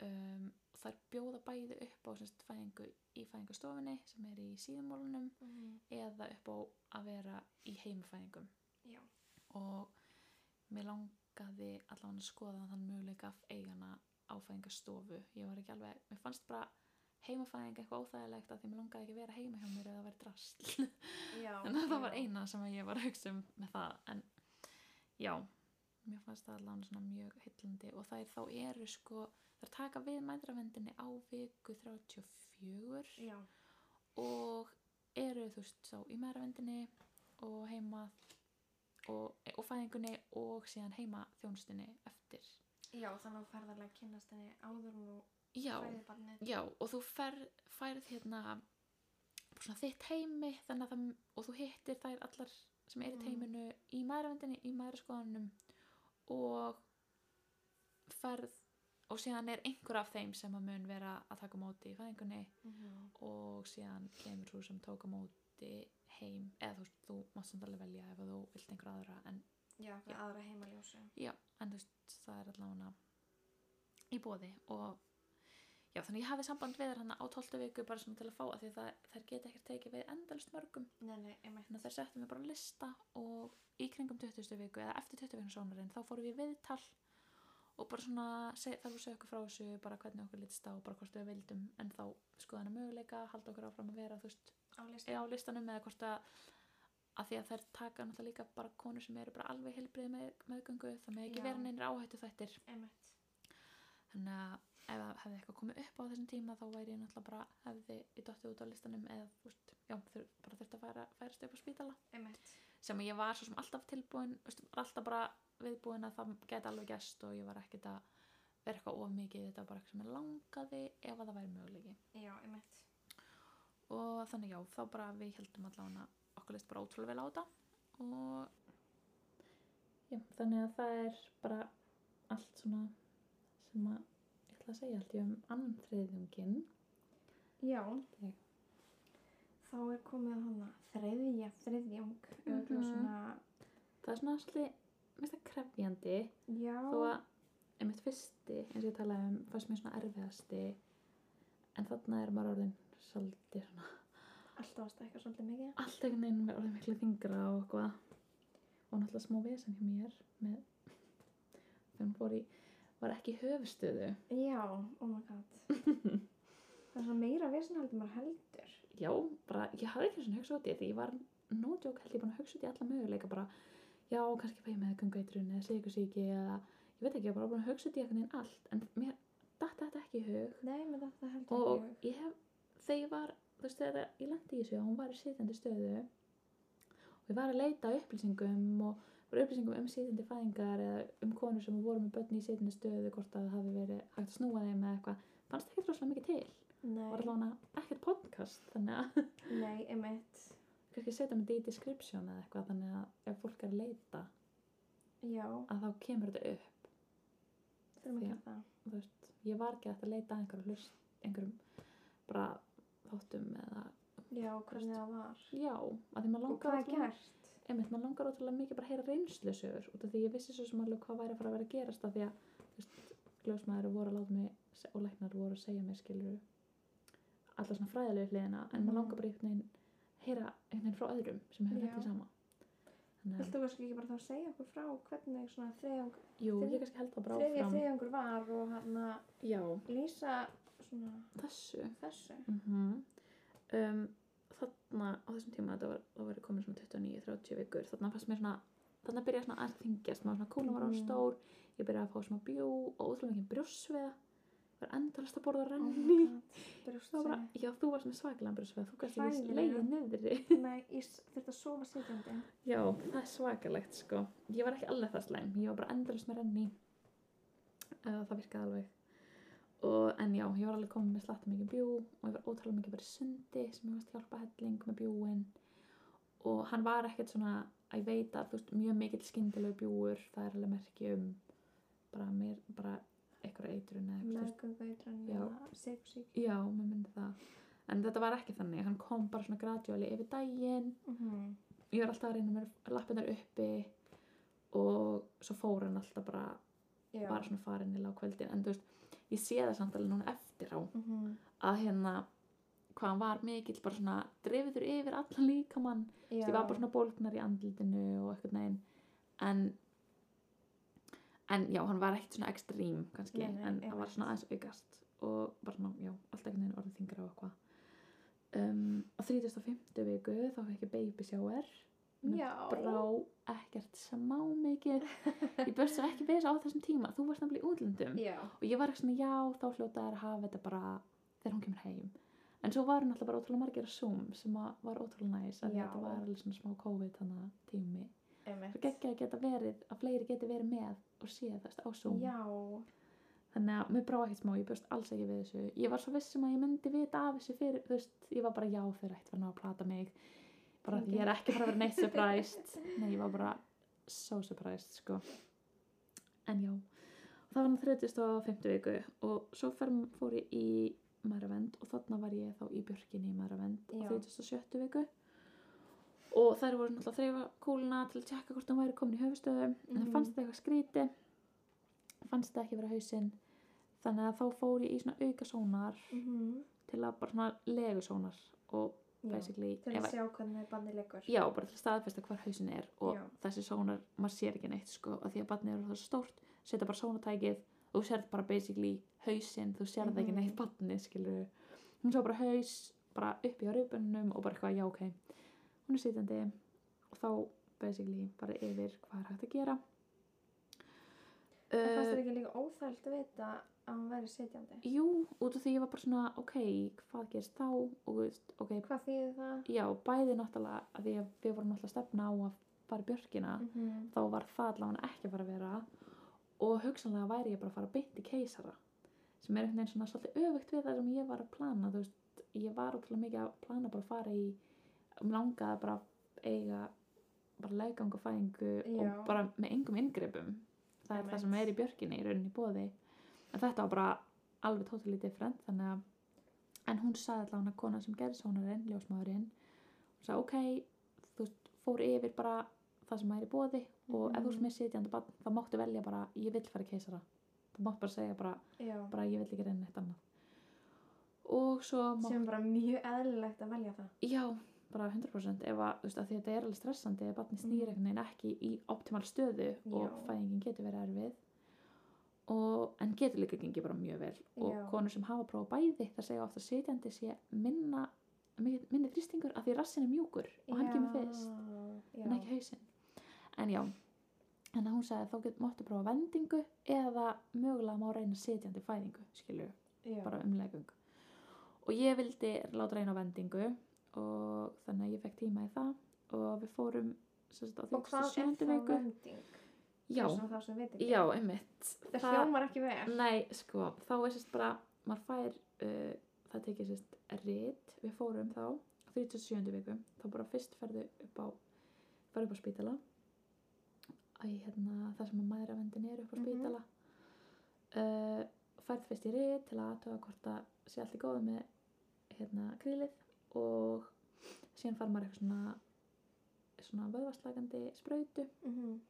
[SPEAKER 2] Um, það er bjóða bæði upp á sem sagt, fæðingu í fæðingustofunni sem er í síðumólunum
[SPEAKER 1] mm,
[SPEAKER 2] eða upp á að vera í heimfæðingum
[SPEAKER 1] já,
[SPEAKER 2] og mér langaði allavega að skoða þann möguleika af eigana áfæðingastofu ég var ekki alveg, mér fannst bara heimafæðing eitthvað óþægilegt af því mér langaði ekki að vera heima hjá mér eða að vera drasl
[SPEAKER 1] já.
[SPEAKER 2] þannig að
[SPEAKER 1] já.
[SPEAKER 2] það var eina sem að ég var að hugsa um með það en já, mér fannst það allavega svona mjög heillandi og það er þá eru sko það er taka við mæðravendinni á viku 34
[SPEAKER 1] Já,
[SPEAKER 2] og eru þú veist þá í meðravendinni og heima og, og fæðingunni og síðan heima þjónustinni eftir
[SPEAKER 1] já, þannig að þú ferðarlega að kynnast henni áður nú
[SPEAKER 2] já,
[SPEAKER 1] fæðið barnið.
[SPEAKER 2] já og þú fer, færð hérna bara svona þitt heimi þannig að það, og þú hittir þær allar sem er í
[SPEAKER 1] Mm.
[SPEAKER 2] teiminu í meðravendinni í meðraskoðanum og ferð og síðan er einhver af þeim sem að mun vera að taka á móti í fæðingunni
[SPEAKER 1] Mhm.
[SPEAKER 2] og síðan kemur þú sem tók á móti heim eða þú, veist, þú mátt samt alveg velja ef að þú vilt einhver aðra en,
[SPEAKER 1] Já,
[SPEAKER 2] Já.
[SPEAKER 1] fyrir aðra heimaljósu.
[SPEAKER 2] já, en þú veist það er allavega í bóði og já þannig ég hafi samband við þær hann á 12 viku bara svona til að fá að því það, þær geta ekkert tekið við endalist mörgum
[SPEAKER 1] Nei, nei, einmitt.
[SPEAKER 2] þannig að þær settum við bara á lista og í kringum 20. viku eða eftir 20 vikna sónarinn þá fórum við í viðtal og bara svona seg, þarf að segja okkur frá þessu bara hvernig okkur litist á, bara hvort við vildum en þá skoðanum möguleika, halda okkur áfram að vera þú veist
[SPEAKER 1] Á listu.
[SPEAKER 2] er á listanum eða hvort að að því að þær taka náttúrulega líka bara konur sem eru bara alveg heilbrið með, meðgöngu það með ekki
[SPEAKER 1] Já.
[SPEAKER 2] vera neynir áhættu þættir
[SPEAKER 1] Einmitt.
[SPEAKER 2] þannig að ef það hefði eitthvað komið upp á þessum tíma þá væri ég náttúrulega bara hefði ég dottið út á listanum eða úst, já, þur, bara þurfti að færa, færast upp á spítala
[SPEAKER 1] Einmitt.
[SPEAKER 2] sem ég var svo sem alltaf tilbúin úst, var alltaf bara viðbúin að það geti alveg gæst og ég var ekkert að vera eitthvað of mikið í þetta var bara eitthvað sem ég langaði ef að það væri möguleiki
[SPEAKER 1] Já, einmitt.
[SPEAKER 2] og þannig já, þá bara við heldum allavega okkur leist bara ótrúlega vel á þetta og já, þannig að það er bara allt svona sem að ég ætla að segja held ég um annan þriðjungin
[SPEAKER 1] Já.
[SPEAKER 2] Ég.
[SPEAKER 1] Þá er komið hana þriðja, þriðjung, mm
[SPEAKER 2] Mhm.
[SPEAKER 1] svona,
[SPEAKER 2] það er svona svolítið mest að krefjandi
[SPEAKER 1] já,
[SPEAKER 2] þó að einmitt fyrsti eins og ég talaði um fannst mér svona erfiðasti en þarna er maður orðin svolítið svona
[SPEAKER 1] alltaf að stækka svolítið mikið.
[SPEAKER 2] allt einhvern veginn með orðið miklu þingra og eitthvað og náttúrulega smá vesen hjá mér með þegar hún fór í var ekki í höfustöðu
[SPEAKER 1] Já, oh my god. það er svona meira vesen heldur maður heldur.
[SPEAKER 2] já, bara, ég hafði ekki svona hugsa út í því ég var nótjók held ég búin að hugsa út í alla möguleika bara, já, kannski fæ ég með gangveitrun eða sigursíki eða ég veit ekki, ég var bara búin að hugsa út í einhvern veginn allt en mér datt þetta ekki í hug
[SPEAKER 1] Nei, með þetta heldur
[SPEAKER 2] og
[SPEAKER 1] ekki.
[SPEAKER 2] ég hef, þegar ég var þú veist, þegar ég lendi í þessu og hún var í sitjandi stöðu og ég var að leita að upplýsingum og var upplýsingum um sitjandi fæðingar eða um konur sem voru með börn í sitjandi stöðu hvort að það hafi verið hægt að snúa þeim eða eitthvað, fannst ekki droslega mikið til
[SPEAKER 1] Nei,
[SPEAKER 2] var alveg ekkert podcast þannig að
[SPEAKER 1] nei, einmitt.
[SPEAKER 2] kannski setja mig þetta í description eða eitthvað þannig að ef fólk er að leita
[SPEAKER 1] Já,
[SPEAKER 2] að þá kemur þetta upp
[SPEAKER 1] þurfum að
[SPEAKER 2] Já.
[SPEAKER 1] gera það.
[SPEAKER 2] þú veist, ég var ekki hægt að leita að einhverjum, hlust, einhverjum bara þáttum eða
[SPEAKER 1] Já, hvernig það var.
[SPEAKER 2] já, að um því maður
[SPEAKER 1] Og
[SPEAKER 2] langar
[SPEAKER 1] hvað er
[SPEAKER 2] ótrúlega-
[SPEAKER 1] gert?
[SPEAKER 2] einmitt, maður langar ótrúlega mikið bara að heyra reynslusögur út af því ég vissi svo sem alveg hvað væri að fara að vera að gerast af því að þú veist, gljósmaður voru að láta mig se- og læknar voru að segja mér skilur alla svona fræðilegu hliðina en
[SPEAKER 1] Mhm.
[SPEAKER 2] maður langar bara einhvern veginn heyra einhvern veginn frá öðrum sem hefur
[SPEAKER 1] Já.
[SPEAKER 2] þetta sama Þannig að,
[SPEAKER 1] Viltu kannski ekki bara þá segja okkur frá hvernig svona þriðjung,
[SPEAKER 2] jú, ég kannski held það bara
[SPEAKER 1] þriðja
[SPEAKER 2] áfram.
[SPEAKER 1] þriðjungur var og hann að
[SPEAKER 2] Já,
[SPEAKER 1] lýsa svona
[SPEAKER 2] þessu.
[SPEAKER 1] þessu.
[SPEAKER 2] Mm um, þarna á þessum tíma þetta var, þá var ég komin svona 29-30 vikur þarna fannst mér svona þarna byrjaði svona að þingjast maður svona kúlan var á
[SPEAKER 1] Mhm.
[SPEAKER 2] stór ég byrjaði að fá svona bjó og ótrúlega mikið brjósveða var endalast að borða
[SPEAKER 1] Oh
[SPEAKER 2] renni
[SPEAKER 1] my god,
[SPEAKER 2] það var bara,
[SPEAKER 1] brjóstsýni.
[SPEAKER 2] já þú varst með svaklega brjósveða þú gæst ekki
[SPEAKER 1] Hræðilega.
[SPEAKER 2] leiðið niðri
[SPEAKER 1] Nei, ég s- þurfti að sofa sitjandi.
[SPEAKER 2] já það er svakalegt sko ég var ekki alveg það slæm, ég var bara endalast með renni uh, það virkaði alveg og, en já, ég var alveg komin með slatta mikið bjú og ég var ótrúlega mikið bara í sundi sem ég varst hjálpa helling með bjúin og hann var ekkert svona að ég veit að þú veist, mjög mikill skyndilegu bjúur það er alveg merki um bara mér, bara eitthvað eitrun eða eitthvað
[SPEAKER 1] Meðgöngueitrun,
[SPEAKER 2] Já.
[SPEAKER 1] sykursýki.
[SPEAKER 2] já, mér myndi það en þetta var ekki þannig, hann kom bara svona gradjóli yfir daginn
[SPEAKER 1] Mhm.
[SPEAKER 2] ég var alltaf að reyna með lappinnar uppi og svo fór hann alltaf bara
[SPEAKER 1] Já.
[SPEAKER 2] var svona farin í lág kvöldin en þú veist, ég sé það samt alveg núna eftir á
[SPEAKER 1] Mhm.
[SPEAKER 2] að hérna hvað hann var mikill bara svona drifiður yfir allan líkamann
[SPEAKER 1] Já.
[SPEAKER 2] ég var bara svona bólgnar í andlitinu og eitthvað neginn en en já, hann var ekkert svona ekstrím kannski,
[SPEAKER 1] Nei, nei,
[SPEAKER 2] en hann var
[SPEAKER 1] einmitt.
[SPEAKER 2] svona aðeins aukast og bara svona, já, allt ekkert neginn orðið þingra og eitthvað um, á 35. viku þá fekk ég baby shower
[SPEAKER 1] Já.
[SPEAKER 2] brá ekkert smá mikið ég börst svo ekki verið á þessum tíma þú varst nefnilega í útlöndum
[SPEAKER 1] Já.
[SPEAKER 2] og ég var ekki svona já þá hljóta þær að hafa þetta bara þegar hún kemur heim en svo var hún alltaf bara ótrúlega margir að Zoom sem að var ótrúlega næs en
[SPEAKER 1] Já.
[SPEAKER 2] þetta var alveg svona smá COVID þannig að tími
[SPEAKER 1] Einmitt.
[SPEAKER 2] svo geggja að geta verið að fleiri geti verið með og sé það á Zoom
[SPEAKER 1] Já.
[SPEAKER 2] þannig að mér brá ekkert smá, ég bjóst alls ekki við þessu ég var svo vissum að ég myndi vita af þessu fyrir þú veist, ég var bara já þeir ætti að ná að plata mig bara
[SPEAKER 1] Fyndið.
[SPEAKER 2] ég er ekki fara að vera neitt surprised nei, ég var bara so surprised sko en já, það var hann 30 og 50 viku og svo fer, fór ég í Maravend og þarna var ég þá í Björkinni í Maravend
[SPEAKER 1] Já.
[SPEAKER 2] á 37 viku og þær voru náttúrulega að þreifa kúluna til að tjekka hvort hún væri komin í höfustöðu en
[SPEAKER 1] Mhm.
[SPEAKER 2] það fannst þetta eitthvað skríti fannst þetta ekki vera hausinn þannig að þá fór ég í svona auka sónar
[SPEAKER 1] Mhm.
[SPEAKER 2] til að bara svona legu sónar og
[SPEAKER 1] Já.
[SPEAKER 2] basically
[SPEAKER 1] Til að
[SPEAKER 2] ef-
[SPEAKER 1] sjá hvernig banni leggur.
[SPEAKER 2] já, bara til að staðfesta hvar hausinn er og
[SPEAKER 1] Já.
[SPEAKER 2] þessi sónar, maður sér ekki neitt sko, af því að barnið er það stórt setja bara sónatækið og þú sérð bara basically hausinn, þú sérð ekki
[SPEAKER 1] Mhm.
[SPEAKER 2] neitt barnið skilur hún sá bara haus bara upp í raupunum og bara eitthvað já ok hún er sitjandi og þá basically bara yfir hvað er hægt að gera
[SPEAKER 1] Það
[SPEAKER 2] Uh,
[SPEAKER 1] fannst þér ekki líka óþælt að vita að hún væri sitjandi.
[SPEAKER 2] Jú, út af því ég var bara svona, ok, hvað gerst þá og þú veist, ok,
[SPEAKER 1] Hvað þýðir það?
[SPEAKER 2] já, bæði náttúrulega að því að við vorum náttúrulega að stefna á að fara í björkina,
[SPEAKER 1] Mhm.
[SPEAKER 2] þá var það allavega ekki að fara að vera og hugsanlega væri ég bara að fara beint í keisara sem er einhvern veginn svona svolítið öfugt við það sem ég var að plana, þú veist, ég var ótrúlega mikið að plana bara að fara í um langaði bara að eiga bara legganga fæðingu og
[SPEAKER 1] Já.
[SPEAKER 2] bara með engum inngripum það er það
[SPEAKER 1] Einmitt.
[SPEAKER 2] sem er í björkinni í rauninni bóði en þetta var bara alveg totally different þannig að en hún sagði allavega hana kona sem gerði sónarinn, ljósmaðurinn hún sagði ok, þú veist, fór yfir bara það sem er í bóði og ef þú
[SPEAKER 1] Mhm.
[SPEAKER 2] veist með sitjandi barn, þá máttu velja bara ég vill fara í keisara, þú mátt bara segja bara,
[SPEAKER 1] Já.
[SPEAKER 2] bara ég vill ekki reyna neitt annað og svo mátt
[SPEAKER 1] Sem er bara mjög eðlilegt að velja það.
[SPEAKER 2] Já, bara 100% ef að, þú veist, að því þetta er alveg stressandi ef barni
[SPEAKER 1] Mhm.
[SPEAKER 2] snýr einhvern veginn ekki í optimal stöðu og
[SPEAKER 1] Já.
[SPEAKER 2] fæðingin getur verið erfið og, en getur líka gengið bara mjög vel og
[SPEAKER 1] Já.
[SPEAKER 2] konur sem hafa prófað bæði það segja ofta sitjandi sé minna mi- minni þrýstingur af því rassin er mjúkur og hann kemur fyrst
[SPEAKER 1] Já.
[SPEAKER 2] en ekki hausinn en já, en hún sagði að þá get, máttu prófa vendingu eða mögulega má reyna sitjandi fæðingu skilju
[SPEAKER 1] Já.
[SPEAKER 2] bara umlegung og ég vildi láta reyna á vendingu og þannig að ég fekk tíma í það og við fórum sem sagt, á
[SPEAKER 1] Og hvað er
[SPEAKER 2] 37.
[SPEAKER 1] það
[SPEAKER 2] viku
[SPEAKER 1] vending?
[SPEAKER 2] já,
[SPEAKER 1] Fyrir svona þá sem veit ekki.
[SPEAKER 2] já, einmitt
[SPEAKER 1] Það hljómar ekki vel.
[SPEAKER 2] nei, sko, þá er sérst bara maður fær, uh, það tekið sérst rít, við fórum þá á 37. viku, þá bara fyrst ferðu upp á, ferðu upp á spítala æ, hérna það sem að maður að vendin er upp á
[SPEAKER 1] Mhm.
[SPEAKER 2] spítala uh, færð fyrst í rít til að aðtöga hvort að sé allt í góðu með hérna krílið og síðan fær maður eitthvað svona svona vöðvaslagandi sprautu
[SPEAKER 1] Mhm.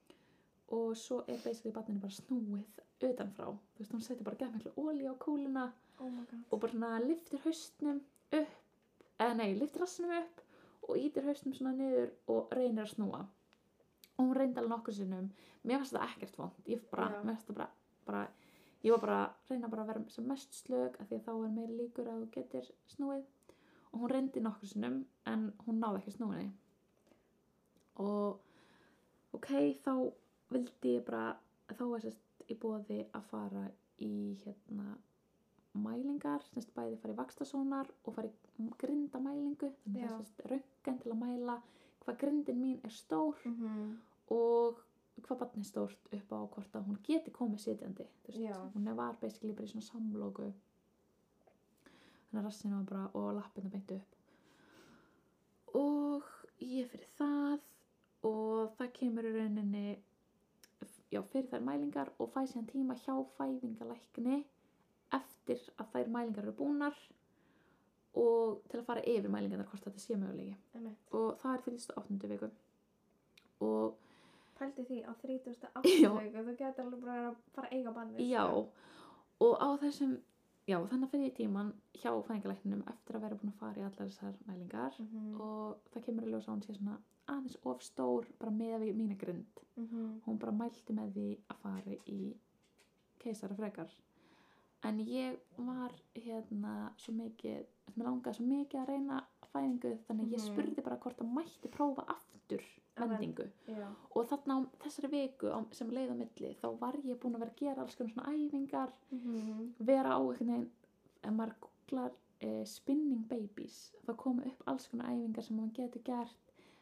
[SPEAKER 2] og svo er basically barninu bara snúið utanfrá, þú veist, hún setur bara gæð miklu ólí á kúluna
[SPEAKER 1] Oh my god.
[SPEAKER 2] og bara svona liftir haustnum upp, eða nei, liftir rassinum upp og ítir haustnum svona niður og reynir að snúa og hún reyndi alveg nokkur sinnum mér fannst það ekkert vond ég, bara,
[SPEAKER 1] Já.
[SPEAKER 2] mér fannst það bara, bara, ég var bara að reyna bara að vera sem mest slög af því að þá er meiri líkur að þú getur snúið og hún reyndi nokkur sinnum en hún náði ekki snúinni og ok, þá vildi ég bara þá var sérst í bóði að fara í hérna mælingar, semst bæði fara í vakstasónar og fara í grindamælingu þannig
[SPEAKER 1] Já.
[SPEAKER 2] að sérst röngan til að mæla hvað grindin mín er stór
[SPEAKER 1] -hmm.
[SPEAKER 2] og hvað barnið er stórt upp á hvort að hún geti komið sitjandi þú
[SPEAKER 1] Já.
[SPEAKER 2] veist, hún var basically bara í svona samlóku þannig að rassinu var bara og lappinu beint upp og ég fyrir það og það kemur í rauninni já, fyrir þær mælingar og fæ síðan tíma hjá fæðingalækni eftir að þær mælingar eru búnar og til að fara yfir mælingarnar hvort þetta sé mögulegi og það er fyrir 8. viku og
[SPEAKER 1] Pældi því á 38.
[SPEAKER 2] Já.
[SPEAKER 1] viku, þú getur alveg bara að fara að eiga bandið.
[SPEAKER 2] Já, og á þessum, já, þannig fyrir tíman hjá fæðingalækninum eftir að vera búin að fara í allar þessar mælingar
[SPEAKER 1] Mm -hmm.
[SPEAKER 2] og það kemur í ljós að hún sé svona aðeins of stór bara með við mína grind.
[SPEAKER 1] Mhm.
[SPEAKER 2] Hún bara mælti með því að fara í keisara frekar. En ég var hérna svo mikið, mér langaði svo mikið að reyna fæðingu þannig ég
[SPEAKER 1] Mhm.
[SPEAKER 2] spurði bara hvort að mætti prófa aftur
[SPEAKER 1] Að vend-
[SPEAKER 2] vendingu
[SPEAKER 1] Já.
[SPEAKER 2] og þarna á þessari viku á, sem leið á milli þá var ég búin að vera að gera alls konar svona æfingar
[SPEAKER 1] Mm -hmm.
[SPEAKER 2] vera á einhvern veginn ef maður googlar eh, spinning babies þá koma upp alls konar æfingar sem maður getur gert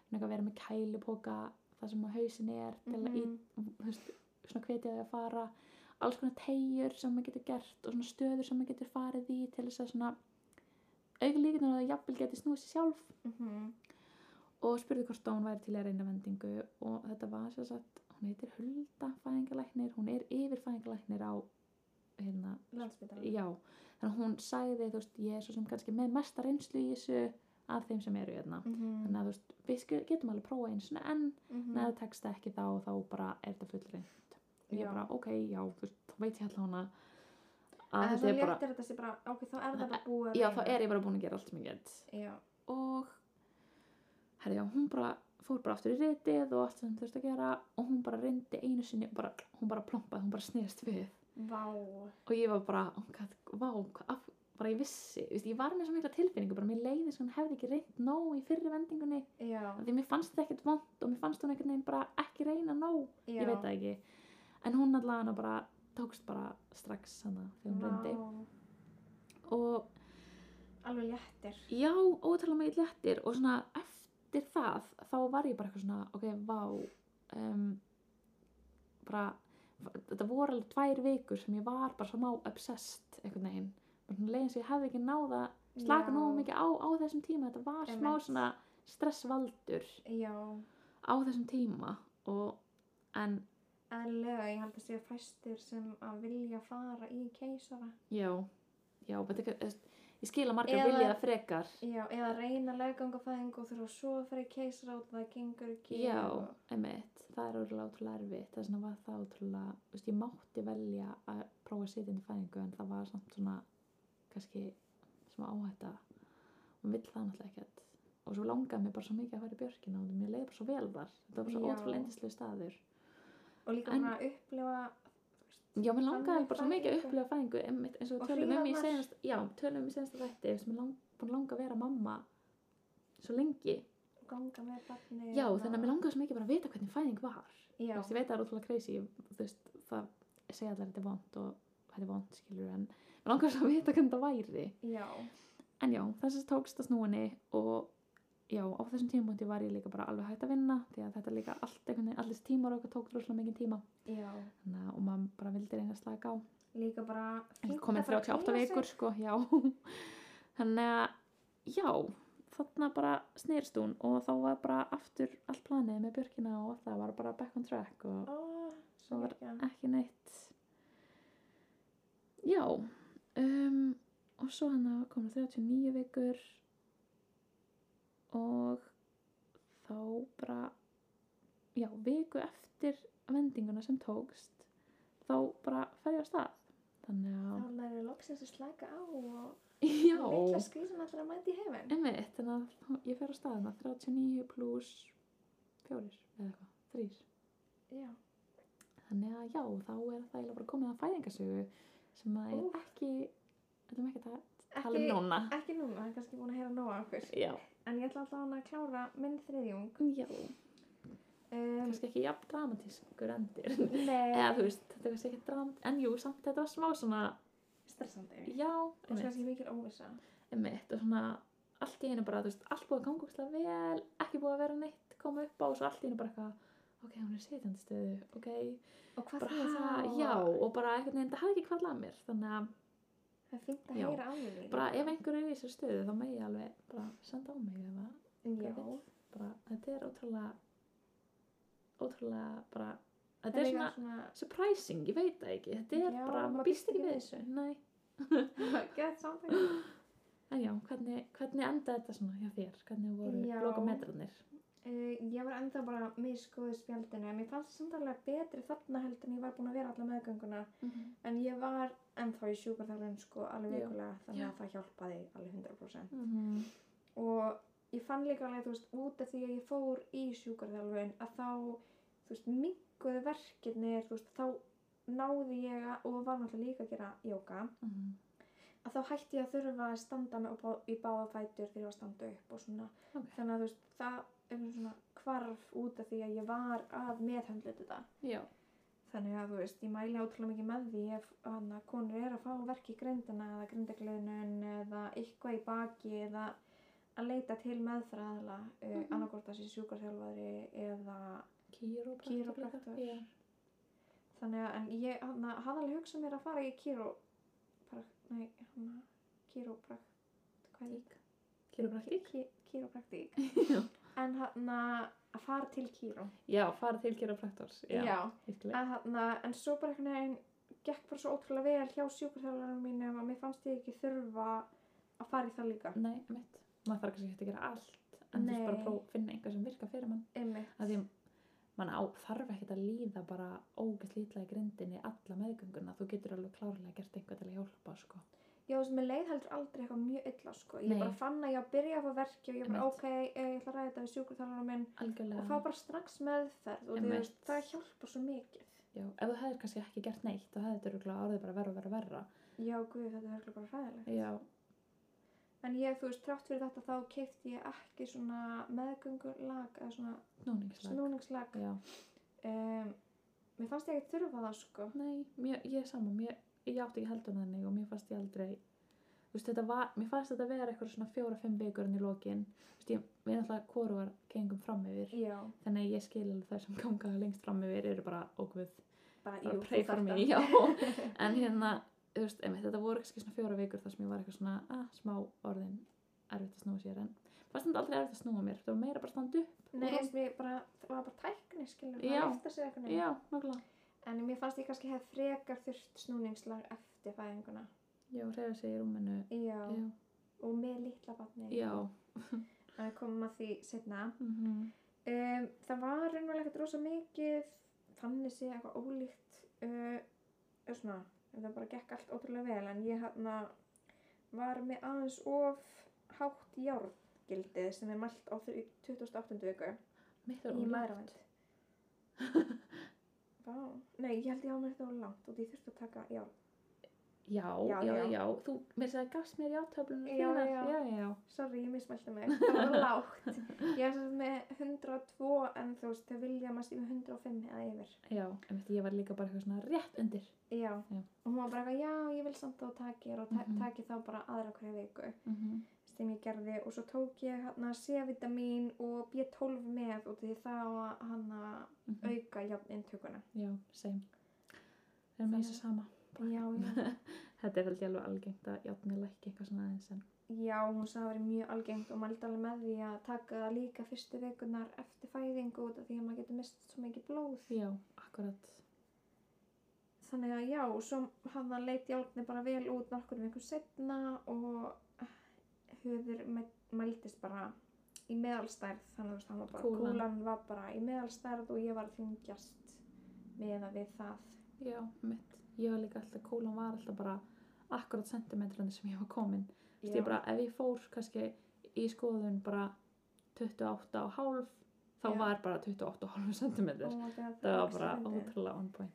[SPEAKER 2] svona að vera með kælupoka það sem að hausin er til
[SPEAKER 1] Mhm.
[SPEAKER 2] að ít, þú veist, svona hvetja þau að fara alls konar tegjur sem maður getur gert og svona stöður sem maður getur farið í til þess að svona auka líkunar að það jafnvel getur snúið sér sjálf
[SPEAKER 1] Mhm.
[SPEAKER 2] og spurði hvort að hún væri til í að reyna vendingu og þetta var sér sagt hún heitir Hulda fæðingalæknir hún er yfir fæðingalæknir á hérna,
[SPEAKER 1] Landsbytalan.
[SPEAKER 2] já þannig að hún sagði, þú veist, ég er svo sem kannski með mesta reynslu í þessu af þeim sem eru hérna
[SPEAKER 1] Mhm.
[SPEAKER 2] þannig að þú veist, við sku- getum alveg prófa eins og enn
[SPEAKER 1] Mm.
[SPEAKER 2] en ef það tekst ekki þá, þá bara er þetta full reynd og ég
[SPEAKER 1] Já.
[SPEAKER 2] bara, ok, já, þú veist, þá veit ég alltaf hana
[SPEAKER 1] En
[SPEAKER 2] að
[SPEAKER 1] þú
[SPEAKER 2] þetta er
[SPEAKER 1] léttir
[SPEAKER 2] bara
[SPEAKER 1] þetta sér bara, ok, þá er það bara búið. að
[SPEAKER 2] já, þá
[SPEAKER 1] reyna.
[SPEAKER 2] er ég bara búin að gera allt sem ég get
[SPEAKER 1] Já.
[SPEAKER 2] og herri, já, hún bara fór bara aftur í ritið og allt sem þurfti að gera og hún bara reyndi einu sinni og bara, hún bara plompaði, hún bara sniðist við
[SPEAKER 1] Vá.
[SPEAKER 2] og ég var bara, oh, hvað, vá, hvað, af, bara ég vissi, þú veist, ég var með svo mikla tilfinningu, bara mér leiði sem hún hefði ekki reynd nóg í fyrri vendingunni,
[SPEAKER 1] Já.
[SPEAKER 2] af því mér fannst þetta ekkert vond og mér fannst hún einhvern veginn bara ekki reyna nóg,
[SPEAKER 1] Já.
[SPEAKER 2] ég veit það ekki, en hún allavega bara tókst bara strax hana þegar hún reyndi
[SPEAKER 1] Vá.
[SPEAKER 2] og
[SPEAKER 1] Alveg léttir.
[SPEAKER 2] Já, ótrúlega mikið léttir og svona eftir það þá var ég bara eitthvað svona, ok, vá um, bara þetta voru alveg tvær vikur sem ég var bara smá obsessed einhvern veginn, bara svona leiðin sem ég hefði ekki náða slaka
[SPEAKER 1] Já.
[SPEAKER 2] nógu mikið á, á þessum tíma þetta var smá
[SPEAKER 1] Einmitt.
[SPEAKER 2] svona stressvaldur
[SPEAKER 1] Já.
[SPEAKER 2] á þessum tíma og en,
[SPEAKER 1] Eðlilega, ég held að séu fæstir sem að vilja fara í keisara.
[SPEAKER 2] já já, veit ekki, þú veist, ég skil að margar
[SPEAKER 1] Eða-
[SPEAKER 2] vilja það frekar
[SPEAKER 1] Já, eða reyna leggangafæðingu og þurfa svo að fara í keisara og það gengur ekki.
[SPEAKER 2] Já,
[SPEAKER 1] og-
[SPEAKER 2] emitt, það er ótrúlega ótrúlega erfitt þess vegna var það ótrúlega, þú veist, ég mátti velja að prófa að sitja inn í fæðingu en það var samt svona, kannski smá áhætta og vill það náttúrulega ekkert og svo langaði mér bara svo mikið að fara í björkina og mér leiði bara svo vel þar þetta var svo
[SPEAKER 1] Já.
[SPEAKER 2] ótrúlega endislega staður
[SPEAKER 1] Og líka
[SPEAKER 2] En-
[SPEAKER 1] bara að upplifa
[SPEAKER 2] já, mér langaði
[SPEAKER 1] Þannig
[SPEAKER 2] bara svo mikið að
[SPEAKER 1] fæðingu.
[SPEAKER 2] upplifa fæðingu emitt, eins og,
[SPEAKER 1] Og
[SPEAKER 2] og tölum um í
[SPEAKER 1] hríðarnar.
[SPEAKER 2] senast já, tölum um í senast þætti, þess að mér lang, búin að langa að vera mamma svo lengi,
[SPEAKER 1] ganga með barni.
[SPEAKER 2] já, þannig að mér langaði svo mikið bara að vita hvernig fæðing var
[SPEAKER 1] Já,
[SPEAKER 2] Þú veist, ég veit að það er ótrúlega crazy þú veist, það segja allir að þetta er vond og þetta er vond, skilur en við langar svo að vita hvernig það væri
[SPEAKER 1] já,
[SPEAKER 2] en já, þess að tókst að snúinni og já, á þessum tímapunkti var ég líka bara alveg hægt að vinna því að þetta líka allt einhvern veginn, allir tímar okkar tók rosalega mikið tíma
[SPEAKER 1] já.
[SPEAKER 2] Þannig, að- og maður bara vildi reyna að slaka á
[SPEAKER 1] Líka bara... fínt
[SPEAKER 2] komin
[SPEAKER 1] að fara að
[SPEAKER 2] 38
[SPEAKER 1] hvíla sig.
[SPEAKER 2] vikur sko, já þannig að já, þarna bara snýrst hún og þá var bara aftur allt planið með Björkina og allt það var bara back on track og
[SPEAKER 1] Ó,
[SPEAKER 2] Það
[SPEAKER 1] svo
[SPEAKER 2] var-
[SPEAKER 1] ekki.
[SPEAKER 2] ekki neitt já um, og svo hann að koma 39 vikur og þá bara já, viku eftir vendinguna sem tókst þá bara fer ég á stað þannig að
[SPEAKER 1] Þannig að það er loksins að slaka á og litla
[SPEAKER 2] já,
[SPEAKER 1] skvísan allar að mæta í heiminn.
[SPEAKER 2] emmitt þannig að ég fer á staðina 39 pluss 4 eða eitthvað þrýr.
[SPEAKER 1] Já.
[SPEAKER 2] Þannig að já, þá er það eiginlega bara komið að fæðingasögu sem að er
[SPEAKER 1] Úff.
[SPEAKER 2] ekki, ætlum ekki að tala
[SPEAKER 1] Ekki,
[SPEAKER 2] um núna.
[SPEAKER 1] ekki núna, hann er kannski búin að heyra nóg af okkur.
[SPEAKER 2] Já,
[SPEAKER 1] En ég ætla alltaf hann að klára minn þriðjung.
[SPEAKER 2] já,
[SPEAKER 1] Um,
[SPEAKER 2] kannski ekki jafn dramatískur endir. Eða
[SPEAKER 1] nei,
[SPEAKER 2] þú veist, þetta var ekki dramat, en jú, samt þetta var smá svona,
[SPEAKER 1] stressandi.
[SPEAKER 2] já,
[SPEAKER 1] Og svo
[SPEAKER 2] einmitt.
[SPEAKER 1] kannski mikil óvisa.
[SPEAKER 2] einmitt og svona allt í einu bara, þú veist, allt búið að ganga úrslega vel, ekki búið að vera neitt koma upp á og svo allt í einu bara eitthvað, ok, hún er sitjandi stöðu, ok,
[SPEAKER 1] Og hvað
[SPEAKER 2] bara,
[SPEAKER 1] þýðir
[SPEAKER 2] ha, já, og bara einhvern veginn, það hafði ekki hvarlað mér, þannig að
[SPEAKER 1] Það er fínt að
[SPEAKER 2] Já.
[SPEAKER 1] heyra af því.
[SPEAKER 2] bara ef einhver er í þessu stöðu þá megi alveg bara senda á mig eða
[SPEAKER 1] Já.
[SPEAKER 2] hvað vill. bara, þetta er ótrúlega, ótrúlega bara,
[SPEAKER 1] Það
[SPEAKER 2] þetta er svona
[SPEAKER 1] svona
[SPEAKER 2] surprising, ég veit það ekki, þetta er
[SPEAKER 1] Já,
[SPEAKER 2] bara,
[SPEAKER 1] maður
[SPEAKER 2] maður býst
[SPEAKER 1] býst
[SPEAKER 2] ekki
[SPEAKER 1] ekki
[SPEAKER 2] við
[SPEAKER 1] við
[SPEAKER 2] þessu, næ,
[SPEAKER 1] gett samtækning.
[SPEAKER 2] en já, hvernig, hvernig endaði þetta svona hjá þér, hvernig
[SPEAKER 1] Já.
[SPEAKER 2] voru loka metrarnir?
[SPEAKER 1] Uh, ég var enda bara misgóð í spjaldinu en mér fannst samtalega betri þarna held en ég var búin að vera alla meðgönguna en ég var ennþá í sjúkarþjálfun sko alveg
[SPEAKER 2] Já.
[SPEAKER 1] veikulega þannig
[SPEAKER 2] Já.
[SPEAKER 1] að það hjálpaði alveg 100%
[SPEAKER 2] Mhm.
[SPEAKER 1] og ég fann líka alveg þú veist út af því að ég fór í sjúkarþjálfun að þá þú veist minguðu verkirnir þú veist þá náði ég að, og var náttúrulega líka að gera jóka
[SPEAKER 2] Mhm.
[SPEAKER 1] að þá hætti ég að þurfa að standa með upp á, í báða fætur þegar ég var að standa upp og svona
[SPEAKER 2] Ok.
[SPEAKER 1] þannig að þú veist það einhvern svona hvarf út af því að ég var að meðhöndla þetta
[SPEAKER 2] Já,
[SPEAKER 1] þannig að þú veist ég mæli ótrúlega mikið með því ef hana, konur er að fá verk í grindina eða grindaglöðnun eða eitthvað í baki eða að leita til meðfræðala mm -hmm.
[SPEAKER 2] Mhm.
[SPEAKER 1] annarkort að sé sjúkarþjálfari eða
[SPEAKER 2] kýrópraktor.
[SPEAKER 1] Kýrópraktor.
[SPEAKER 2] Já,
[SPEAKER 1] þannig að en ég hana, hafði alveg hugsað mér að fara í kýró nei hana kýróprakt hvað er
[SPEAKER 2] kýrópraktík.
[SPEAKER 1] Ký- kýrópraktík
[SPEAKER 2] Já.
[SPEAKER 1] en hann að fara til kýró
[SPEAKER 2] Já, fara til kýrópraktors. Já, virkilega.
[SPEAKER 1] en, hana, en svo bara einhvern veginn gekk bara svo ótrúlega vel hjá sjúkurþjálfarinn mínum að mér fannst ég ekki þurfa að fara í það líka
[SPEAKER 2] Nei, mitt. Maður þarf kannski ekki að gera allt, en þú veist bara
[SPEAKER 1] Nei.
[SPEAKER 2] að próf, finna einhver sem virkar fyrir mann.
[SPEAKER 1] einmitt,
[SPEAKER 2] Af því mann á, þarf ekkert að líða bara ógæst lítla í grindinni alla meðgönguna. Þú getur alveg klárlega gert eitthvað til að hjálpa, sko.
[SPEAKER 1] já þess að mér leið heldur aldrei eitthvað mjög illa sko, ég
[SPEAKER 2] Nei.
[SPEAKER 1] bara fann að ég var að byrja að fá verki og ég bara
[SPEAKER 2] Einmitt.
[SPEAKER 1] ok, ég ætla að ræða þetta við sjúkurþjálfarinn minn
[SPEAKER 2] Algjörlega.
[SPEAKER 1] og fá bara strax meðferð og þú
[SPEAKER 2] Einmitt.
[SPEAKER 1] veist, það hjálpar svo mikið
[SPEAKER 2] Já, ef þú hefðir kannski ekki gert neitt, þá hefðir þetta örugglega orðið bara verra, verra, verra.
[SPEAKER 1] já guð, þetta er hörgulega bara hræðilegt
[SPEAKER 2] Já,
[SPEAKER 1] en ég, þú veist, trátt fyrir þetta þá keipti ég ekki svona meðgöngulag eða svona
[SPEAKER 2] snúningslag.
[SPEAKER 1] snúningslag
[SPEAKER 2] Já.
[SPEAKER 1] um, mér fannst ég ekki þurfa það sko
[SPEAKER 2] Nei, mér, ég er saman, mér, ég átti ekki heldur þannig og mér fannst ég aldrei, þú veist, þetta var, mér fannst þetta vera eitthvað svona fjóra-fimm vikur inn í lokin, þú veist, ég, við náttúrulega koruar gengum fram yfir,
[SPEAKER 1] já,
[SPEAKER 2] þannig að ég skil alveg þær sem ganga lengst fram yfir eru bara ógvöð,
[SPEAKER 1] bara
[SPEAKER 2] bara
[SPEAKER 1] jú,
[SPEAKER 2] pray for me, já, en hérna, þú veist, einmitt, þetta voru kannski svona fjóra vikur þar sem ég var eitthvað svona, að, smá orðin, erfitt að snúa sér, en fannst þetta aldrei erfitt að snúa mér, þetta var meira bara standu,
[SPEAKER 1] nei, eins og ég bara, það var bara tækni skilur,
[SPEAKER 2] Já.
[SPEAKER 1] það lifta sér eitthvað
[SPEAKER 2] já, nokkulega,
[SPEAKER 1] en mér fannst ég kannski hef frekar þurft snúningslag eftir fæðinguna
[SPEAKER 2] já, reyða sig í rúminu,
[SPEAKER 1] já,
[SPEAKER 2] já,
[SPEAKER 1] og með litla barni
[SPEAKER 2] já,
[SPEAKER 1] en við komum að því setna
[SPEAKER 2] mm
[SPEAKER 1] um, það var raunverulega ekkert rosa mikið þannig sé eitthvað ólíkt uh, eða svona, það bara gekk allt ótrúlega vel en ég hann var með aðeins of hátt járngildið sem er mælt á þri- 28. viku
[SPEAKER 2] mitt
[SPEAKER 1] í
[SPEAKER 2] var ólétt.
[SPEAKER 1] maðurvænd Vá, nei, ég held ég á mér þetta var langt og ég þurfti að taka járn
[SPEAKER 2] Já,
[SPEAKER 1] Já,
[SPEAKER 2] já, já,
[SPEAKER 1] já.
[SPEAKER 2] þú, mér sagði gafst mér játöflunum
[SPEAKER 1] Já,
[SPEAKER 2] þínar,
[SPEAKER 1] já.
[SPEAKER 2] já, já,
[SPEAKER 1] Sorry, ég mismælti mig, það var lágt Ég er sem sagt með 102 en þú veist, þau vilja að maður sé með 105 eða yfir
[SPEAKER 2] já, en veit, ég var líka bara eitthvað svona rétt undir,
[SPEAKER 1] Já,
[SPEAKER 2] Já.
[SPEAKER 1] og hún var bara eitthvað, já, ég vil samt að þú takir og ta
[SPEAKER 2] Mhm.
[SPEAKER 1] taki þá bara aðra hverja viku
[SPEAKER 2] mm -hmm.
[SPEAKER 1] sem ég gerði og svo tók ég hann að C-vitamin og B12 með og því það á að hann að auka jafn inntökuna.
[SPEAKER 2] Mhm. já, same, við erum með þessu sama,
[SPEAKER 1] Já, já.
[SPEAKER 2] þetta er held ég alveg algengt að játni lækki eitthvað svona aðeins en,
[SPEAKER 1] Já, hún sagði að það væri mjög algengt og mældi alveg með því að taka það líka fyrstu vikunar eftir fæðingu út af því að maður getur mist svo mikið blóð.
[SPEAKER 2] já, akkurat,
[SPEAKER 1] Þannig að já, svo hann að leit jálfni bara vel út nokkur vikum setna og höfður mæltist bara í meðalstærð þannig að þú veist, hann var bara,
[SPEAKER 2] Kúlan.
[SPEAKER 1] kúlan. var bara í meðalstærð og ég var þingjast með að við það.
[SPEAKER 2] já, mitt, ég var líka alltaf, kólan var alltaf bara akkurat sentimetrandi sem ég var komin, Þú veist, ég bara, ef ég fór kannski í skoðun bara 28 og hálf, þá
[SPEAKER 1] Já.
[SPEAKER 2] var bara 28,5 cm
[SPEAKER 1] my god,
[SPEAKER 2] það var
[SPEAKER 1] ógeðslega
[SPEAKER 2] bara
[SPEAKER 1] fyndið.
[SPEAKER 2] ótrúlega on point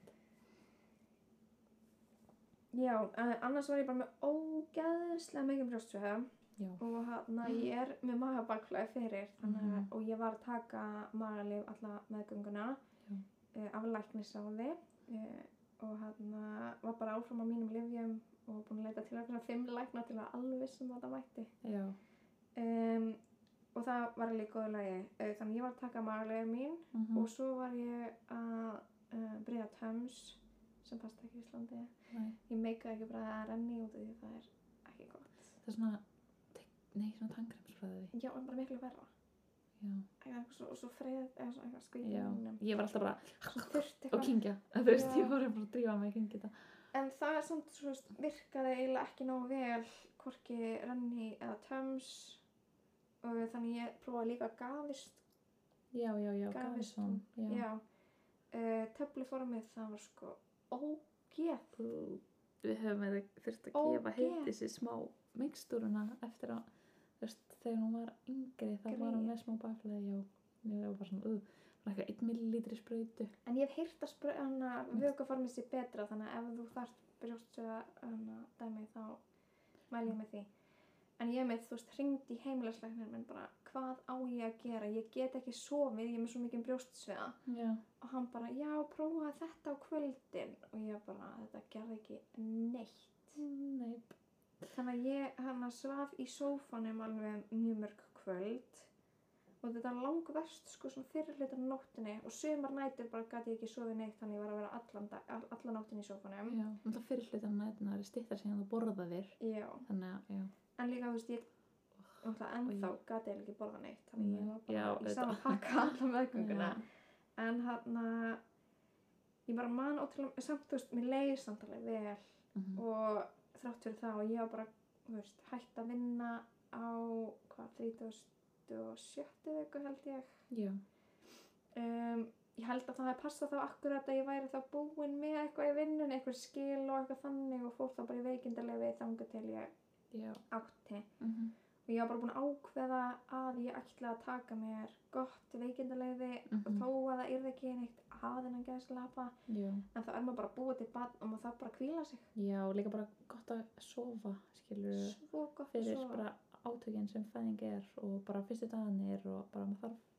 [SPEAKER 1] Já, eh, annars var ég bara með ógeðslega mikið um brjóstsveða
[SPEAKER 2] já,
[SPEAKER 1] og hann ég er með magabakflæði fyrir þannig að,
[SPEAKER 2] Mhm.
[SPEAKER 1] og ég var að taka magalif alla meðgönguna
[SPEAKER 2] Já.
[SPEAKER 1] uh, af læknisáði uh, og hann var bara áfram á mínum lifjum og búin að leita til að fimm lækna til að alveg vissum að það mætti
[SPEAKER 2] já,
[SPEAKER 1] um, og það var líka góðu lagi uh, þannig að ég var að taka magalif mín
[SPEAKER 2] Mhm.
[SPEAKER 1] og svo var ég að uh, breyða töms sem fasta ekki í Íslandi
[SPEAKER 2] Nei.
[SPEAKER 1] ég meikaði ekki bara að renni út af því það er ekki gott
[SPEAKER 2] það er svona tek- nei, svona tangremsfræði
[SPEAKER 1] já, en bara miklu verra
[SPEAKER 2] já,
[SPEAKER 1] Já, og svo, og svo freð eða svona eitthvað skrítið
[SPEAKER 2] já,
[SPEAKER 1] minnum
[SPEAKER 2] ég var alltaf bara
[SPEAKER 1] svo þurft
[SPEAKER 2] og
[SPEAKER 1] eitthvað
[SPEAKER 2] kynkja, þú veist,
[SPEAKER 1] Já.
[SPEAKER 2] ég var bara að drífa mig að kynkja þetta
[SPEAKER 1] en það er samt svo veist, virkaði eiginlega ekki nógu vel hvorki renni eða töms og þannig ég prófaði líka gafist
[SPEAKER 2] já, já, já,
[SPEAKER 1] Gafist
[SPEAKER 2] Gavison já,
[SPEAKER 1] já, uh, töfluformið það var sko ógeð
[SPEAKER 2] Bú, við höfum eða þurft að
[SPEAKER 1] Ó,
[SPEAKER 2] gefa
[SPEAKER 1] geð.
[SPEAKER 2] heiti sér smá mikstúruna eftir að þú veist, þegar hún var yngri þá var hún
[SPEAKER 1] Greyið.
[SPEAKER 2] með smá bakflæði já, ég var bara svona, uh, bara eitthvað 1 millilítri sprautu
[SPEAKER 1] en ég hef heyrt að spra- hana, vökuformið sé betra þannig að ef þú þarft brjóstsöða hana, dæmi þá mæli ég með því en ég með, þú veist, hringdi í heimilisleiknir menn bara, hvað á ég að gera ég get ekki sofið, ég er með svo mikið brjóstsveða
[SPEAKER 2] já,
[SPEAKER 1] og hann bara, já, prófaði þetta á kvöldin og ég bara, þetta gerði ekki neitt
[SPEAKER 2] Mm, nei,
[SPEAKER 1] þannig að ég hann svaf í sófanum alveg mjög mörg kvöld og þetta langverst sko svona fyrir hlutar nóttinni og sömar nætur bara gæti ég ekki sofið neitt þannig ég var að vera allan, dag- all, allan nóttinni í sófanum
[SPEAKER 2] já, náttúrulega fyrir hlutan nættina er stittar síðan þú borða þér
[SPEAKER 1] já,
[SPEAKER 2] þannig að, já,
[SPEAKER 1] en líka þú veist ég náttúrulega ennþá gæti ég ekki borða neitt þannig ég
[SPEAKER 2] Nei.
[SPEAKER 1] var
[SPEAKER 2] Já,
[SPEAKER 1] bara í
[SPEAKER 2] auðvitað.
[SPEAKER 1] sama pakka allan meðgönguna
[SPEAKER 2] Já.
[SPEAKER 1] en hann ég bara man ótrúlega, samt þú veist, mér leið samt alveg vel
[SPEAKER 2] mhm,
[SPEAKER 1] og þrátt fyrir það og ég var bara þú veist, hætt að vinna á hvað 37. viku held ég
[SPEAKER 2] já,
[SPEAKER 1] um, ég held að það hefði passað þá akkurat að ég væri þá búin með eitthvað í vinnun eitthvað skil og eitthvað þannig og fór þá bara í veikindalegi þangað til ég
[SPEAKER 2] já,
[SPEAKER 1] átti
[SPEAKER 2] mhm,
[SPEAKER 1] og ég var bara búin að ákveða að ég ætla að taka mér gott veikindalegði og
[SPEAKER 2] Mhm.
[SPEAKER 1] þó að það yrði ekki neitt aðinnan gæðslapa
[SPEAKER 2] já
[SPEAKER 1] en þá er maður bara að búa til barn og maður þarf bara að kvíla sig
[SPEAKER 2] já, líka bara gott að sofa skilur
[SPEAKER 1] svo gott að
[SPEAKER 2] fyrir
[SPEAKER 1] sofa.
[SPEAKER 2] bara átökin sem fæðing er og bara fyrstu dagarnir og bara maður þarf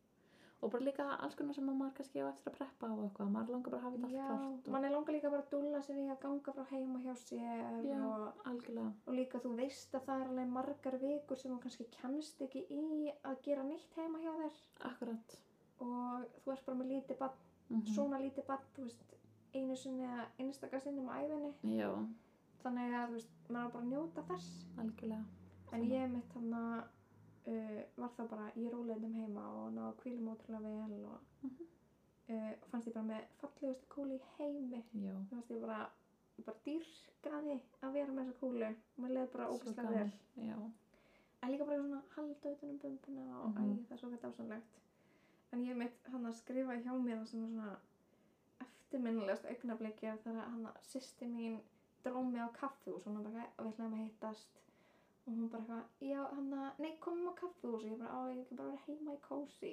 [SPEAKER 2] og bara líka alls konar sem maður kannski á eftir að preppa og eitthvað, maður langar bara að hafa þetta
[SPEAKER 1] Já,
[SPEAKER 2] allt klart og
[SPEAKER 1] mann er langar líka bara að dúlla sér í að ganga frá heima hjá sér
[SPEAKER 2] Já.
[SPEAKER 1] og,
[SPEAKER 2] algjörlega,
[SPEAKER 1] og líka þú veist að það er alveg margar vikur sem þú kannski kemst ekki í að gera neitt heima hjá þér
[SPEAKER 2] akkurat
[SPEAKER 1] og þú ert bara með lítið bann,
[SPEAKER 2] mm
[SPEAKER 1] svona lítið bann, þú veist, einu sinni eða einstaka sinnum á æfinni
[SPEAKER 2] já,
[SPEAKER 1] þannig að þú veist, maður á bara að njóta þess
[SPEAKER 2] algjörlega
[SPEAKER 1] en
[SPEAKER 2] Sama.
[SPEAKER 1] ég mitt hann að uh, var það bara í róleitum heima og náðu að kvílum ótrúlega vel og
[SPEAKER 2] Mhm.
[SPEAKER 1] uh, fannst ég bara með fallegustu kúli í heimi
[SPEAKER 2] já,
[SPEAKER 1] Mér fannst ég bara, ég bara dýrkaði að vera með þessa kúlu. Mér leiði bara
[SPEAKER 2] Svo
[SPEAKER 1] ógæslega
[SPEAKER 2] gaman.
[SPEAKER 1] vel.
[SPEAKER 2] já,
[SPEAKER 1] En líka bara svona halda utan um bumbuna og
[SPEAKER 2] Mhm.
[SPEAKER 1] æ, það er svo fyrir dásanlegt. En ég mitt hann að skrifa hjá mér það sem var svona eftirminnilegast augnabliki þegar hann að sýsti mín dró mig á kaffihús og hún bara og við ætlaðum að hittast og hún bara eitthvað, já hann að, nei komum á kaffihús og ég bara, á ég ekki bara vera heima í kósi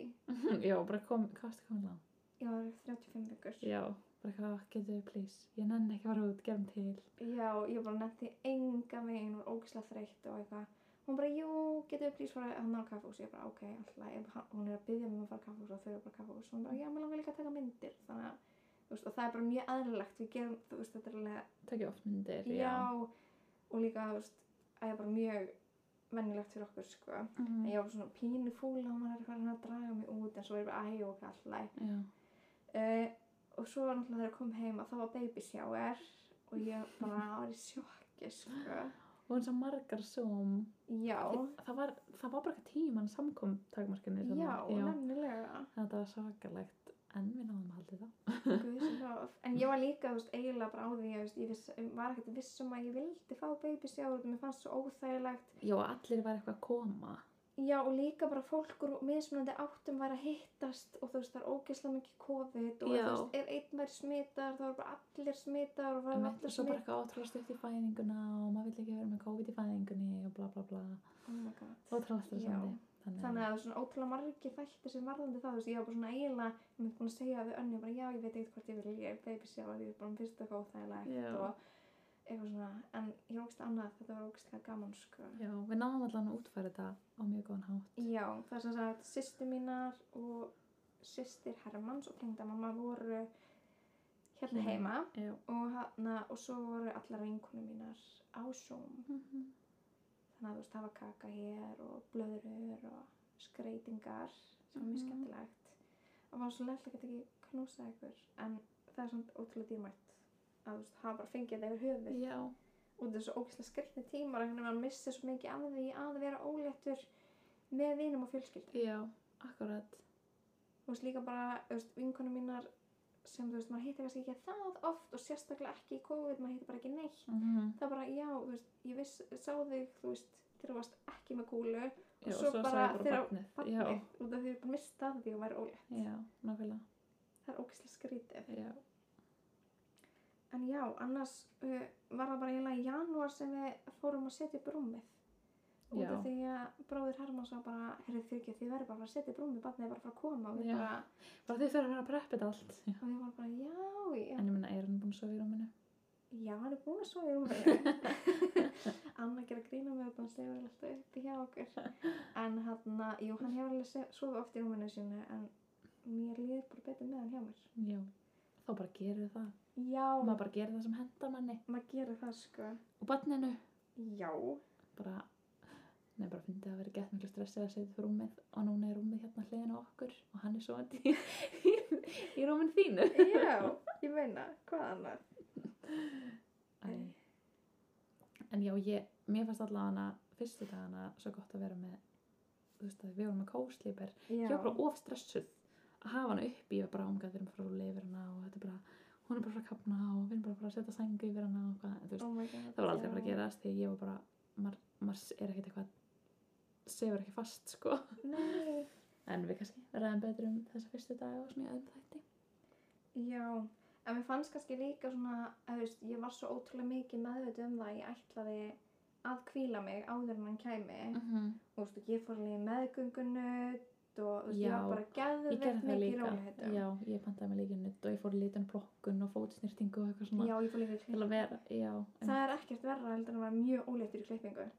[SPEAKER 2] já, bara kom, kastu komin langt
[SPEAKER 1] ég var 35 vikur
[SPEAKER 2] já, bara hvað, getur við please ég nenni ekki að fara út, gerum til
[SPEAKER 1] Já, ég bara nefndi enga veginn og ógislega þreytt og eitthvað. Hún bara, jú, getur við plís fara hann á kaffús? Ég bara, ok, alltaf. Hún er að byggja mig um að fara á kaffús og þau eru bara á kaffús. Hún bara, já, mér langar líka að taka myndir. Þannig að, þú veist, og það er bara mjög aðlilegt. Við gerum, þú veist, þetta er alveg,
[SPEAKER 2] takk ég oft myndir,
[SPEAKER 1] já. og líka, þú veist, það er bara mjög vennilegt fyrir okkur, sko.
[SPEAKER 2] Mhm,
[SPEAKER 1] En ég var svona pínu fúla og maður er eitthvað svona að draga mig út en svo er ég bara, æ, ok, alltaf.
[SPEAKER 2] já,
[SPEAKER 1] Uh, og svo var náttúrulega þegar ég kom heim að það var baby shower og ég bara var í sjokki sko.
[SPEAKER 2] og eins og margar som
[SPEAKER 1] Já,
[SPEAKER 2] það var, það var bara eitthvað tíman samkom takmarkinni
[SPEAKER 1] já, nefnilega
[SPEAKER 2] Þetta var svakalegt, en við náðum að halda það.
[SPEAKER 1] Guð sé lof. En ég var líka, þú veist, eiginlega bara á því ég, veist, ég viss, var ekkert viss um að ég vildi fá baby shower og mér fannst svo óþægilegt
[SPEAKER 2] Já, og allir var eitthvað að koma.
[SPEAKER 1] Já, og líka bara fólk úr mismunandi áttum var að hittast og þú veist, það er ógeðslega mikið COVID og
[SPEAKER 2] Já.
[SPEAKER 1] þú veist, ef einn væri smitar þá var bara allir smitar og var
[SPEAKER 2] Einmitt,
[SPEAKER 1] allir
[SPEAKER 2] og svo bara
[SPEAKER 1] smitar
[SPEAKER 2] eitthvað ótrúlega stutt í fæðinguna og maður vill ekki vera með COVID í fæðingunni og bla bla bla.
[SPEAKER 1] Oh my god
[SPEAKER 2] Ótrúlega
[SPEAKER 1] Já,
[SPEAKER 2] stressandi. þannig,
[SPEAKER 1] þannig að það er svona ótrúlega margir þættir sem varðandi það, þú veist, ég var bara svona eiginlega ég myndi búin að segja við önni, bara já, ég veit eitthvað hvort ég vil ég baby shower, ég er bara um fyrst eitthvað
[SPEAKER 2] Já.
[SPEAKER 1] óþægilegt og eitthvað svona, en ég rókst annað, þetta var ógstlega gaman, sko
[SPEAKER 2] já, við náðum allan að útfæra þetta á mjög góðan hátt
[SPEAKER 1] Já, það er sem sagt, sýstir mínar og sýstir Hermanns og tengdamamma voru hérna
[SPEAKER 2] Heima.
[SPEAKER 1] heima
[SPEAKER 2] já,
[SPEAKER 1] og, hana, og svo voru allar vinkunum mínar á Zoom
[SPEAKER 2] Mhm.
[SPEAKER 1] þannig að þú veist, það var kaka hér og blöður og skreitingar sem var mjög
[SPEAKER 2] Mhm.
[SPEAKER 1] skemmtilegt og var svo leitt að geta ekki knúsað ykkur en það er svona ótrúlega dýrmætt að þú veist, hafa bara fengið þetta yfir höfuð
[SPEAKER 2] já,
[SPEAKER 1] út af þessu ógæslega skreitni tímar þannig að mann missi svo mikið af því að vera óléttur með vinum og fjölskyldu
[SPEAKER 2] já, akkurat
[SPEAKER 1] þú veist líka bara, þú veist, vinkonum mínar sem þú veist, maður hittir kannski ekki það oft og sérstaklega ekki í COVID, maður hittir bara ekki neitt
[SPEAKER 2] Mm. Mhm.
[SPEAKER 1] það er bara, já, þú veist, ég viss, sá þig, þú veist, þegar þú varst ekki með kúlu
[SPEAKER 2] já,
[SPEAKER 1] og svo, bara þegar
[SPEAKER 2] barnið,
[SPEAKER 1] barnið,
[SPEAKER 2] já,
[SPEAKER 1] út af því við bara mista af því og væri ólétt.
[SPEAKER 2] já, nákvæmlega
[SPEAKER 1] Það er ógeðslega skrítið.
[SPEAKER 2] já,
[SPEAKER 1] En já, annars uh, var það bara eiginlega í janúar sem við fórum að setja upp rúmið. Út
[SPEAKER 2] Já.
[SPEAKER 1] af því að bróðir Hermanns var bara, herrið fyrir ekki, þið verður bara að fara að setja upp rúmið, barnið er bara að fara að koma og við
[SPEAKER 2] Já.
[SPEAKER 1] bara,
[SPEAKER 2] bara þið fyrir að vera að preppa þetta
[SPEAKER 1] og
[SPEAKER 2] allt já.
[SPEAKER 1] við varum bara, já, já,
[SPEAKER 2] en ég minna, er hann búin að sofa í rúminu
[SPEAKER 1] já, hann er búin að sofa í rúmið. Anna gera grína með þetta, hann sefur alltaf uppi hjá okkur. En hann, jú, hann hefur alveg se- sofið oft í rúminu sínu, en mér líður bara betur með hann hjá mér.
[SPEAKER 2] já, þá bara gerir það
[SPEAKER 1] Já,
[SPEAKER 2] maður bara gerir það sem hendar manni
[SPEAKER 1] maður gerir það sko
[SPEAKER 2] og barninu
[SPEAKER 1] já,
[SPEAKER 2] bara, nei, bara fyndi að vera gett miklu stressið að setja fyrir rúmið og núna er rúmið hérna hliðin á okkur og hann er svo í, í, í rúmin þínu
[SPEAKER 1] já, ég meina hvað annað
[SPEAKER 2] Æ. en já, ég, mér fannst allavega fyrstu dagana svo gott að vera með þú veist að við vorum með kóslýper
[SPEAKER 1] já,
[SPEAKER 2] ég var bara of stressuð að hafa hana upp ég var bara ámgæð við erum frá lifir hana og þetta er bara, hún er bara frá kapna og við erum bara að fara að setja sængu yfir hana og hvað, þú veist,
[SPEAKER 1] oh my god
[SPEAKER 2] það var aldrei að
[SPEAKER 1] já.
[SPEAKER 2] fara að gerast því ég var bara, maður mað er ekkert eitthvað sefur ekki fast sko
[SPEAKER 1] nei,
[SPEAKER 2] en við kannski ræðum betur um þessa fyrstu dag og svona í öðrum þætti
[SPEAKER 1] já, en mér fannst kannski líka svona, að þú veist, ég var svo ótrúlega mikið meðvitið um það að ég ætlaði að kvíla mig áður en hann kæmi
[SPEAKER 2] -hmm.
[SPEAKER 1] og þú veist, ég fór alveg í meðgöngunu og þú veist, ég
[SPEAKER 2] Já,
[SPEAKER 1] var bara
[SPEAKER 2] ég gerði
[SPEAKER 1] geðveikt
[SPEAKER 2] það
[SPEAKER 1] mikið í
[SPEAKER 2] líka
[SPEAKER 1] rólegheitum
[SPEAKER 2] já, ég pantaði mig líka nutt og ég fór í lítun blokkun og fótsnýrtingu og eitthvað svona
[SPEAKER 1] já, ég fór líka í
[SPEAKER 2] til að
[SPEAKER 1] klippingu
[SPEAKER 2] vera, já, en,
[SPEAKER 1] það er ekkert verra heldur en að vera mjög óléttur í klippingu
[SPEAKER 2] já,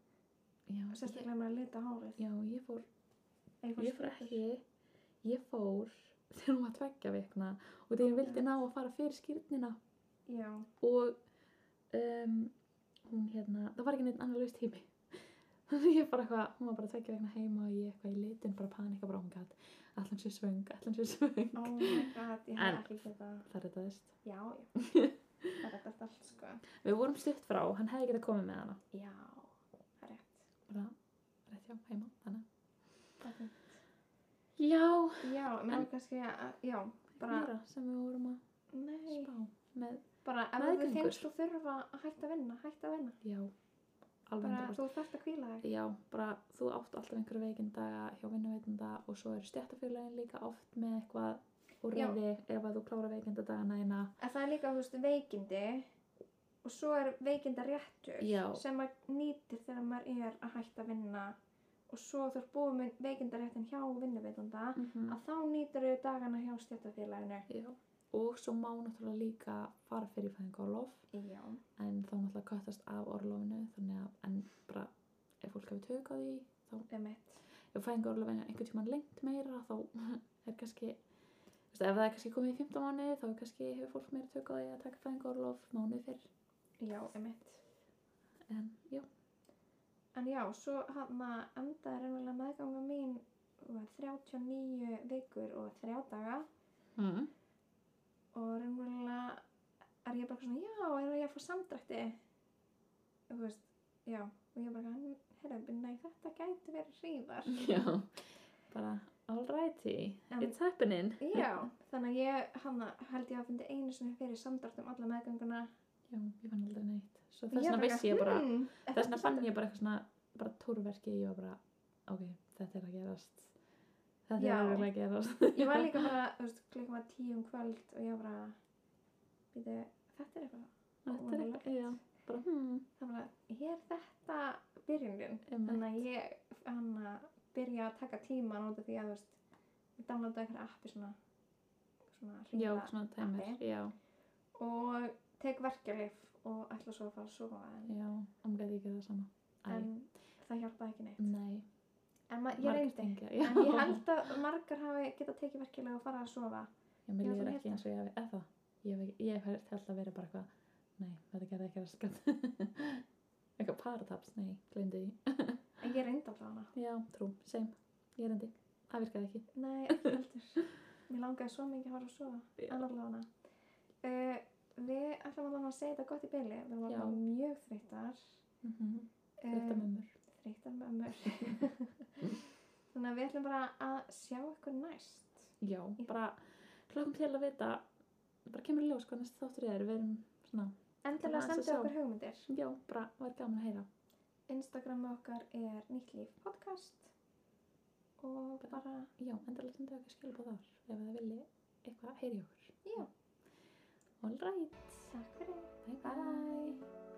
[SPEAKER 2] ég,
[SPEAKER 1] sérstaklega með að lita hárið
[SPEAKER 2] já, ég fór
[SPEAKER 1] Ég
[SPEAKER 2] ég fór
[SPEAKER 1] stuttur.
[SPEAKER 2] ekki ég fór þegar hún var tveggja vikna og þegar ég vildi ná að fara fyrir skýrnina
[SPEAKER 1] já,
[SPEAKER 2] og um, hún hérna, það var ekki neitt annar laust tími þannig að ég bara eitthvað, hún var bara tveggja vegna heima og ég eitthvað í litin bara panika bara "Oh hún gætt, allan sér svöng, allan sér svöng
[SPEAKER 1] oh my god, ég
[SPEAKER 2] En-
[SPEAKER 1] hef ekki getað
[SPEAKER 2] það rettaðist.
[SPEAKER 1] Já, já. það er þetta allt sko.
[SPEAKER 2] Við vorum stutt frá, hann hefði getið komið með hana
[SPEAKER 1] Já, það er rétt.
[SPEAKER 2] bara rétt hjá heima, þannig
[SPEAKER 1] Það er fínt.
[SPEAKER 2] að- Já,
[SPEAKER 1] Já, mér
[SPEAKER 2] En-
[SPEAKER 1] er kannski að, já,
[SPEAKER 2] bara
[SPEAKER 1] bara,
[SPEAKER 2] sem við vorum að
[SPEAKER 1] nei,
[SPEAKER 2] spá með,
[SPEAKER 1] bara ef þú
[SPEAKER 2] meðgöngur.
[SPEAKER 1] finnst þú þurfa að hætta að vinna, hætta að vinna.
[SPEAKER 2] já, alveg
[SPEAKER 1] Bara
[SPEAKER 2] 100%.
[SPEAKER 1] þú þarft að kvíla þig.
[SPEAKER 2] Já, bara þú átt alltaf einhverja veikinda hjá vinnuveitenda og svo eru stjættafélagin líka oft með eitthvað úrræði ef að þú klára veikinda dagana eina.
[SPEAKER 1] En það er líka, þú veist, veikindi og svo er veikinda réttur
[SPEAKER 2] Já.
[SPEAKER 1] sem maður nýtir þegar maður er að hætta að vinna og svo þú ert búið með veikindaréttin hjá vinnuveitanda
[SPEAKER 2] Mm -hmm.
[SPEAKER 1] að þá nýtir þau dagana hjá stjættafélaginu.
[SPEAKER 2] Já, og svo má náttúrulega líka fara fyrir fæðing orlof
[SPEAKER 1] Já.
[SPEAKER 2] en þá náttúrulega köttast af orlofinu þannig að en bara ef fólk hefur tök á því þá
[SPEAKER 1] Um eitt.
[SPEAKER 2] ef fæðing orlofinu einhvern tímann lengt meira þá er kannski þú veist, ef það er kannski komið í 15 mánuði þá er kannski hefur fólk meira tök á því að taka fæðing orlof mánuð fyrr
[SPEAKER 1] Já, um eitt.
[SPEAKER 2] en já,
[SPEAKER 1] En já, svo hann að endaði raunverulega meðganga mín var 39 vikur og 3 daga
[SPEAKER 2] mm.
[SPEAKER 1] og raunverulega er ég bara svona, já, er ég að fá samdrætti? Þú veist, já, og ég bara, herra, nei, þetta gæti verið hríðar.
[SPEAKER 2] Já, bara alrighty,
[SPEAKER 1] En-
[SPEAKER 2] it's happening.
[SPEAKER 1] já, þannig að ég, hann held ég að fyndi einu sinni fyrir samdrætt um alla meðganguna.
[SPEAKER 2] Já, ég fann aldrei neitt. Svo þess vegna vissi ég bara,
[SPEAKER 1] hmm, er
[SPEAKER 2] þess vegna
[SPEAKER 1] þetta
[SPEAKER 2] fann
[SPEAKER 1] samdráttur?"
[SPEAKER 2] ég bara eitthvað svona, bara túrverki, ég var bara, ok, þetta er að gerast. Þetta
[SPEAKER 1] Já.
[SPEAKER 2] er örugglega að gerast.
[SPEAKER 1] Ég var líka bara, þú veist, klukkan var tíu um kvöld og ég var bara, býtu, þetta er eitthvað.
[SPEAKER 2] Þetta er
[SPEAKER 1] óvanalegt.
[SPEAKER 2] eitthvað, já, bara, hmm,
[SPEAKER 1] þannig að ég er þetta byrjunin
[SPEAKER 2] um,
[SPEAKER 1] þannig að ég hann að byrja að taka tíman út af því að þú veist, ég downloadaði einhverja appi svona, svona
[SPEAKER 2] Já,
[SPEAKER 1] hringa-
[SPEAKER 2] svona tæmir,
[SPEAKER 1] appi.
[SPEAKER 2] já,
[SPEAKER 1] og tek verkjalif og ætla svo að fara að sofa en,
[SPEAKER 2] já, hann gæti ekki það sama. Æ,
[SPEAKER 1] en það hjálpaði ekki neitt
[SPEAKER 2] nei,
[SPEAKER 1] en ma- ég reyndi
[SPEAKER 2] tengja, já.
[SPEAKER 1] en ég held að margar hafi getað tekið verkjalið og farið að sofa
[SPEAKER 2] Ég mér
[SPEAKER 1] Já,
[SPEAKER 2] líður
[SPEAKER 1] þú
[SPEAKER 2] ekki
[SPEAKER 1] hét
[SPEAKER 2] eins og ég hafi, eða það, ég hef, ekki- ég hef heyrt alltaf verið bara eitthvað, nei, þetta gerði ekki raskat. eitthvað parataps, nei, gleymdi því.
[SPEAKER 1] en ég reyndi alltaf hana
[SPEAKER 2] Já, trú, same, ég reyndi, það virkaði ekki.
[SPEAKER 1] Nei, ekki heldur. Mér langaði svo mikið að fara að sofa.
[SPEAKER 2] Já.
[SPEAKER 1] Allavega hana. Uh, við ætlum allavega að segja þetta gott í byli. Við erum
[SPEAKER 2] Já.
[SPEAKER 1] allavega mjög þreyttar.
[SPEAKER 2] Mm -hmm.
[SPEAKER 1] Eh,
[SPEAKER 2] Þetta mömmur.
[SPEAKER 1] Þreyttar með ömmur. Þannig að við ætlum bara að sjá ykkur næst.
[SPEAKER 2] Já,
[SPEAKER 1] Já.
[SPEAKER 2] bara klokkum til að vita, bara kemur í ljós hvað næst þáttur er, við erum svona,
[SPEAKER 1] Endilega
[SPEAKER 2] Ætlum aðeins að
[SPEAKER 1] sendu
[SPEAKER 2] sjá.
[SPEAKER 1] okkur hugmyndir.
[SPEAKER 2] já, bara, var gaman að heyra.
[SPEAKER 1] Instagramið okkar er nýtt líf podcast. Og bara,
[SPEAKER 2] Já, endalega sendu okkur skilabóð þar, ef það vilji eitthvað að heyri okkur.
[SPEAKER 1] já,
[SPEAKER 2] All right,
[SPEAKER 1] takk fyrir.
[SPEAKER 2] bye bye.